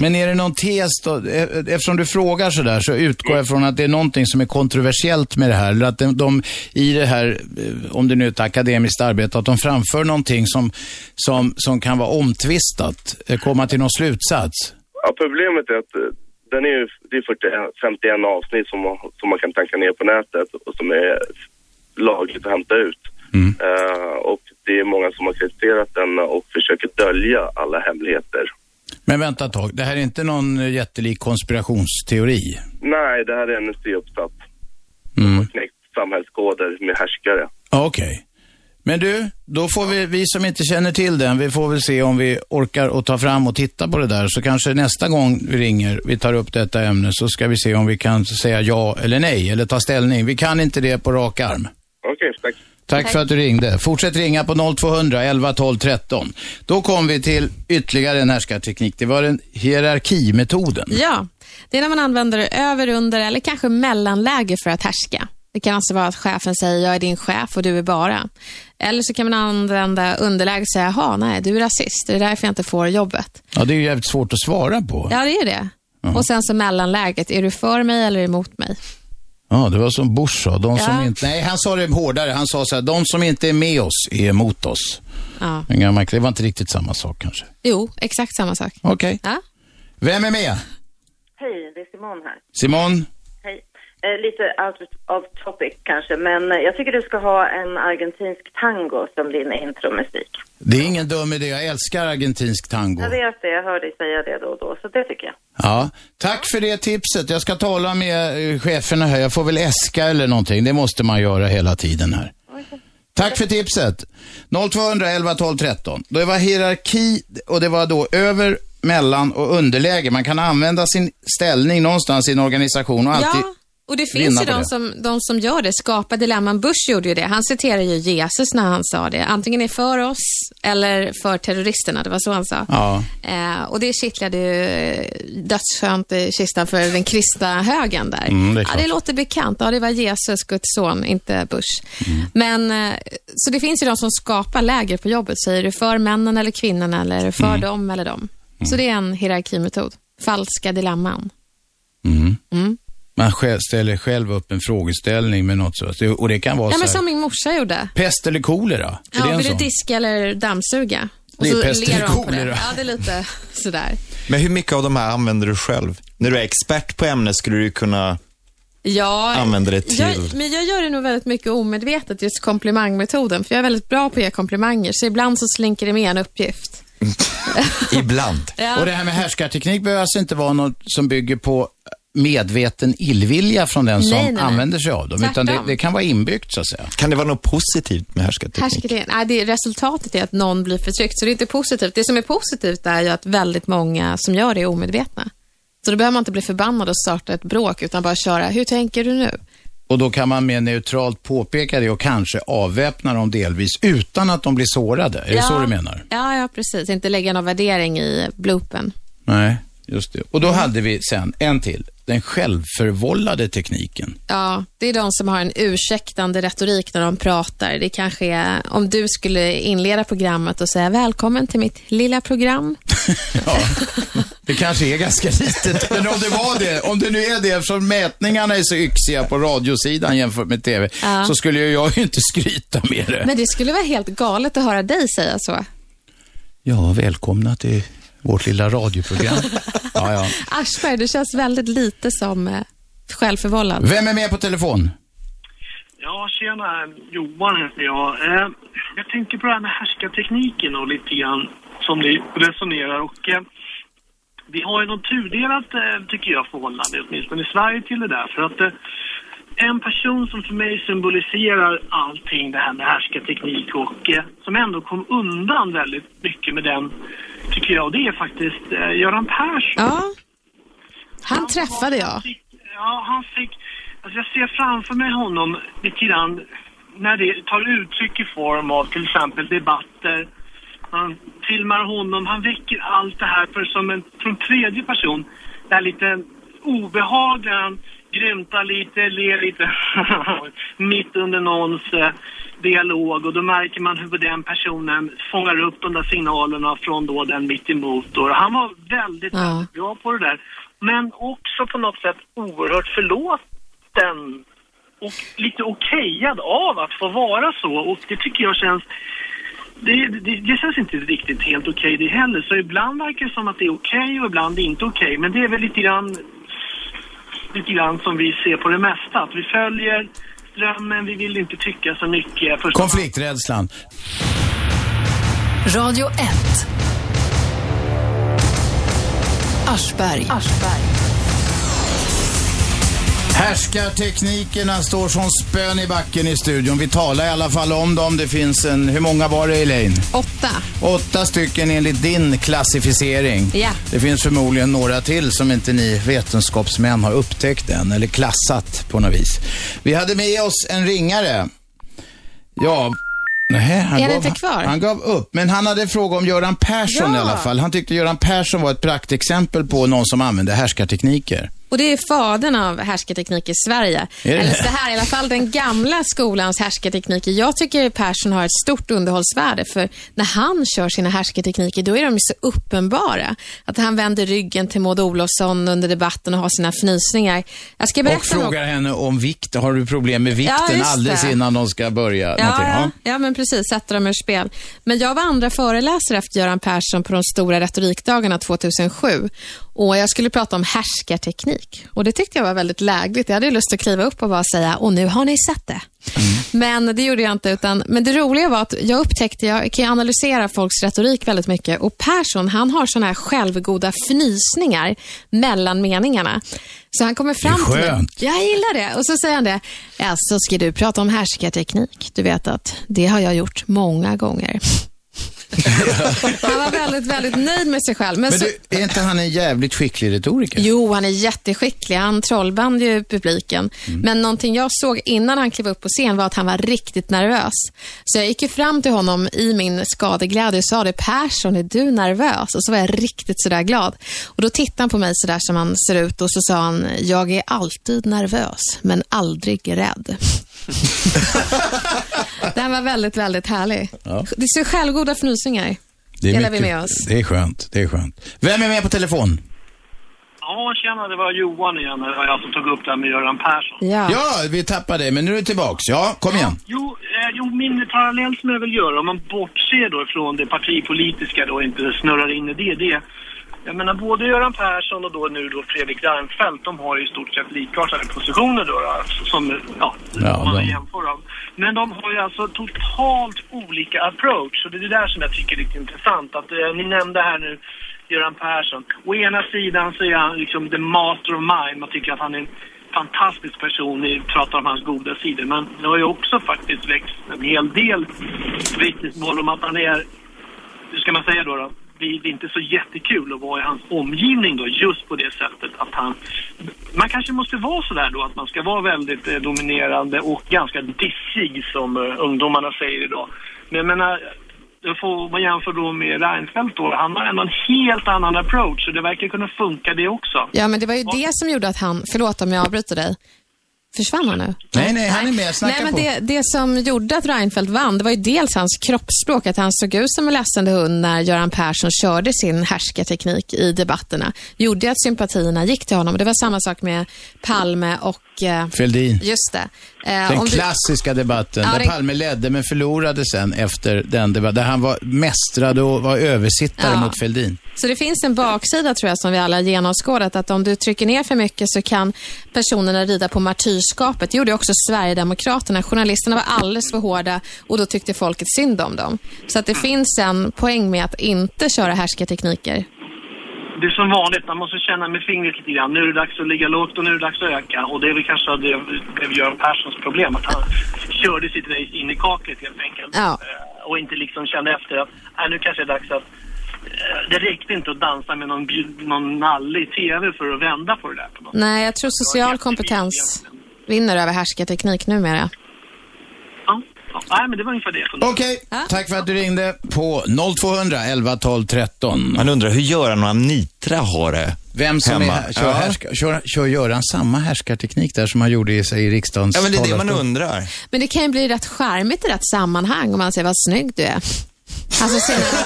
[SPEAKER 2] Men är det någon tes då? E- Eftersom du frågar sådär så utgår jag från att det är någonting som är kontroversiellt med det här. Eller att de, de i det här, eh, om det nu är ett akademiskt arbete, att de framför någonting som, som, som kan vara omtvistat. eh, Komma till någon slutsats.
[SPEAKER 20] Ja, problemet är att eh, den är ju, det är 41, 51 avsnitt som, man- som man kan tanka ner på nätet och som är lagligt att hämta ut. Eh, och det är många som har kritiserat den och försöker dölja alla hemligheter.
[SPEAKER 2] Men vänta ett tag, det här är inte någon eh, jättelik konspirationsteori?
[SPEAKER 20] Nej, det här är en C-uppsats.
[SPEAKER 2] Mm.
[SPEAKER 20] knäckt samhällskoder med härskare.
[SPEAKER 2] Ja, Okej. Men du, då får vi, vi som inte känner till den, vi får väl se om vi orkar att ta fram och titta på det där. Så kanske nästa gång vi ringer, vi tar upp detta ämne, så ska vi se om vi kan säga ja eller nej, eller ta ställning. Vi kan inte det på rak arm.
[SPEAKER 20] Okej, tack.
[SPEAKER 2] Tack, för att du ringde. Fortsätt ringa på 0200 11 12 13. Då kom vi till ytterligare en härskarteknik. Det var den hierarkimetoden.
[SPEAKER 4] Ja, det är när man använder över, under eller kanske mellanläge för att härska. Det kan alltså vara att chefen säger jag är din chef och du är bara. Eller så kan man använda underläge och säga, jaha, nej, du är rasist, det är därför jag inte får jobbet.
[SPEAKER 2] Ja, det är ju jävligt svårt att svara på.
[SPEAKER 4] Ja, det är det. Och sen så mellanläget, är du för mig eller emot mig?
[SPEAKER 2] Ja, det var som Bush sa. De som
[SPEAKER 4] Ja.
[SPEAKER 2] inte, nej, han sa det hårdare. Han sa så här, de som inte är med oss är emot oss.
[SPEAKER 4] Ja.
[SPEAKER 2] En gammal, det var inte riktigt samma sak kanske.
[SPEAKER 4] Jo, exakt samma sak.
[SPEAKER 2] Okej.
[SPEAKER 4] Ja.
[SPEAKER 2] Vem är med?
[SPEAKER 21] Hej, det är Simon här.
[SPEAKER 2] Simon?
[SPEAKER 21] Hej. Eh, lite out of topic kanske, men eh, jag tycker du ska ha en argentinsk tango som din intromusik.
[SPEAKER 2] Det är ingen dum idé. Jag älskar argentinsk tango.
[SPEAKER 21] Jag vet det, jag hör dig säga det då och då, så det tycker jag.
[SPEAKER 2] Ja. Tack för det tipset. Jag ska tala med eh, cheferna här. Jag får väl äska eller någonting. Det måste man göra hela tiden här. Tack för tipset. 0200 11 12 13. Det var hierarki och det var då över, mellan och underläge. Man kan använda sin ställning någonstans i en organisation och alltid
[SPEAKER 4] Ja, och det
[SPEAKER 2] vinna
[SPEAKER 4] finns ju
[SPEAKER 2] på
[SPEAKER 4] de
[SPEAKER 2] det.
[SPEAKER 4] som, de som gör det. Skapa dilemman. Bush gjorde ju det. Han citerar ju Jesus när han sa det. Antingen är för oss eller för terroristerna. Det var så han sa.
[SPEAKER 2] Ja.
[SPEAKER 4] Eh, och det kittlade ju eh, dödsskönt i kistan för den kristna högen där.
[SPEAKER 22] Mm, det är
[SPEAKER 4] ja, det
[SPEAKER 22] klart.
[SPEAKER 4] låter bekant. Ja, det var Jesus, Guds son, inte Bush. Men, eh, så det finns ju de som skapar läger på jobbet. Säger du för männen eller kvinnorna eller är du för
[SPEAKER 2] Mm.
[SPEAKER 4] dem eller dem? Så det är en hierarkimetod. Falska dilemman.
[SPEAKER 2] Mm.
[SPEAKER 4] Mm.
[SPEAKER 2] Man själv ställer själv upp en frågeställning med något så. Och det kan vara
[SPEAKER 4] Ja,
[SPEAKER 2] så
[SPEAKER 4] men
[SPEAKER 2] här,
[SPEAKER 4] som min morsa gjorde.
[SPEAKER 2] pest eller kolera? Är
[SPEAKER 4] Ja,
[SPEAKER 2] det en
[SPEAKER 4] vill
[SPEAKER 2] sån?
[SPEAKER 4] du diska eller dammsuga? Och
[SPEAKER 2] Det är
[SPEAKER 4] så
[SPEAKER 2] pest
[SPEAKER 4] ler
[SPEAKER 2] eller
[SPEAKER 4] hon på det.
[SPEAKER 2] kolera.
[SPEAKER 4] Ja, det är lite sådär.
[SPEAKER 3] Men hur mycket av de här använder du själv? När du är expert på ämnet skulle du ju kunna
[SPEAKER 4] Ja,
[SPEAKER 3] använda det till...
[SPEAKER 4] Jag, men jag gör det nog väldigt mycket omedvetet, just komplimangmetoden. För jag är väldigt bra på att ge komplimanger, så ibland så slinker det med en uppgift.
[SPEAKER 3] Ibland.
[SPEAKER 4] Ja.
[SPEAKER 2] Och det här med härskarteknik behöver alltså inte vara något som bygger på medveten illvilja från den som
[SPEAKER 4] Nej, nej, nej.
[SPEAKER 2] använder sig av dem. Utan det,
[SPEAKER 4] Tvärtom.
[SPEAKER 2] det kan vara inbyggt så att säga. Kan det vara något positivt med härskarteknik?
[SPEAKER 4] Härskarteknik. Nej, det är resultatet är att någon blir förtryckt, så det är inte positivt. Det som är positivt är ju att väldigt många som gör det är omedvetna. Så då behöver man inte bli förbannad och starta ett bråk, utan bara köra, hur tänker du nu?
[SPEAKER 2] Och då kan man mer neutralt påpeka det och kanske avväpna dem delvis utan att de blir sårade. Är det så du menar?
[SPEAKER 4] Ja, ja, precis. Inte lägga någon värdering i bloopen.
[SPEAKER 2] Nej, just det. Och då hade vi sen en till. Den självförvållade tekniken.
[SPEAKER 4] Ja, det är de som har en ursäktande retorik när de pratar. Det kanske är om du skulle inleda programmet och säga välkommen till mitt lilla program.
[SPEAKER 2] Det kanske är ganska litet, men om det var det, om det nu är det, eftersom mätningarna är så yxiga på radiosidan jämfört med TV,
[SPEAKER 4] Ja.
[SPEAKER 2] så skulle ju jag ju inte skryta med det.
[SPEAKER 4] Men det skulle vara helt galet att höra dig säga så.
[SPEAKER 2] Ja, välkomna till vårt lilla radioprogram. ja, ja.
[SPEAKER 4] Aschberg, du känns väldigt lite som eh, självförvållad.
[SPEAKER 2] Vem är med på telefon?
[SPEAKER 18] Ja, tjena. Johan heter jag. Eh, jag tänker på det här med härskartekniken och lite grann som ni resonerar. Och, eh, vi har ju något tudelat, eh, tycker jag, förhållande, åtminstone i Sverige, till det där. För att eh, en person som för mig symboliserar allting det här med härskarteknik och eh, som ändå kom undan väldigt mycket med den, tycker jag, det är faktiskt eh, Göran Persson.
[SPEAKER 4] Ja. Han träffade jag.
[SPEAKER 18] Ja, han fick... Alltså jag ser framför mig honom lite grann när det tar uttryck i form av till exempel debatter. Man filmar honom, han väcker allt det här för som en från tredje person. Det här lite obehagliga, han grymtar lite, ler lite mitt under någons eh, dialog och då märker man hur den personen fångar upp de där signalerna från då den mitt emot. Och han var väldigt,
[SPEAKER 4] Ja.
[SPEAKER 18] väldigt bra på det där. Men också på något sätt oerhört förlåten och lite okejad av att få vara så och det tycker jag känns det, det, det känns inte riktigt helt okej det heller. Så ibland verkar det som att det är okej och ibland är det inte okej. Men det är väl lite grann, lite grann som vi ser på det mesta. Att vi följer strömmen, vi vill inte tycka så mycket. Först-
[SPEAKER 2] Konflikträdslan.
[SPEAKER 5] Radio 1. Aschberg.
[SPEAKER 2] Härskarteknikerna står som spön i backen i studion. Vi talar i alla fall om dem. Det finns en, hur många var det Elaine?
[SPEAKER 4] Åtta.
[SPEAKER 2] Åtta stycken enligt din klassificering.
[SPEAKER 4] Ja.
[SPEAKER 2] Det finns förmodligen några till som inte ni vetenskapsmän har upptäckt än, eller klassat på något vis. Vi hade med oss en ringare. Ja, nej,
[SPEAKER 4] Är
[SPEAKER 2] han, gav,
[SPEAKER 4] det inte kvar?
[SPEAKER 2] han gav upp. Men han hade en fråga om Göran Persson
[SPEAKER 4] Ja.
[SPEAKER 2] i alla fall. Han tyckte Göran Persson var ett praktexempel på någon som använde härskartekniker.
[SPEAKER 4] Och det är fadern av härskarteknik i Sverige.
[SPEAKER 2] Är det?
[SPEAKER 4] Eller så här, i alla fall den gamla skolans härskartekniker. Jag tycker Persson har ett stort underhållsvärde för när han kör sina härskartekniker då är de ju så uppenbara. Att han vänder ryggen till Maud Olofsson under debatten och har sina fnysningar. Jag ska berätta
[SPEAKER 2] Och
[SPEAKER 4] något-
[SPEAKER 2] frågar henne om vikt. Har du problem med vikten
[SPEAKER 4] Ja, just
[SPEAKER 2] alldeles
[SPEAKER 4] det.
[SPEAKER 2] innan de ska börja?
[SPEAKER 4] Ja,
[SPEAKER 2] någonting?
[SPEAKER 4] ja, ja, men precis. Sätta dem ur spel. Men jag var andra föreläsare efter Göran Persson på de stora retorikdagarna 2007. Och jag skulle prata om härskarteknik. Och det tyckte jag var väldigt lägligt. Jag hade ju lust att kliva upp och bara säga, och nu har ni sett det. Men det gjorde jag inte. Utan, men det roliga var att jag upptäckte, jag kan ju analysera folks retorik väldigt mycket. Och Persson, han har sådana här självgoda fnysningar mellan meningarna. Så han kommer fram till mig.
[SPEAKER 2] skönt.
[SPEAKER 4] Jag gillar det. Och så säger han det. Ja, så ska du prata om härskarteknik. Du vet att det har jag gjort många gånger. han var väldigt, väldigt nöjd med sig själv. Men,
[SPEAKER 2] Men
[SPEAKER 4] så,
[SPEAKER 2] du, är inte han en jävligt skicklig retoriker?
[SPEAKER 4] Jo, han är jätteskicklig. Han trollband ju publiken.
[SPEAKER 2] Mm.
[SPEAKER 4] Men någonting jag såg innan han klev upp på scen var att han var riktigt nervös. Så jag gick ju fram till honom i min skadeglädje och sa det, Persson, är du nervös? Och så var jag riktigt sådär glad. Och då tittade han på mig sådär som han ser ut och så sa han, jag är alltid nervös, men aldrig rädd. Den var väldigt, väldigt härlig.
[SPEAKER 2] Ja.
[SPEAKER 4] Det är så självgoda fnysningar.
[SPEAKER 2] Det är
[SPEAKER 4] delar vi
[SPEAKER 2] mycket-
[SPEAKER 4] med oss.
[SPEAKER 2] Det är skönt, det är skönt. Vem är med på telefon?
[SPEAKER 18] Ja, tjena, det var Johan igen. Det var jag som tog upp det här med Göran Persson.
[SPEAKER 2] Ja, vi tappade dig, men nu är du tillbaks. Ja, kom igen.
[SPEAKER 18] Jo, eh, jo, min parallell som jag vill göra, om man bortser då från det partipolitiska då och inte snurrar in i det, det är- jag menar både Göran Persson och då nu då Fredrik Reinfeldt, de har ju i stort sett likartade positioner då, då alltså, som, ja,
[SPEAKER 2] Ja,
[SPEAKER 18] man
[SPEAKER 2] de-
[SPEAKER 18] jämför dem. Men de har ju alltså totalt olika approach och det är det där som jag tycker är lite intressant. Att eh, ni nämnde här nu Göran Persson. Å ena sidan så är han liksom the master of mind. Man tycker att han är en fantastisk person. Ni pratar om hans goda sidor. Men det har ju också faktiskt växt en hel del vittnesmål om att han är, hur ska man säga då? då? Det det är inte så jättekul att vara i hans omgivning då, just på det sättet att han man kanske måste vara sådär då att man ska vara väldigt eh, dominerande och ganska dissig som eh, ungdomarna säger idag. Men jag menar, då får man jämför då med Reinfeldt då, han har ändå en helt annan approach och det verkar kunna funka det också.
[SPEAKER 4] Ja, men det var ju det som gjorde att han, förlåt om jag avbryter dig, försvann han nu?
[SPEAKER 2] Nej, nej, han är med. Snacka
[SPEAKER 4] Nej, men
[SPEAKER 2] på.
[SPEAKER 4] det, det som gjorde att Reinfeldt vann, det var ju dels hans kroppsspråk, att han såg ut som en lässande hund när Göran Persson körde sin härskarteknik i debatterna, gjorde att sympatierna gick till honom. Det var samma sak med Palme och... Eh,
[SPEAKER 2] Fälldin.
[SPEAKER 4] Just det. Eh,
[SPEAKER 2] Den
[SPEAKER 4] om du-
[SPEAKER 2] klassiska debatten
[SPEAKER 4] Ja,
[SPEAKER 2] där
[SPEAKER 4] den-
[SPEAKER 2] Palme ledde men förlorade sen efter den debatten. Där han var mästrade och var översittare
[SPEAKER 4] Ja.
[SPEAKER 2] mot Fälldin.
[SPEAKER 4] Så det finns en baksida tror jag som vi alla har genomskådat att om du trycker ner för mycket så kan personerna rida på martyrskapet. Det gjorde också Sverigedemokraterna. Journalisterna var alldeles för hårda och då tyckte folket synd om dem. Så att det finns en poäng med att inte köra härskartekniker.
[SPEAKER 18] Det är som vanligt, man måste känna med fingret lite grann. Nu är det dags att ligga lågt och nu är det dags att öka. Och det är väl kanske det blev Göran Perssons problem, att han körde sitt race in i kaklet helt enkelt.
[SPEAKER 15] Oh,
[SPEAKER 4] Ja.
[SPEAKER 18] Eh, Och inte liksom kände efter att "Nej, nu kanske det är dags att... eh, Det räckte inte att dansa med någon, bjud- någon nalle i TV för att vända på det där.
[SPEAKER 4] Nej, jag tror social kompetens vinner över härskarteknik numera.
[SPEAKER 18] Ja, Nej, men det var ungefär det.
[SPEAKER 2] Okej, tack för att du ringde på 0200 11 12 13.
[SPEAKER 3] Man undrar hur Göran och Anitra har det
[SPEAKER 2] Vem som
[SPEAKER 3] hemma.
[SPEAKER 2] är, kör, härska, kör, kör Göran samma härskarteknik där som han gjorde i, sig i riksdagens
[SPEAKER 3] Ja, men det är det man
[SPEAKER 2] talarstol?
[SPEAKER 3] undrar.
[SPEAKER 4] Men det kan ju bli rätt charmigt i rätt sammanhang om man säger vad snygg du är. Alltså, senare,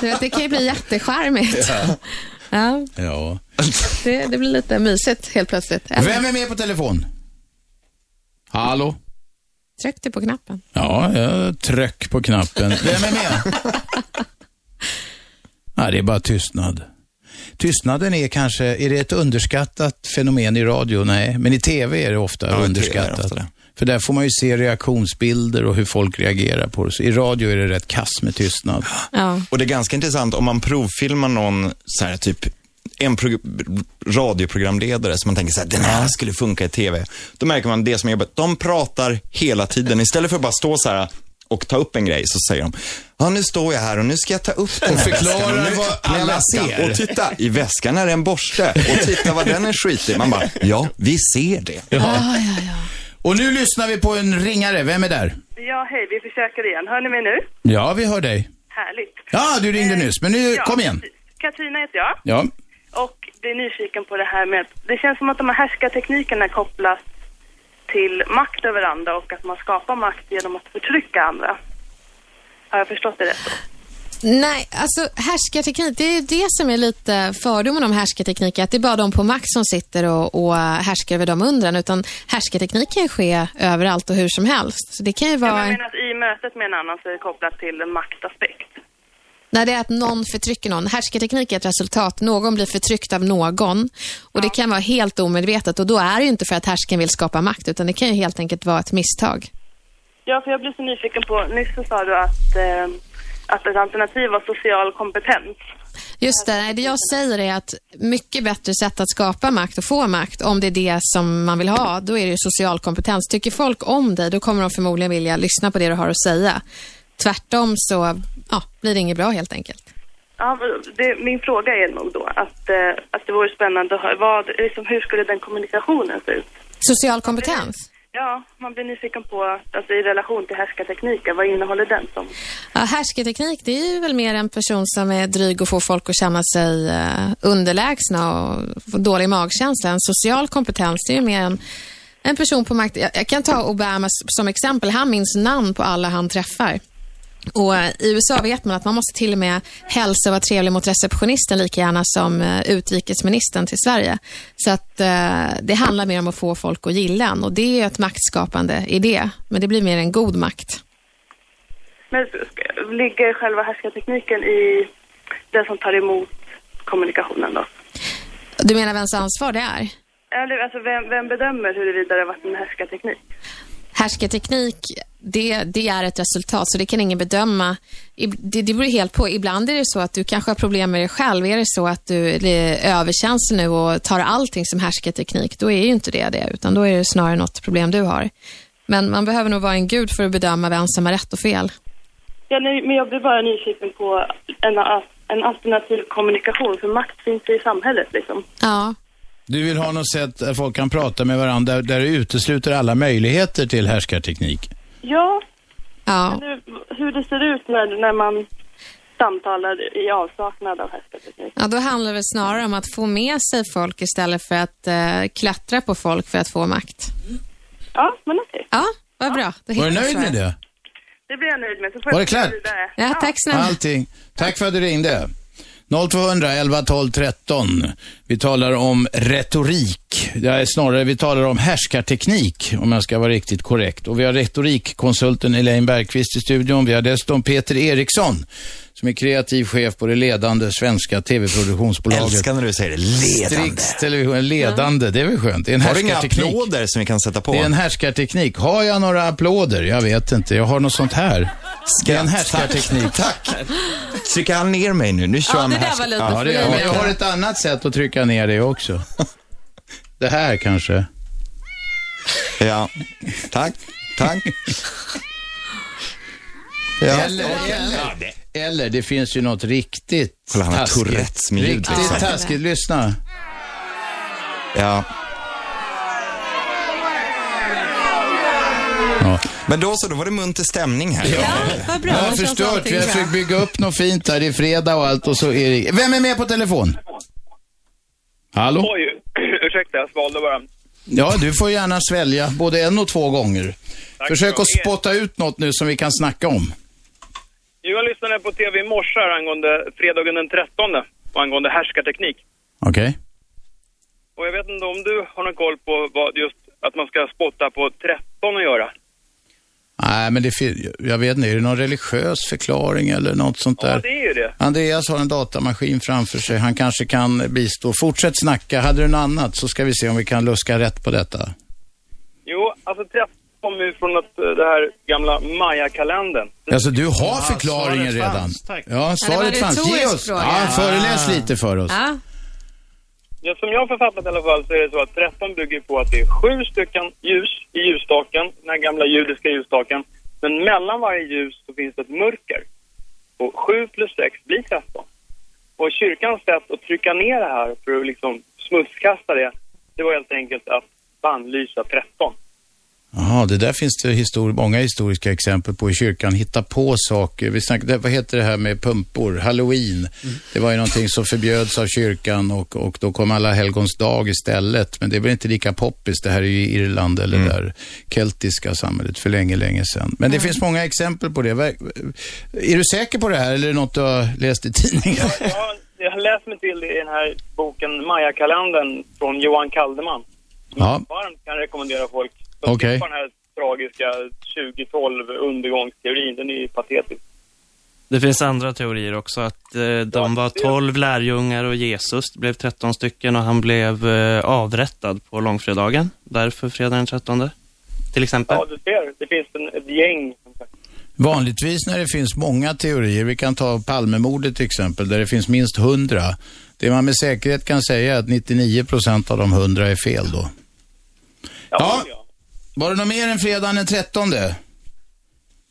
[SPEAKER 4] du vet, det kan ju bli jättecharmigt.
[SPEAKER 2] Ja.
[SPEAKER 4] Ja,
[SPEAKER 2] Ja.
[SPEAKER 4] det, det blir lite mysigt helt plötsligt.
[SPEAKER 2] Vem är med på telefon? Hallå?
[SPEAKER 4] Tryckte på knappen.
[SPEAKER 2] Ja, jag tryck på knappen. Vem är med? Nej, det är bara tystnad. Tystnaden är kanske, är det ett underskattat fenomen i radio? Nej, men i tv är det ofta underskattat. För där får man ju se reaktionsbilder och hur folk reagerar på det. Så I radio är det rätt kass med tystnad.
[SPEAKER 3] Och det är ganska intressant om man provfilmar någon, så här, typ en prog- radioprogramledare som man tänker så här, den här skulle funka i tv. Då märker man det som är jobbigt. De pratar hela tiden. Istället för att bara stå så här och ta upp en grej så säger de, ja nu står jag här och nu ska jag ta upp den
[SPEAKER 2] Och
[SPEAKER 3] här
[SPEAKER 2] förklara
[SPEAKER 3] väskan. nu
[SPEAKER 2] vad
[SPEAKER 3] öppnar jag
[SPEAKER 2] alla
[SPEAKER 3] väskan.
[SPEAKER 2] ser."
[SPEAKER 3] Och titta, i väskan är det en borste. Och titta vad den är skitig. Man bara, ja vi ser det.
[SPEAKER 2] Och nu lyssnar vi på en ringare. Vem är där?
[SPEAKER 1] Ja, hej, vi försöker igen. Hör ni mig nu?
[SPEAKER 2] Ja, vi hör dig.
[SPEAKER 1] Härligt.
[SPEAKER 2] Eh, Ja, du ringde nyss, men nu,
[SPEAKER 1] ja,
[SPEAKER 2] kom igen.
[SPEAKER 1] precis. Katrina heter jag
[SPEAKER 2] Ja.
[SPEAKER 1] och blir nyfiken på det här med att det känns som att de här härskarteknikerna kopplas till makt över andra och att man skapar makt genom att förtrycka andra. Har jag förstått det rätt?
[SPEAKER 4] Nej, alltså härskarteknik, det är det som är lite fördomen om härskarteknik, att det är bara de på makt som sitter och, och härskar över de undren, utan härskarteknik kan ju ske överallt och hur som helst. Så det kan ju
[SPEAKER 1] Ja, men
[SPEAKER 4] vara...
[SPEAKER 1] jag menar att i mötet med en annan så är det kopplat till en maktaspekt.
[SPEAKER 4] Nej, det är att någon förtrycker någon. Härskarteknik är ett resultat. Någon blir förtryckt av någon. Och Det kan vara helt omedvetet. Och Då är det ju inte för att härskaren vill skapa makt, utan det kan ju helt enkelt vara ett misstag.
[SPEAKER 1] Ja, för jag blev så nyfiken på, nyss så sa du att, eh, att ett alternativ var social kompetens.
[SPEAKER 4] Just det, nej, det jag säger är att mycket bättre sätt att skapa makt och få makt, om det är det som man vill ha, då är det ju social kompetens. Tycker folk om dig, då kommer de förmodligen vilja lyssna på det du har att säga. Tvärtom så ja, blir det inget bra helt enkelt.
[SPEAKER 1] Ja, men det, min fråga är nog då att, eh, att det vore spännande att höra, vad, liksom, hur skulle den kommunikationen se ut?
[SPEAKER 4] Social kompetens?
[SPEAKER 1] Ja, man blir nyfiken på, alltså i relation till härskartekniken, vad innehåller den som?
[SPEAKER 4] Ja, härskarteknik, det är ju väl mer en person som är dryg och får folk att känna sig eh, underlägsna och får dålig magkänsla. En social kompetens, det är ju mer en, en person på makt. Jag, jag kan ta Obama s- som exempel. Han minns namn på alla han träffar. Och eh, I USA vet man att man måste till och med hälsa och vara trevlig mot receptionisten lika gärna som eh, utrikesministern till Sverige. Så att eh, det handlar mer om att få folk att gilla en och det är ju ett maktskapande i det. Men det blir mer en god makt.
[SPEAKER 1] Men ska- ligger själva härskartekniken i den som tar emot kommunikationen då?
[SPEAKER 4] Du menar vems ansvar det är?
[SPEAKER 1] Eller alltså, vem, vem bedömer huruvida det har varit en härskarteknik?
[SPEAKER 4] Härskarteknik, det, det är ett resultat, så det kan ingen bedöma. I- Det, det beror helt på. Ibland är det så att du kanske har problem med dig själv. Är det så att du är överkänslig nu och tar allting som härskarteknik, då är ju inte det det, utan då är det snarare något problem du har. Men man behöver nog vara en gud för att bedöma vem som har rätt och fel.
[SPEAKER 1] Ja, nej, men jag blir bara nyfiken på en, en alternativ kommunikation, för makt finns ju i samhället liksom.
[SPEAKER 4] Ja.
[SPEAKER 2] Du vill ha något sätt där folk kan prata med varandra, där du utesluter alla möjligheter till härskarteknik.
[SPEAKER 1] Ja,
[SPEAKER 4] ja.
[SPEAKER 1] Hur, hur det ser ut när, när man samtalar i avsaknad av härskarteknik.
[SPEAKER 4] Ja, då handlar det väl snarare om att få med sig folk istället för att eh, klättra på folk för att få makt.
[SPEAKER 1] Ja, men okej.
[SPEAKER 4] Ja, vad bra. Då
[SPEAKER 2] Var
[SPEAKER 4] hittar vi
[SPEAKER 2] du nöjd
[SPEAKER 4] svaret.
[SPEAKER 2] med det?
[SPEAKER 1] Det blir jag nöjd med. Så får
[SPEAKER 2] Var
[SPEAKER 1] jag
[SPEAKER 2] det klart?
[SPEAKER 1] gå vidare.
[SPEAKER 4] Ja, tack snälla.
[SPEAKER 2] Allting. Tack för att du ringde. 0200 11 12 13. Vi talar om retorik. Det är snarare, vi talar om härskarteknik, om jag ska vara riktigt korrekt. Och vi har retorikkonsulten Elaine Bergqvist i studion. Vi har dessutom Peter Eriksson, som är kreativ chef på det ledande svenska TV-produktionsbolaget.
[SPEAKER 3] Älskar när du säger det. Ledande.
[SPEAKER 2] Strix Television, ledande. Det är väl skönt? Det är en
[SPEAKER 3] Har du inga
[SPEAKER 2] härskarteknik.
[SPEAKER 3] applåder som vi kan sätta på?
[SPEAKER 2] Det är en härskarteknik. Har jag några applåder? Jag vet inte. Jag har något sånt här. Det är en
[SPEAKER 3] Tack.
[SPEAKER 2] härskarteknik.
[SPEAKER 3] Tack. Trycker han ner mig nu? Nu kör
[SPEAKER 2] Ja,
[SPEAKER 3] han
[SPEAKER 2] det
[SPEAKER 3] med
[SPEAKER 2] där
[SPEAKER 3] härsk-
[SPEAKER 2] var lite Ja, det gör jag. Men jag har ett annat sätt att trycka ner det också. Det här kanske.
[SPEAKER 3] Ja, tack. Tack. Ja.
[SPEAKER 2] Eller, eller, eller, det finns ju något riktigt
[SPEAKER 3] Kolla, han har
[SPEAKER 2] taskigt.
[SPEAKER 3] Tourettes-ljud, liksom.
[SPEAKER 2] Riktigt taskigt. Lyssna.
[SPEAKER 3] Ja. Men då så, då var det munter stämning här.
[SPEAKER 4] Vad
[SPEAKER 2] Jag har förstört. Vi har försökt bygga upp något fint här. Det är fredag och allt och så är det... Vem är med på telefon? Hallå?
[SPEAKER 14] Oj, ursäkta, jag svalde bara.
[SPEAKER 2] Ja, du får gärna svälja både en och två gånger.
[SPEAKER 14] Tack
[SPEAKER 2] Försök
[SPEAKER 14] för
[SPEAKER 2] att
[SPEAKER 14] er.
[SPEAKER 2] spotta ut något nu som vi kan snacka om.
[SPEAKER 14] Jag lyssnade på tv i morse här angående fredagen den 13 och angående härskarteknik.
[SPEAKER 2] Okej.
[SPEAKER 14] Och jag vet inte om du har någon koll på vad just att man ska spotta på 13 att göra.
[SPEAKER 2] Nej, men det fin- jag vet inte, är det någon religiös förklaring eller något sånt där?
[SPEAKER 14] Ja, det är ju det.
[SPEAKER 2] Andreas har en datamaskin framför sig, han kanske kan bistå. Fortsätt snacka, hade du något annat så ska vi se om vi kan luska rätt på detta.
[SPEAKER 14] Jo, alltså 13 kommer ju från att, eh, det här gamla Maya-kalendern.
[SPEAKER 2] Alltså du har förklaringen redan. Ja,
[SPEAKER 14] Ja,
[SPEAKER 2] svaret
[SPEAKER 14] det var
[SPEAKER 2] fanns. Ge
[SPEAKER 14] retorisk
[SPEAKER 2] oss.
[SPEAKER 14] fråga.
[SPEAKER 2] Ja, föreläs
[SPEAKER 14] Ah.
[SPEAKER 2] lite för oss.
[SPEAKER 4] Ja.
[SPEAKER 14] Ja, som jag har författat i alla fall så är det så att 13 bygger på att det är sju stycken ljus i ljusstaken, den här gamla judiska ljusstaken. Men mellan varje ljus så finns det ett mörker. Och 7 plus 6 blir 13. Och kyrkans sätt att trycka ner det här för att liksom smutskasta det, det var helt enkelt att bannlysa 13.
[SPEAKER 2] Jaha, det där finns det histori- många historiska exempel på i kyrkan. Hitta på saker. Vi snack- det, vad heter det här med pumpor? Halloween. Det var ju någonting som förbjöds av kyrkan och, och då kom alla helgons dag istället. Men det blir inte lika poppis. Det här är ju Irland eller det där keltiska samhället för länge, länge sedan. Men det finns många exempel på det. Ver- Är du säker på det här eller är det något du har läst i tidningen?
[SPEAKER 14] Jag har läst mig till i den här boken Majakalendern från Johan Kaldeman.
[SPEAKER 2] Ja,
[SPEAKER 14] Varmt kan jag rekommendera folk. De
[SPEAKER 2] Okej.
[SPEAKER 14] slipper den här tragiska 2012 undergångsteorin. Den är ju patetisk.
[SPEAKER 7] Det finns andra teorier också, att eh, de var 12 lärjungar och Jesus det blev 13 stycken och han blev eh, avrättad på långfredagen, därför fredagen den 13. Till exempel.
[SPEAKER 14] Ja, du ser. Det finns en, ett gäng.
[SPEAKER 2] Vanligtvis när det finns många teorier, vi kan ta Palmemordet till exempel, där det finns minst 100. Det man med säkerhet kan säga är att 99 procent av de 100 är fel då. Ja, var det något mer än fredagen den 13?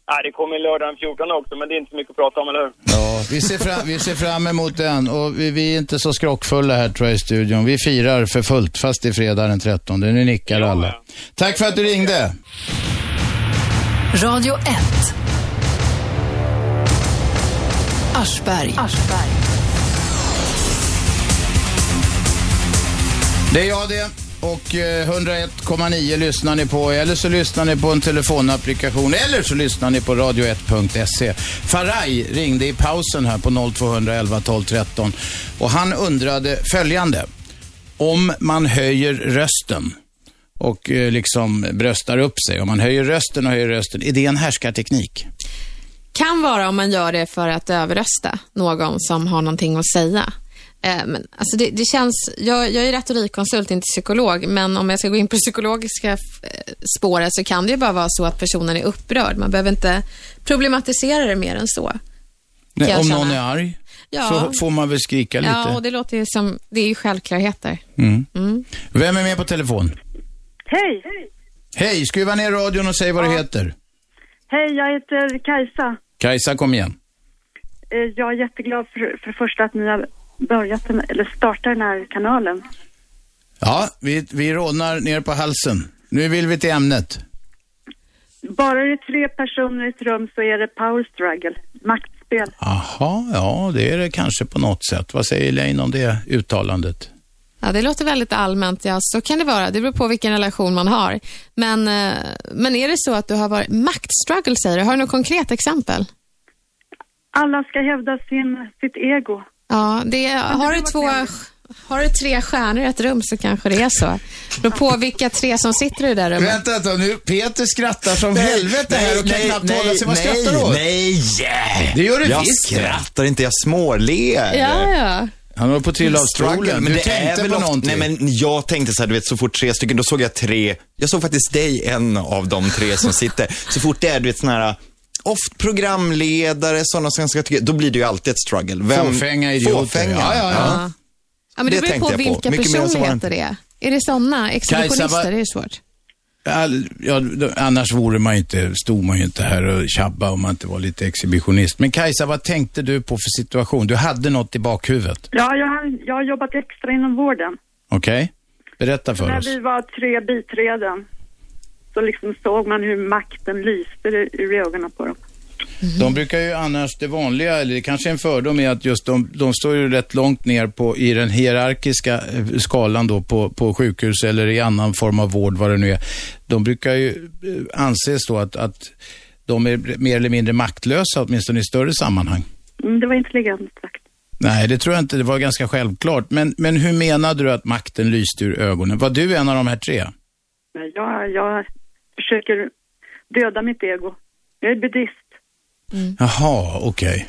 [SPEAKER 14] Nej, det kommer lördag den 14 också, men det är inte så mycket att prata om, eller hur?
[SPEAKER 2] Ja, vi ser, fram, vi ser fram emot den och vi, vi är inte så skrockfulla här tror jag i studion. Vi firar för fullt fast det är fredag den 13. Nu nickar alla. Tack för att du ringde.
[SPEAKER 5] Radio 1. Aschberg.
[SPEAKER 2] Det är jag det. Och eh, 101,9 lyssnar ni på. Eller så lyssnar ni på en telefonapplikation. Eller så lyssnar ni på radio1.se. Faraj ringde i pausen här på 0211 12 13. Och han undrade följande. Om man höjer rösten och eh, liksom bröstar upp sig. Om man höjer rösten och höjer rösten. Är det en härskarteknik?
[SPEAKER 4] Kan vara om man gör det för att överrösta någon som har någonting att säga. Eh, Men, alltså det, det känns, jag, jag är retorikkonsult, inte psykolog, men om jag ska gå in på det psykologiska eh, spåret så kan det ju bara vara så att personen är upprörd. Man behöver inte problematisera det mer än så. Kan
[SPEAKER 2] Nej,
[SPEAKER 4] jag
[SPEAKER 2] om
[SPEAKER 4] känna.
[SPEAKER 2] någon är arg
[SPEAKER 4] Ja.
[SPEAKER 2] så får man väl skrika
[SPEAKER 4] Ja,
[SPEAKER 2] lite.
[SPEAKER 4] och det låter ju som, det är ju självklarheter.
[SPEAKER 2] Mm.
[SPEAKER 4] Mm.
[SPEAKER 2] Vem är med på telefon?
[SPEAKER 6] Hej!
[SPEAKER 2] Hej, skruva ner radion och säg vad du heter.
[SPEAKER 6] Hej, jag heter Kajsa.
[SPEAKER 2] Kajsa, kom igen.
[SPEAKER 6] Eh, Jag är jätteglad för, för det första att ni har börjat, den, eller startat den här kanalen.
[SPEAKER 2] Ja, vi, vi rodnar ner på halsen. Nu vill vi till ämnet.
[SPEAKER 6] Bara det är tre personer i ett rum så är det power struggle, maktspel.
[SPEAKER 2] Aha, ja, det är det kanske på något sätt. Vad säger Elaine om det uttalandet?
[SPEAKER 4] Ja, det låter väldigt allmänt. Ja, så kan det vara. Det beror på vilken relation man har. Men, eh, men är det så att du har varit... Maktstruggle säger du. Har du något konkret exempel?
[SPEAKER 6] Alla ska hävda sin, sitt ego.
[SPEAKER 4] Ja, det är, har, du två, har du tre stjärnor i ett rum så kanske det är så. Det beror på vilka tre som sitter i det där rummet.
[SPEAKER 2] Vänta ett tag nu, Peter skrattar som helvete här och kan knappt hålla sig. Vad
[SPEAKER 3] nej,
[SPEAKER 2] skrattar du åt?
[SPEAKER 3] Nej!
[SPEAKER 2] Det gör du
[SPEAKER 3] jag
[SPEAKER 2] visst.
[SPEAKER 3] skrattar inte, jag småler.
[SPEAKER 4] Ja, ja.
[SPEAKER 2] Han håller på att trilla av stolen. Du tänkte på någonting.
[SPEAKER 3] Nej, men jag tänkte så här, du vet, så fort tre stycken, då såg jag tre. Jag såg faktiskt dig, en av de tre som sitter. så fort det är, du vet, såna här, ah, oft programledare, sådana som ska tycka, då blir det ju alltid ett struggle.
[SPEAKER 2] Fåfänga idioter.
[SPEAKER 3] Fåfänga.
[SPEAKER 2] Ja, ja, ja.
[SPEAKER 4] Ja, men det,
[SPEAKER 3] det
[SPEAKER 4] beror på
[SPEAKER 3] tänkte jag på.
[SPEAKER 4] vilka
[SPEAKER 3] Mycket mer än så var det
[SPEAKER 4] personligheter det är. Är det sådana? Exhibitionister,
[SPEAKER 2] vad-
[SPEAKER 4] det är svårt.
[SPEAKER 2] All, ja, då- annars vore man ju inte, stod man ju inte här och tjabba om man inte var lite exhibitionist. Men Kajsa, vad tänkte du på för situation? Du hade något i bakhuvudet,
[SPEAKER 6] Ja, jag har, jag har jobbat extra inom vården.
[SPEAKER 2] okej? Berätta för
[SPEAKER 6] När
[SPEAKER 2] oss.
[SPEAKER 6] vi var tre biträden så liksom såg man hur makten lyste ur ögonen på dem.
[SPEAKER 2] De brukar ju annars, det vanliga, eller det kanske är en fördom, är att just de, de står ju rätt långt ner på, i den hierarkiska eh, skalan då på, på sjukhus eller i annan form av vård, vad det nu är. De brukar ju eh, anses då att, att de är mer eller mindre maktlösa, åtminstone i större sammanhang.
[SPEAKER 6] Mm, det var intelligent.
[SPEAKER 2] Nej, det tror jag inte. Det var ganska självklart. Men, men hur menade du att makten lyste ur ögonen? Var du en av de här tre?
[SPEAKER 6] Men Jag, jag försöker döda mitt ego. Jag är buddhist.
[SPEAKER 2] Jaha, okej.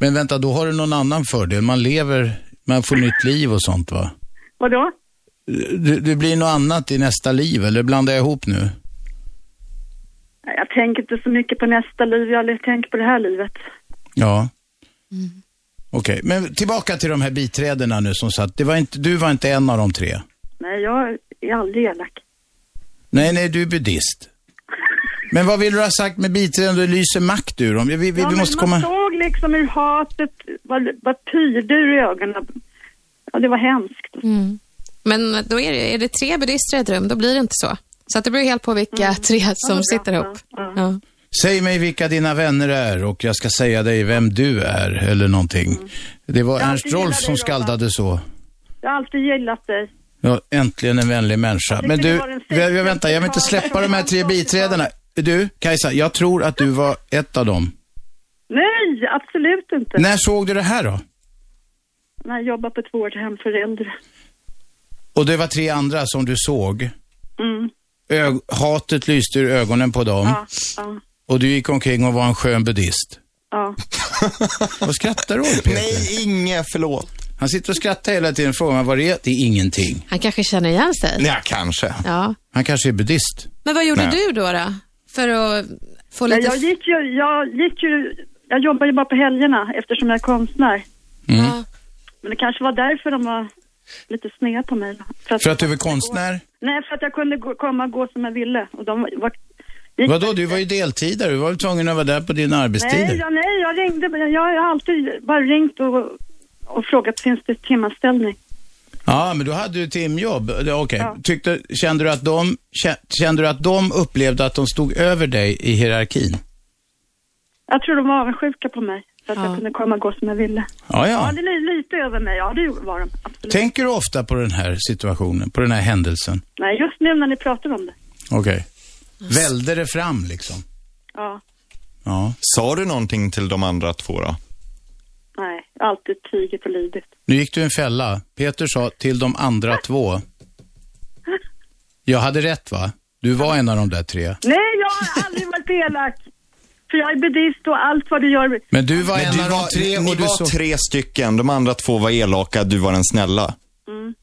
[SPEAKER 2] Men vänta, då har du någon annan fördel. Man lever, man får nytt liv och sånt va?
[SPEAKER 6] Vadå?
[SPEAKER 2] Du, du blir något annat i nästa liv, eller blandar jag ihop nu?
[SPEAKER 6] Nej, Jag tänker inte så mycket på nästa liv, jag tänker på det här livet.
[SPEAKER 2] Ja.
[SPEAKER 6] Mm.
[SPEAKER 2] Okej, men tillbaka till de här biträdena nu som satt. Det var inte, du var inte en av de tre?
[SPEAKER 6] Nej, jag är aldrig elak.
[SPEAKER 2] Nej, nej, du är buddhist. Men vad vill du ha sagt med biträden? Du lyser makt ur dem. Vi, vi, vi
[SPEAKER 6] Ja, men
[SPEAKER 2] måste
[SPEAKER 6] man
[SPEAKER 2] komma...
[SPEAKER 6] såg liksom hur hatet var, var pyrde ur ögonen. Ja, det var hemskt.
[SPEAKER 4] Men då är det, är det tre buddister i ett rum, då blir det inte så. Så att det beror helt på vilka tre som sitter ihop. Ja.
[SPEAKER 2] Säg mig vilka dina vänner är och jag ska säga dig vem du är eller någonting. Det var
[SPEAKER 22] Jag
[SPEAKER 2] Ernst
[SPEAKER 22] gillar
[SPEAKER 2] Rolf
[SPEAKER 22] dig,
[SPEAKER 2] som
[SPEAKER 22] Robert.
[SPEAKER 2] skaldade så.
[SPEAKER 22] Jag har alltid gillat dig.
[SPEAKER 2] Ja, äntligen en vänlig människa.
[SPEAKER 22] tycker
[SPEAKER 2] Men
[SPEAKER 22] det
[SPEAKER 2] du,
[SPEAKER 22] var den
[SPEAKER 2] jag, jag, vänta, jag vill inte släppa de här tre biträdena. Du, Kajsa, jag tror att du var ett av dem.
[SPEAKER 22] Nej, absolut inte.
[SPEAKER 2] När såg du det här då?
[SPEAKER 22] När jag jobbade på ett vårdhem för äldre.
[SPEAKER 2] Och det var tre andra som du såg.
[SPEAKER 22] Mm.
[SPEAKER 2] Ög- hatet lyste ur ögonen på dem.
[SPEAKER 22] Ja, ja,
[SPEAKER 2] Och du gick omkring och var en skön buddhist.
[SPEAKER 22] ja.
[SPEAKER 2] Vad skrattar du åt Peter? Nej,
[SPEAKER 3] inget, förlåt.
[SPEAKER 2] Han sitter och skrattar hela tiden och frågar vad det är. Det är ingenting.
[SPEAKER 4] Han kanske känner igen sig.
[SPEAKER 2] Ja, kanske.
[SPEAKER 4] Ja.
[SPEAKER 2] Han kanske är buddhist.
[SPEAKER 4] Men vad gjorde
[SPEAKER 2] Nej.
[SPEAKER 4] du då, då? För att få
[SPEAKER 22] Nej,
[SPEAKER 4] lite...
[SPEAKER 22] jag gick ju, jag gick ju, jag jobbar ju bara på helgerna eftersom jag är konstnär.
[SPEAKER 2] Mm.
[SPEAKER 22] Men det kanske var därför de var lite sneda på mig.
[SPEAKER 2] För att du är konstnär?
[SPEAKER 22] Nej, för att jag kunde gå, komma och gå som jag ville. Och de var,
[SPEAKER 2] Vadå, du var ju deltidare. Du var ju tvungen att vara där på dina arbetstider.
[SPEAKER 22] nej, jag, nej, jag ringde, men jag har alltid bara ringt och, och frågat finns det timanställning.
[SPEAKER 2] Ja, men då hade du timjobb. Ja, Okej. Tyckte, kände, du att de, kä- kände du att de upplevde att de stod över dig i hierarkin?
[SPEAKER 22] Jag tror de var avundsjuka på mig för att jag kunde komma och gå som jag ville.
[SPEAKER 2] Ja, ja.
[SPEAKER 22] det är lite över mig, ja det var de.
[SPEAKER 2] Tänker du ofta på den här situationen, på den här händelsen?
[SPEAKER 22] Nej, just nu när ni pratar om det.
[SPEAKER 2] Okej. Välde det fram liksom?
[SPEAKER 22] Ja,
[SPEAKER 2] Ja.
[SPEAKER 3] Sa du någonting till de andra två då?
[SPEAKER 22] nej, jag har alltid tigit och lidit.
[SPEAKER 2] Nu gick du i en fälla. Peter sa till de andra två. Jag hade rätt va? Du var en av de där tre.
[SPEAKER 22] Nej, jag har aldrig varit elak. För jag är buddhist och allt vad du gör.
[SPEAKER 2] Men du var
[SPEAKER 3] Men
[SPEAKER 2] en
[SPEAKER 3] du
[SPEAKER 2] av
[SPEAKER 3] var-
[SPEAKER 2] de tre
[SPEAKER 3] Ni
[SPEAKER 2] och du
[SPEAKER 3] var
[SPEAKER 2] så...
[SPEAKER 3] tre stycken, de andra två var elaka, du var den snälla.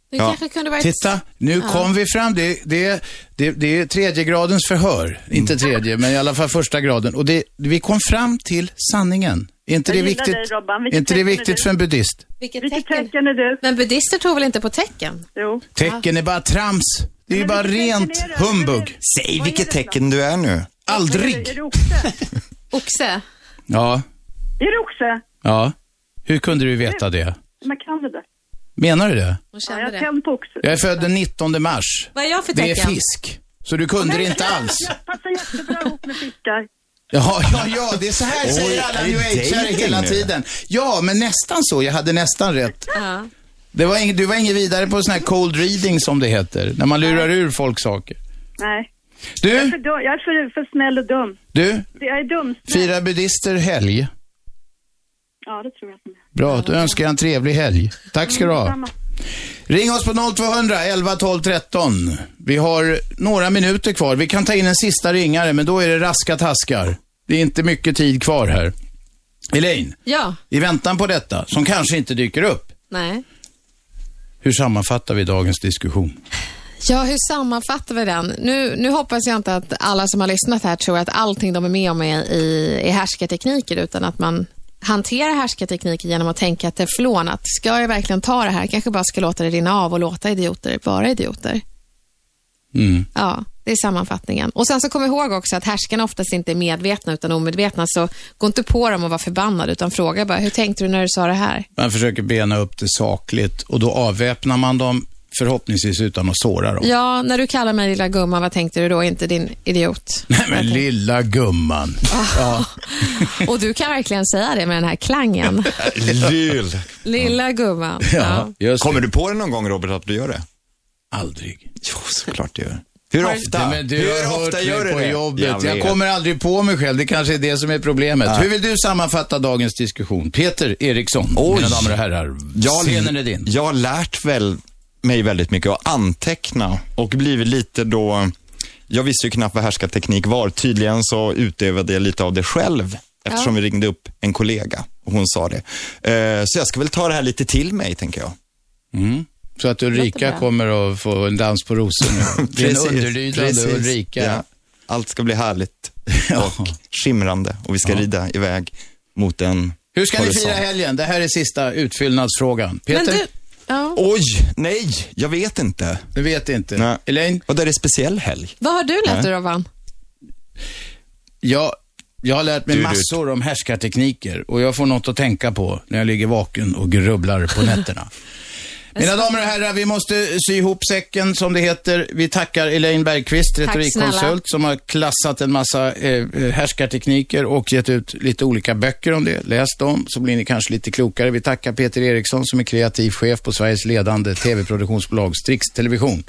[SPEAKER 4] Det
[SPEAKER 3] Ja.
[SPEAKER 4] kanske kunde varit...
[SPEAKER 2] Titta, nu
[SPEAKER 4] Ja.
[SPEAKER 2] kom vi fram. Det, det, det, det är tredje gradens förhör.
[SPEAKER 4] Mm.
[SPEAKER 2] Inte tredje, men i alla fall första graden. Och det, vi kom fram till sanningen. Är inte
[SPEAKER 4] Jag
[SPEAKER 2] det
[SPEAKER 4] gillar
[SPEAKER 2] viktigt,
[SPEAKER 4] dig, Robban.
[SPEAKER 2] är
[SPEAKER 4] Vilket
[SPEAKER 2] inte det
[SPEAKER 4] tecken är
[SPEAKER 2] viktigt
[SPEAKER 4] du?
[SPEAKER 2] för en buddhist?
[SPEAKER 4] Vilket, tecken? är du? Men buddhister tror väl inte på tecken?
[SPEAKER 22] Jo.
[SPEAKER 2] Tecken är bara trams. Det är ju bara rent humbug.
[SPEAKER 3] Säg vilket tecken du är nu.
[SPEAKER 2] Aldrig.
[SPEAKER 22] Är du oxe?
[SPEAKER 4] oxe?
[SPEAKER 2] Ja,
[SPEAKER 22] Är du oxe?
[SPEAKER 2] ja. Hur kunde du veta det?
[SPEAKER 22] Man kan det där.
[SPEAKER 2] Menar du det?
[SPEAKER 22] Ja, jag är tänd på oxe.
[SPEAKER 2] Jag är född den 19 mars.
[SPEAKER 22] Vad är jag för
[SPEAKER 2] Det är
[SPEAKER 22] tecken?
[SPEAKER 2] fisk. Så du kunde det inte alls.
[SPEAKER 22] Jag passar jättebra ihop med fiskar.
[SPEAKER 2] Ja, ja, ja, det är så här
[SPEAKER 22] Oj,
[SPEAKER 2] säger
[SPEAKER 22] är
[SPEAKER 2] alla
[SPEAKER 22] det
[SPEAKER 2] new age
[SPEAKER 22] dating
[SPEAKER 2] hela
[SPEAKER 22] nu?
[SPEAKER 2] tiden. Ja, men nästan så. Jag hade nästan rätt.
[SPEAKER 4] Ja.
[SPEAKER 2] Det var ing, du var inget vidare på sån här cold reading som det heter, när man lurar ur folk saker.
[SPEAKER 22] Nej. Jag är,
[SPEAKER 2] Du,
[SPEAKER 22] för, dum- jag är för, för snäll och dum.
[SPEAKER 2] du,
[SPEAKER 22] Jag är dum.
[SPEAKER 2] fira buddister helg.
[SPEAKER 22] Ja, det tror jag.
[SPEAKER 2] Bra, då önskar jag en trevlig helg. Tack ska du ha.
[SPEAKER 22] Samma.
[SPEAKER 2] Ring oss på 0200 11 12 13. Vi har några minuter kvar. Vi kan ta in en sista ringare, men då är det raska taskar. Det är inte mycket tid kvar här. Elaine,
[SPEAKER 4] Ja,
[SPEAKER 2] i väntan på detta, som kanske inte dyker upp,
[SPEAKER 4] nej.
[SPEAKER 2] hur sammanfattar vi dagens diskussion?
[SPEAKER 4] Ja, hur sammanfattar vi den? Nu, nu hoppas jag inte att alla som har lyssnat här tror att allting de är med om är, i, är härskartekniker, utan att man hanterar härskartekniker genom att tänka teflon, att ska jag verkligen ta det här? Kanske bara ska låta det rinna av och låta idioter vara idioter.
[SPEAKER 2] Mm.
[SPEAKER 4] Ja, det är sammanfattningen. Och sen så kom ihåg också att härskarna oftast inte är medvetna utan omedvetna, så gå inte på dem och var förbannad, utan fråga bara, hur tänkte du när du sa det här?
[SPEAKER 2] Man försöker bena upp det sakligt och då avväpnar man dem, förhoppningsvis utan att såra dem.
[SPEAKER 4] Ja, när du kallar mig lilla gumman, vad tänkte du då? Inte din idiot.
[SPEAKER 2] Nej men lilla gumman. Ja.
[SPEAKER 4] Och du kan verkligen säga det med den här klangen.
[SPEAKER 3] Lill.
[SPEAKER 4] Lilla gumman.
[SPEAKER 3] Kommer du på det någon gång Robert att du gör det?
[SPEAKER 2] Aldrig.
[SPEAKER 3] Jo, såklart du gör. Hur ofta?
[SPEAKER 2] Nej, men du
[SPEAKER 3] Hur
[SPEAKER 2] har hört
[SPEAKER 3] ofta
[SPEAKER 2] mig
[SPEAKER 3] gör du
[SPEAKER 2] på
[SPEAKER 3] det?
[SPEAKER 2] jobbet. Jag,
[SPEAKER 3] vet.
[SPEAKER 2] kommer aldrig på mig själv. Det kanske är det som är problemet.
[SPEAKER 3] Ja.
[SPEAKER 2] Hur vill du sammanfatta dagens diskussion? Peter Eriksson, mina damer och herrar. Scenen är din.
[SPEAKER 3] Jag har lärt väl mig väldigt mycket att anteckna och blivit lite då, jag visste ju knappt vad härskarteknik var. Tydligen så utövade jag lite av det själv eftersom
[SPEAKER 8] Ja.
[SPEAKER 3] vi ringde upp en kollega och hon sa det. Eh, Så jag ska väl ta det här lite till mig, tänker jag.
[SPEAKER 2] Mm. Så att Ulrika
[SPEAKER 3] bra.
[SPEAKER 2] kommer att få en dans på rosor nu. Din
[SPEAKER 3] Precis,
[SPEAKER 2] underlydande
[SPEAKER 3] precis.
[SPEAKER 2] Ulrika.
[SPEAKER 3] Ja. Allt ska bli härligt och skimrande och vi ska rida iväg mot en
[SPEAKER 2] Hur ska ni
[SPEAKER 3] horisont.
[SPEAKER 2] fira helgen? Det här är sista utfyllnadsfrågan. Peter?
[SPEAKER 3] Oj, nej, jag vet inte.
[SPEAKER 2] Du vet inte.
[SPEAKER 3] Nej.
[SPEAKER 2] Elaine?
[SPEAKER 3] Och det är speciell helg.
[SPEAKER 4] Vad har du lärt dig
[SPEAKER 2] Nej.
[SPEAKER 4] då, Van?
[SPEAKER 2] Jag, jag har lärt mig
[SPEAKER 3] Du, du.
[SPEAKER 2] massor om härskartekniker och jag får något att tänka på när jag ligger vaken och grubblar på nätterna. Mina damer och herrar, vi måste sy ihop säcken som det heter. Vi tackar Elaine Bergqvist,
[SPEAKER 9] Tack snälla.
[SPEAKER 2] retorikkonsult, som har klassat en massa eh, härskartekniker och gett ut lite olika böcker om det. Läs dem så blir ni kanske lite klokare. Vi tackar Peter Eriksson som är kreativ chef på Sveriges ledande tv-produktionsbolag Strix Television.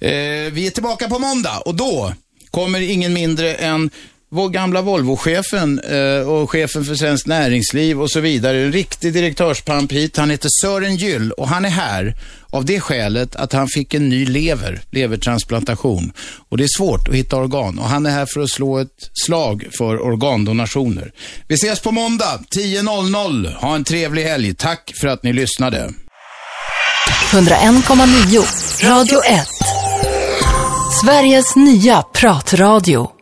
[SPEAKER 2] Eh, vi är tillbaka på måndag och då kommer ingen mindre än vår gamla Volvo-chefen eh, och chefen för Svenskt Näringsliv och så vidare. En riktig direktörspamp hit. Han heter Sören Gyll och han är här av det skälet att han fick en ny lever, levertransplantation. Och det är svårt att hitta organ och han är här för att slå ett slag för organdonationer. Vi ses på måndag 10.00. Ha en trevlig helg. Tack för att ni lyssnade.
[SPEAKER 5] 101,9 Radio 1. Sveriges nya pratradio.